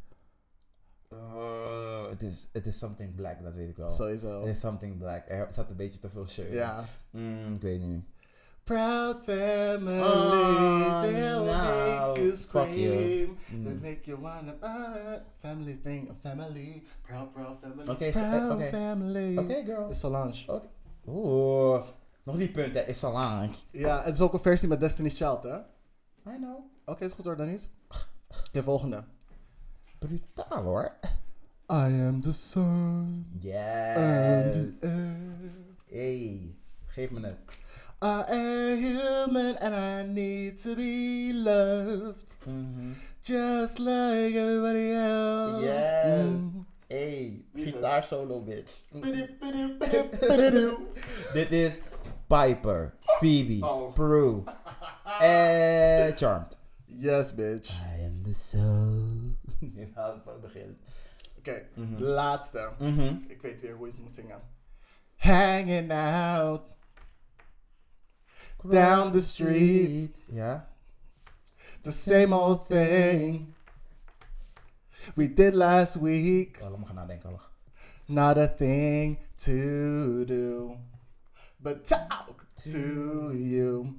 [SPEAKER 6] Eh, Het is, het is something black, dat weet ik wel.
[SPEAKER 3] Sowieso.
[SPEAKER 6] Het is something black. Er zat een beetje te veel shirt.
[SPEAKER 3] Ja.
[SPEAKER 6] Mm, ik weet niet.
[SPEAKER 3] Proud family,
[SPEAKER 6] Oh,
[SPEAKER 3] they'll
[SPEAKER 6] no.
[SPEAKER 3] make you
[SPEAKER 6] Fuck you.
[SPEAKER 3] scream. They
[SPEAKER 6] Mm.
[SPEAKER 3] make you wanna uh, family thing, a family, proud, proud family.
[SPEAKER 6] Oké, so- eh,
[SPEAKER 3] proud
[SPEAKER 6] oké.
[SPEAKER 3] family.
[SPEAKER 6] Oké, girl.
[SPEAKER 3] Het is Solange.
[SPEAKER 6] Oké. Oeh. Nog die punten. Is al lang.
[SPEAKER 3] Ja, het is ook een versie met Destiny's Child, hè? Oké,
[SPEAKER 6] I know.
[SPEAKER 3] is goed hoor, Dennis. De volgende.
[SPEAKER 6] Brutaal hoor.
[SPEAKER 3] I am the sun and
[SPEAKER 6] Yes.
[SPEAKER 3] the air.
[SPEAKER 6] Hey, geef me het.
[SPEAKER 3] I am human and I need to be loved.
[SPEAKER 6] Mhm.
[SPEAKER 3] Just like everybody else.
[SPEAKER 6] Yes.
[SPEAKER 3] Mm.
[SPEAKER 6] Hey,
[SPEAKER 3] Ehm. is
[SPEAKER 6] gitaar solo bitch.
[SPEAKER 3] Pididoe.
[SPEAKER 6] Dit is Piper, Phoebe,
[SPEAKER 3] Oh.
[SPEAKER 6] Prue en Charmed.
[SPEAKER 3] Yes, bitch.
[SPEAKER 6] I am the soul. Je houdt van het begin.
[SPEAKER 3] Oké, laatste.
[SPEAKER 6] Mhm.
[SPEAKER 3] Ik weet weer hoe je het moet zingen. Hanging out down the street,
[SPEAKER 6] Ja.
[SPEAKER 3] the same old thing we did last week.
[SPEAKER 6] Oh, laat me gaan nadenken. wacht.
[SPEAKER 3] Not a thing to do, but talk to you.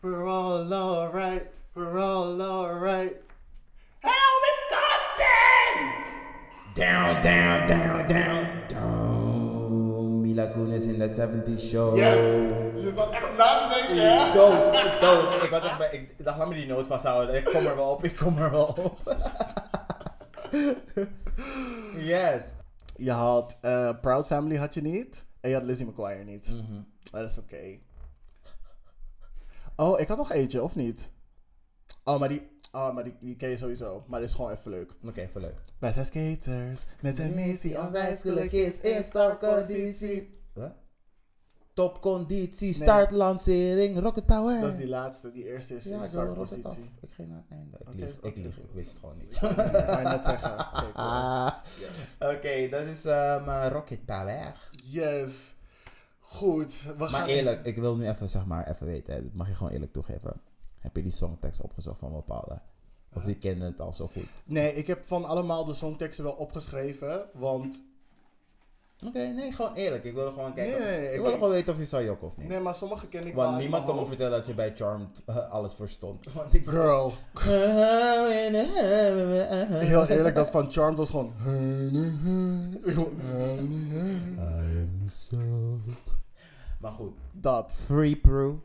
[SPEAKER 3] We're all alright, we're all alright.
[SPEAKER 6] Down, down, down, down, down. Mila Kunis in that 70 show.
[SPEAKER 3] Yes, je zat echt op na te denken, hè?
[SPEAKER 6] Dood, ik dood. Ik, was echt bij, ik dacht, laat me die noot vasthouden. Ik kom er wel op, ik kom er wel op. yes.
[SPEAKER 3] Je had eh, Proud Family had je niet. En je had Lizzie McGuire niet.
[SPEAKER 6] Mhm.
[SPEAKER 3] Maar dat is oké. Oh, ik had nog eentje, of niet? Oh, maar die, oh, maar die, die ken je sowieso. Maar dit is gewoon even leuk.
[SPEAKER 6] Oké, voor leuk.
[SPEAKER 3] Wij zijn skaters met een missie om wij
[SPEAKER 6] wijskulle
[SPEAKER 3] school kids in stapconditie.
[SPEAKER 6] Huh? Topconditie, startlancering, rocket power.
[SPEAKER 3] Dat is die laatste, die eerste is in de
[SPEAKER 6] ik wil rocket
[SPEAKER 3] startpositie.
[SPEAKER 6] af. Ik ging naar het einde. Ik
[SPEAKER 3] Oké,
[SPEAKER 6] lieg,
[SPEAKER 3] oké.
[SPEAKER 6] ik lieg, ik wist het gewoon niet.
[SPEAKER 3] Ja, ik wou net zeggen. Oké, cool.
[SPEAKER 6] Ah.
[SPEAKER 3] Yes.
[SPEAKER 6] Oké, dat is ehm, eh, rocket power.
[SPEAKER 3] Yes. Goed. We gaan
[SPEAKER 6] Maar eerlijk, ik wil nu even, zeg maar, even weten. hè, Dat mag je gewoon eerlijk toegeven. Heb je die songtekst opgezocht van bepaalde? Of die kennen het al zo goed?
[SPEAKER 3] Nee, ik heb van allemaal de songteksten wel opgeschreven. Want
[SPEAKER 6] Oké, nee, gewoon eerlijk. Ik wil gewoon kijken.
[SPEAKER 3] Nee, nee, nee,
[SPEAKER 6] ik
[SPEAKER 3] ik-
[SPEAKER 6] wil gewoon weten of je zou jokken of niet.
[SPEAKER 3] Nee, maar sommige ken ik wel.
[SPEAKER 6] Want
[SPEAKER 3] uit
[SPEAKER 6] niemand kan
[SPEAKER 3] mijn
[SPEAKER 6] me
[SPEAKER 3] hoofd.
[SPEAKER 6] vertellen dat je bij Charmed eh, alles verstond. Want ik
[SPEAKER 3] Girl. Heel eerlijk, dat van Charmed was gewoon...
[SPEAKER 6] Maar goed.
[SPEAKER 3] Dat.
[SPEAKER 6] Free Prue.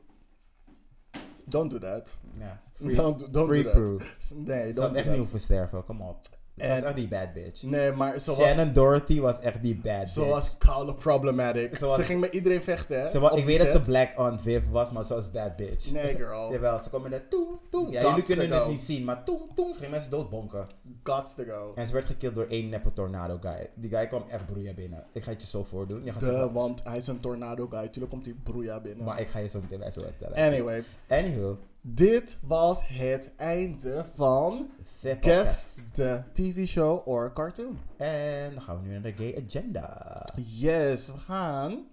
[SPEAKER 3] Don't do that.
[SPEAKER 6] Ja.
[SPEAKER 3] Don't, don't
[SPEAKER 6] free
[SPEAKER 3] do that.
[SPEAKER 6] Prue.
[SPEAKER 3] Nee,
[SPEAKER 6] Ik zou
[SPEAKER 3] don't
[SPEAKER 6] echt
[SPEAKER 3] do
[SPEAKER 6] nieuw
[SPEAKER 3] that.
[SPEAKER 6] versterven, kom op. Ze was echt die bad bitch.
[SPEAKER 3] Nee, maar ze was,
[SPEAKER 6] Shannon Dorothy was echt die bad bitch.
[SPEAKER 3] ze was koude problematic.
[SPEAKER 6] Ze was-
[SPEAKER 3] ze ging met iedereen vechten.
[SPEAKER 6] Ze wa-
[SPEAKER 3] op die
[SPEAKER 6] ik weet dat ze
[SPEAKER 3] set.
[SPEAKER 6] black on Viv was, maar ze was that bitch.
[SPEAKER 3] Nee, girl.
[SPEAKER 6] Jawel, ze komen net toem, toem. Ja,
[SPEAKER 3] Guts
[SPEAKER 6] jullie kunnen
[SPEAKER 3] to
[SPEAKER 6] het
[SPEAKER 3] go.
[SPEAKER 6] niet zien, maar toem, toem. Ze gingen mensen doodbonken.
[SPEAKER 3] Gots to go.
[SPEAKER 6] En ze werd gekild door één neppe tornado guy. Die guy kwam echt broeia binnen. Ik ga het je zo voordoen. Je gaat
[SPEAKER 3] De,
[SPEAKER 6] zeggen,
[SPEAKER 3] want hij is een tornado guy. Tuurlijk komt hij broeia binnen.
[SPEAKER 6] maar ik ga je zo meteen bij zo vertellen.
[SPEAKER 3] Anyway,
[SPEAKER 6] Anywho,
[SPEAKER 3] dit was het einde van
[SPEAKER 6] the podcast.
[SPEAKER 3] Guess the TV show or cartoon.
[SPEAKER 6] En dan gaan we nu naar de gay agenda.
[SPEAKER 3] Yes, we gaan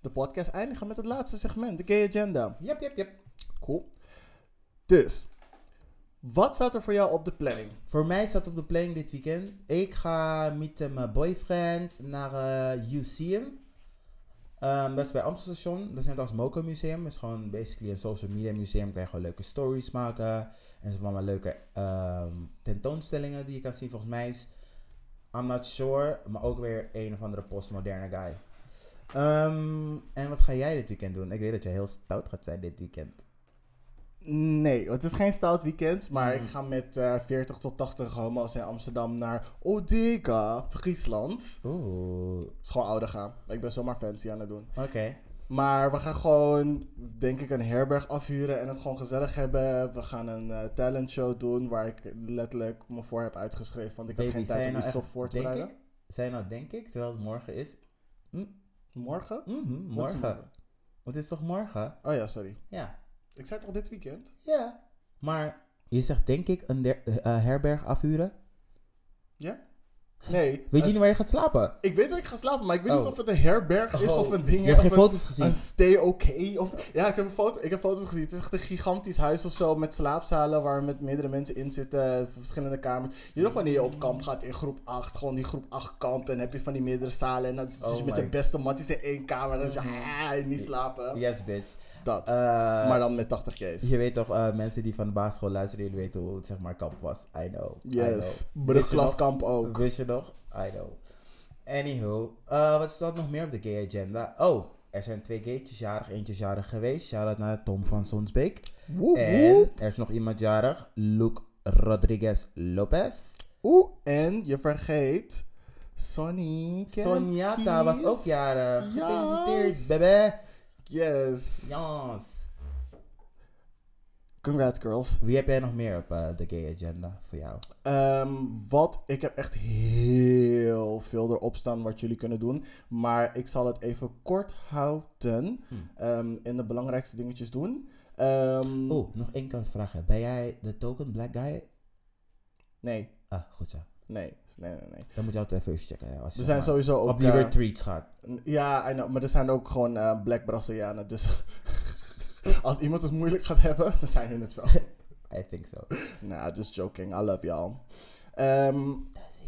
[SPEAKER 3] de podcast eindigen met het laatste segment, de gay agenda.
[SPEAKER 6] Yep, yep, yep.
[SPEAKER 3] Cool. Dus, wat staat er voor jou op de planning?
[SPEAKER 6] Voor mij staat op de planning dit weekend. Ik ga met mijn boyfriend naar eh UCM. Ehm, dat is bij Amsterdam Station. Dat is net als Moco Museum. Dat is gewoon basically een social media museum. Kan je gewoon leuke stories maken. En ze hebben allemaal leuke ehm, tentoonstellingen die je kan zien. Volgens mij is I'm Not Sure, maar ook weer een of andere postmoderne guy. Ehm, en wat ga jij dit weekend doen? Ik weet dat je heel stout gaat zijn dit weekend.
[SPEAKER 3] Nee, het is geen stout weekend, maar
[SPEAKER 6] Hmm.
[SPEAKER 3] ik ga met eh, 40 tot 80 homo's in Amsterdam naar Odega, Friesland.
[SPEAKER 6] Oeh, oké.
[SPEAKER 3] Het is gewoon ouder gaan. Ik ben zomaar fancy aan het doen. Maar we gaan gewoon, denk ik, een herberg afhuren en het gewoon gezellig hebben. We gaan een eh, talentshow doen waar ik letterlijk me voor heb uitgeschreven. Want ik heb
[SPEAKER 6] Baby,
[SPEAKER 3] geen
[SPEAKER 6] zijn
[SPEAKER 3] tijd om
[SPEAKER 6] nou
[SPEAKER 3] iets
[SPEAKER 6] echt-
[SPEAKER 3] op voor te
[SPEAKER 6] denk
[SPEAKER 3] bereiden.
[SPEAKER 6] ik? Zijn nou denk ik, terwijl het morgen is.
[SPEAKER 3] Morgen?
[SPEAKER 6] Mhm,
[SPEAKER 3] Wat is
[SPEAKER 6] morgen. Want het is toch morgen?
[SPEAKER 3] Oh ja, sorry.
[SPEAKER 6] Ja.
[SPEAKER 3] Ik zei toch dit weekend?
[SPEAKER 6] Ja. Maar je zegt denk ik een der- eh, eh, herberg afhuren.
[SPEAKER 3] Ja? Nee.
[SPEAKER 6] Weet
[SPEAKER 3] eh,
[SPEAKER 6] je niet waar je gaat slapen?
[SPEAKER 3] Ik weet dat ik ga slapen, maar ik weet niet
[SPEAKER 6] Oh.
[SPEAKER 3] of het een herberg is
[SPEAKER 6] Oh,
[SPEAKER 3] of een ding.
[SPEAKER 6] je hebt
[SPEAKER 3] of
[SPEAKER 6] geen
[SPEAKER 3] een-
[SPEAKER 6] foto's gezien.
[SPEAKER 3] Een stay oké. of Ja, ik heb, een foto, ik heb foto's gezien. Het is echt een gigantisch huis of zo met slaapzalen waar met meerdere mensen in zitten, verschillende kamers. Je weet toch wanneer je op kamp gaat in groep 8, gewoon die groep 8 kamp en heb je van die meerdere zalen en dan zit je dus
[SPEAKER 6] Oh
[SPEAKER 3] met
[SPEAKER 6] my-
[SPEAKER 3] je beste matties in één kamer en dan is je ah, niet slapen.
[SPEAKER 6] Yes, bitch.
[SPEAKER 3] Dat.
[SPEAKER 6] Eh,
[SPEAKER 3] maar dan met 80 K's.
[SPEAKER 6] je weet toch, eh, mensen die van de basisschool luisteren, jullie weten hoe het zeg maar kamp was. I know. I
[SPEAKER 3] Yes.
[SPEAKER 6] know. Wist je nog?
[SPEAKER 3] Brugklaskamp ook.
[SPEAKER 6] Wist je nog? I know. Anywho, eh, wat staat nog meer op de gay agenda? Oh, er zijn twee gaytjes jarig, eentje is jarig geweest. Shout-out naar Tom van Sonsbeek.
[SPEAKER 3] Woep,
[SPEAKER 6] En
[SPEAKER 3] woep.
[SPEAKER 6] er is nog iemand jarig, Luke Rodriguez Lopez.
[SPEAKER 3] Oeh, en je vergeet Sonic. en
[SPEAKER 6] Sonjata was
[SPEAKER 3] Kies.
[SPEAKER 6] ook jarig.
[SPEAKER 3] Yes.
[SPEAKER 6] Gefeliciteerd, bebe.
[SPEAKER 3] Yes.
[SPEAKER 6] Yes.
[SPEAKER 3] Congrats, girls.
[SPEAKER 6] Wie heb jij nog meer op eh, de gay agenda voor jou?
[SPEAKER 3] Ehm, wat, ik heb echt heel veel erop staan wat jullie kunnen doen. Maar ik zal het even kort houden.
[SPEAKER 6] Hm.
[SPEAKER 3] ehm, en de belangrijkste dingetjes doen. Ehm,
[SPEAKER 6] Oh, nog één kan vragen. Ben jij de token black guy?
[SPEAKER 3] Nee,
[SPEAKER 6] Ah, goed zo.
[SPEAKER 3] nee, nee, nee. nee.
[SPEAKER 6] Dan moet je altijd even checken. Ja, als je
[SPEAKER 3] Er
[SPEAKER 6] zeg
[SPEAKER 3] zijn
[SPEAKER 6] maar
[SPEAKER 3] sowieso ook...
[SPEAKER 6] op die
[SPEAKER 3] eh,
[SPEAKER 6] retreats gaat.
[SPEAKER 3] ja, I know, maar er zijn ook gewoon eh, black Brazilianen. Dus als iemand het moeilijk gaat hebben, dan zijn hun het wel.
[SPEAKER 6] I think so.
[SPEAKER 3] Nah, just joking. I love y'all. Ehm,
[SPEAKER 6] Dazzy.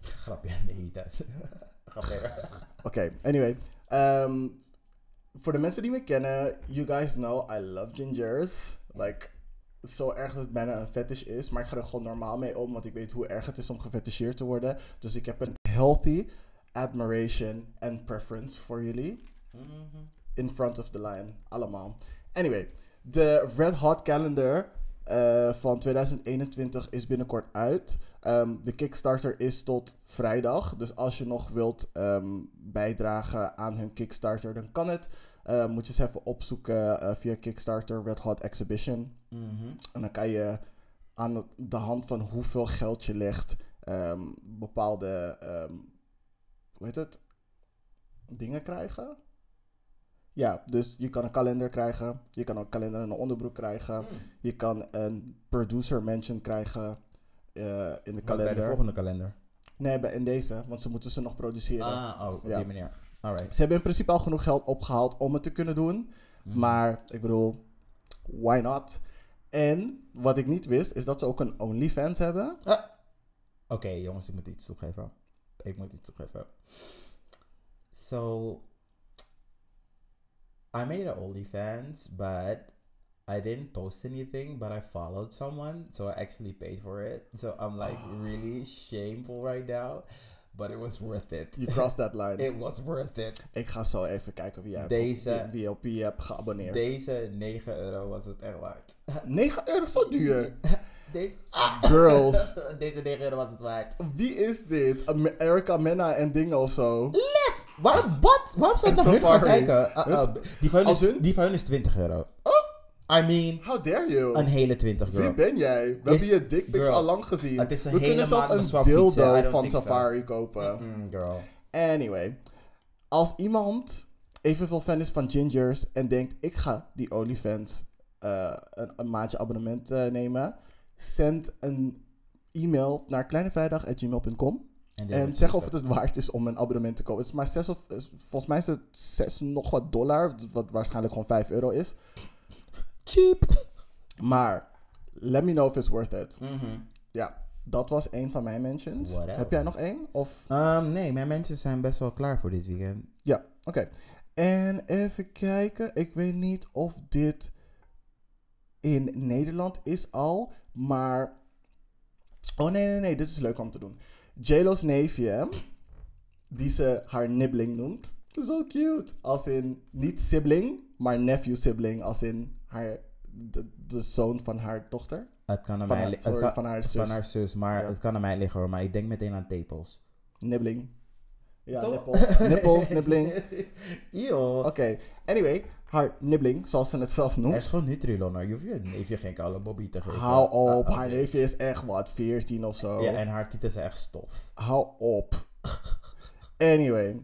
[SPEAKER 6] Grapje, nee, Dazzy. Grapje.
[SPEAKER 3] Oké, anyway. Ehm, voor de mensen die me kennen, you guys know I love gingers. Like, zo erg dat het bijna een fetish is. Maar ik ga er gewoon normaal mee om, want ik weet hoe erg het is om gefeticheerd te worden. Dus ik heb een healthy admiration and preference voor jullie. In front of the line, allemaal. Anyway, de Red Hot Calendar eh, van 2021 is binnenkort uit. Ehm, de Kickstarter is tot vrijdag. Dus als je nog wilt ehm, bijdragen aan hun Kickstarter, dan kan het. Eh, moet je eens even opzoeken eh, via Kickstarter Red Hot Exhibition. En dan kan je aan het- de hand van hoeveel geld je legt, ehm, bepaalde, ehm, hoe heet het, dingen krijgen. Ja, dus je kan een kalender krijgen, je kan een kalender en een onderbroek krijgen,
[SPEAKER 6] Hmm.
[SPEAKER 3] je kan een producer mention krijgen eh, in de
[SPEAKER 6] Bij de
[SPEAKER 3] kalender.
[SPEAKER 6] volgende kalender.
[SPEAKER 3] Nee, bij- in deze, want ze moeten ze nog produceren.
[SPEAKER 6] Ah, oh, op
[SPEAKER 3] Ja.
[SPEAKER 6] die manier. Alright.
[SPEAKER 3] Ze hebben in principe al genoeg geld opgehaald om het te kunnen doen.
[SPEAKER 6] Hmm.
[SPEAKER 3] Maar ik bedoel, why not? En wat ik niet wist, is dat ze ook een OnlyFans hebben.
[SPEAKER 6] Ah. Oké, jongens, ik moet iets toegeven. Ik moet iets toegeven. So, I made an OnlyFans, but I didn't post anything, but I followed someone, so I actually paid for it. So I'm like really shameful right now, but it was worth it.
[SPEAKER 3] You crossed that line.
[SPEAKER 6] It was worth it.
[SPEAKER 3] Ik ga zo even kijken wie jij hebt-
[SPEAKER 6] Deze-
[SPEAKER 3] wie, je op wie je hebt geabonneerd.
[SPEAKER 6] Deze 9 euro was het echt waard.
[SPEAKER 3] 9 euro, zo duur.
[SPEAKER 6] Deze,
[SPEAKER 3] Girls.
[SPEAKER 6] deze negen was het waard.
[SPEAKER 3] Wie is dit? Am- Erica Mena en dingen of zo.
[SPEAKER 6] Waarom, wat? Waarom zou ik
[SPEAKER 3] I'm
[SPEAKER 6] naar hun
[SPEAKER 3] so
[SPEAKER 6] gaan
[SPEAKER 3] sorry.
[SPEAKER 6] kijken? Oh. Ah, ah,
[SPEAKER 3] Dus-
[SPEAKER 6] die, van hun
[SPEAKER 3] als
[SPEAKER 6] is,
[SPEAKER 3] hun-
[SPEAKER 6] die van hun is 20 euro. I mean,
[SPEAKER 3] How dare you?
[SPEAKER 6] een hele 20
[SPEAKER 3] Wie
[SPEAKER 6] euro.
[SPEAKER 3] ben jij? We
[SPEAKER 6] This-
[SPEAKER 3] hebben je dickpics
[SPEAKER 6] girl,
[SPEAKER 3] al lang gezien.
[SPEAKER 6] het is een
[SPEAKER 3] We
[SPEAKER 6] hele
[SPEAKER 3] kunnen zelf
[SPEAKER 6] maand met
[SPEAKER 3] een
[SPEAKER 6] zwart fietsen. I
[SPEAKER 3] dildo
[SPEAKER 6] don't
[SPEAKER 3] van
[SPEAKER 6] think so.
[SPEAKER 3] Safari kopen.
[SPEAKER 6] Mm, girl.
[SPEAKER 3] Anyway, als iemand evenveel fan is van gingers en denkt ik ga die OnlyFans eh, een, een maandje abonnement eh, nemen, zend een e-mail naar kleinevrijdag@gmail.com
[SPEAKER 6] En,
[SPEAKER 3] en zeg of het het waard is om een abonnement te kopen. Het is maar 6 of is- volgens mij is het 6 nog wat dollar, wat waarschijnlijk gewoon 5 euro is.
[SPEAKER 6] cheap.
[SPEAKER 3] Maar let me know if it's worth it. Ja, dat was één van mijn mentions.
[SPEAKER 6] Whatever.
[SPEAKER 3] Heb jij nog één? Of
[SPEAKER 6] Um, nee, mijn mensen zijn best wel klaar voor dit weekend.
[SPEAKER 3] Ja, oké. En even kijken. Ik weet niet of dit in Nederland is al, maar... Oh nee, nee, nee. Dit is leuk om te doen. JLo's neefje, die ze haar nibbling noemt. Zo cute. Als in, niet sibling, maar nephew sibling. Als in haar, de, de zoon van haar dochter.
[SPEAKER 6] Het kan aan
[SPEAKER 3] Van
[SPEAKER 6] mij
[SPEAKER 3] haar-
[SPEAKER 6] li- het
[SPEAKER 3] sorry,
[SPEAKER 6] kan-
[SPEAKER 3] van haar zus.
[SPEAKER 6] Van haar zus, maar
[SPEAKER 3] Ja.
[SPEAKER 6] het kan aan mij liggen hoor. Maar ik denk meteen aan tepels.
[SPEAKER 3] Nibbling. Ja,
[SPEAKER 6] Toch?
[SPEAKER 3] nippels. Nippels, nibbling. Oké.
[SPEAKER 6] Eeuw.
[SPEAKER 3] Anyway, haar nibbling, zoals ze het zelf
[SPEAKER 6] Er
[SPEAKER 3] noemt.
[SPEAKER 6] is gewoon Nutrilon hoor. Je hoeft je neefje geen koude bobby te geven.
[SPEAKER 3] Hou op,
[SPEAKER 6] Ah, ah,
[SPEAKER 3] haar
[SPEAKER 6] oké.
[SPEAKER 3] neefje is echt wat, 14 of zo.
[SPEAKER 6] Ja, en haar tieten zijn echt stof.
[SPEAKER 3] Hou op. Anyway.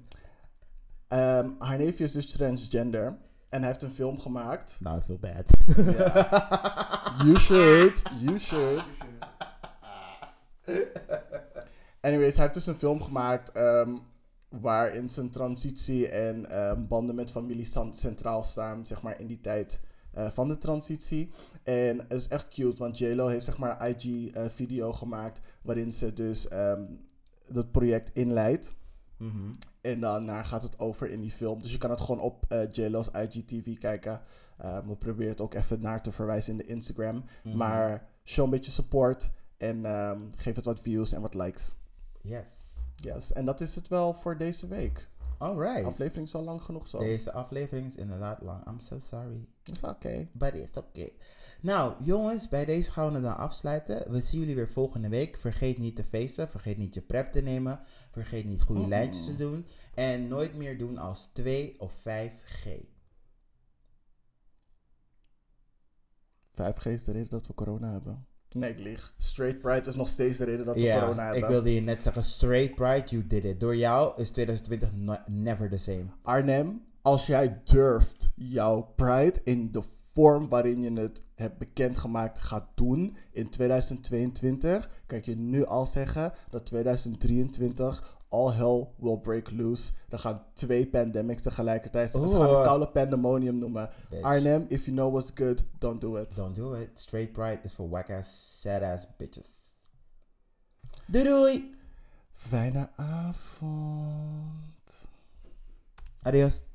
[SPEAKER 3] Ehm, haar neefje is dus transgender. En hij heeft een film gemaakt.
[SPEAKER 6] Nou, veel bad.
[SPEAKER 3] You should, you should. Anyways, hij heeft dus een film gemaakt ehm, waarin zijn transitie en ehm, banden met familie san- centraal staan, zeg maar, in die tijd eh, van de transitie. En het is echt cute, want JLo heeft zeg maar een IG-video gemaakt waarin ze dus ehm, dat project inleidt.
[SPEAKER 6] Mhm.
[SPEAKER 3] En daarna gaat het over in die film. Dus je kan het gewoon op eh JLo's IGTV kijken. Ehm, we proberen het ook even naar te verwijzen in de Instagram.
[SPEAKER 6] Mhm.
[SPEAKER 3] Maar show een beetje support. En ehm, geef het wat views en wat likes.
[SPEAKER 6] Yes.
[SPEAKER 3] Yes. En dat is het wel voor deze week. De
[SPEAKER 6] Alright.
[SPEAKER 3] aflevering is al lang genoeg zo.
[SPEAKER 6] Deze aflevering is inderdaad lang. I'm so sorry.
[SPEAKER 3] Is oké.
[SPEAKER 6] But it's okay. Nou, jongens, bij deze gaan we het dan afsluiten. We zien jullie weer volgende week. Vergeet niet te feesten. Vergeet niet je prep te nemen. Vergeet niet
[SPEAKER 3] Oh.
[SPEAKER 6] goede lijntjes te doen. En nooit meer doen als 2 of 5G.
[SPEAKER 3] 5G is de reden dat we corona hebben. Nee, ik lieg. Straight pride is nog steeds de reden dat we corona
[SPEAKER 6] Ja, ik
[SPEAKER 3] hebben.
[SPEAKER 6] wilde je net zeggen, straight pride, you did it. Door jou is 2020 no- never the same.
[SPEAKER 3] Arnhem, als jij durft jouw Pride in de vorm waarin je het hebt bekendgemaakt gaat doen in 2022, kan ik je nu al zeggen dat 2023 all hell will break loose. Er gaan twee pandemics tegelijkertijd. Ze gaan
[SPEAKER 6] Oeh.
[SPEAKER 3] het koude pandemonium noemen.
[SPEAKER 6] Bitch.
[SPEAKER 3] Arnhem, if you know what's good, don't do it.
[SPEAKER 6] Don't do it. Straight pride is for whack ass, sad ass bitches. Doei doei.
[SPEAKER 3] Fijne avond.
[SPEAKER 6] Adios.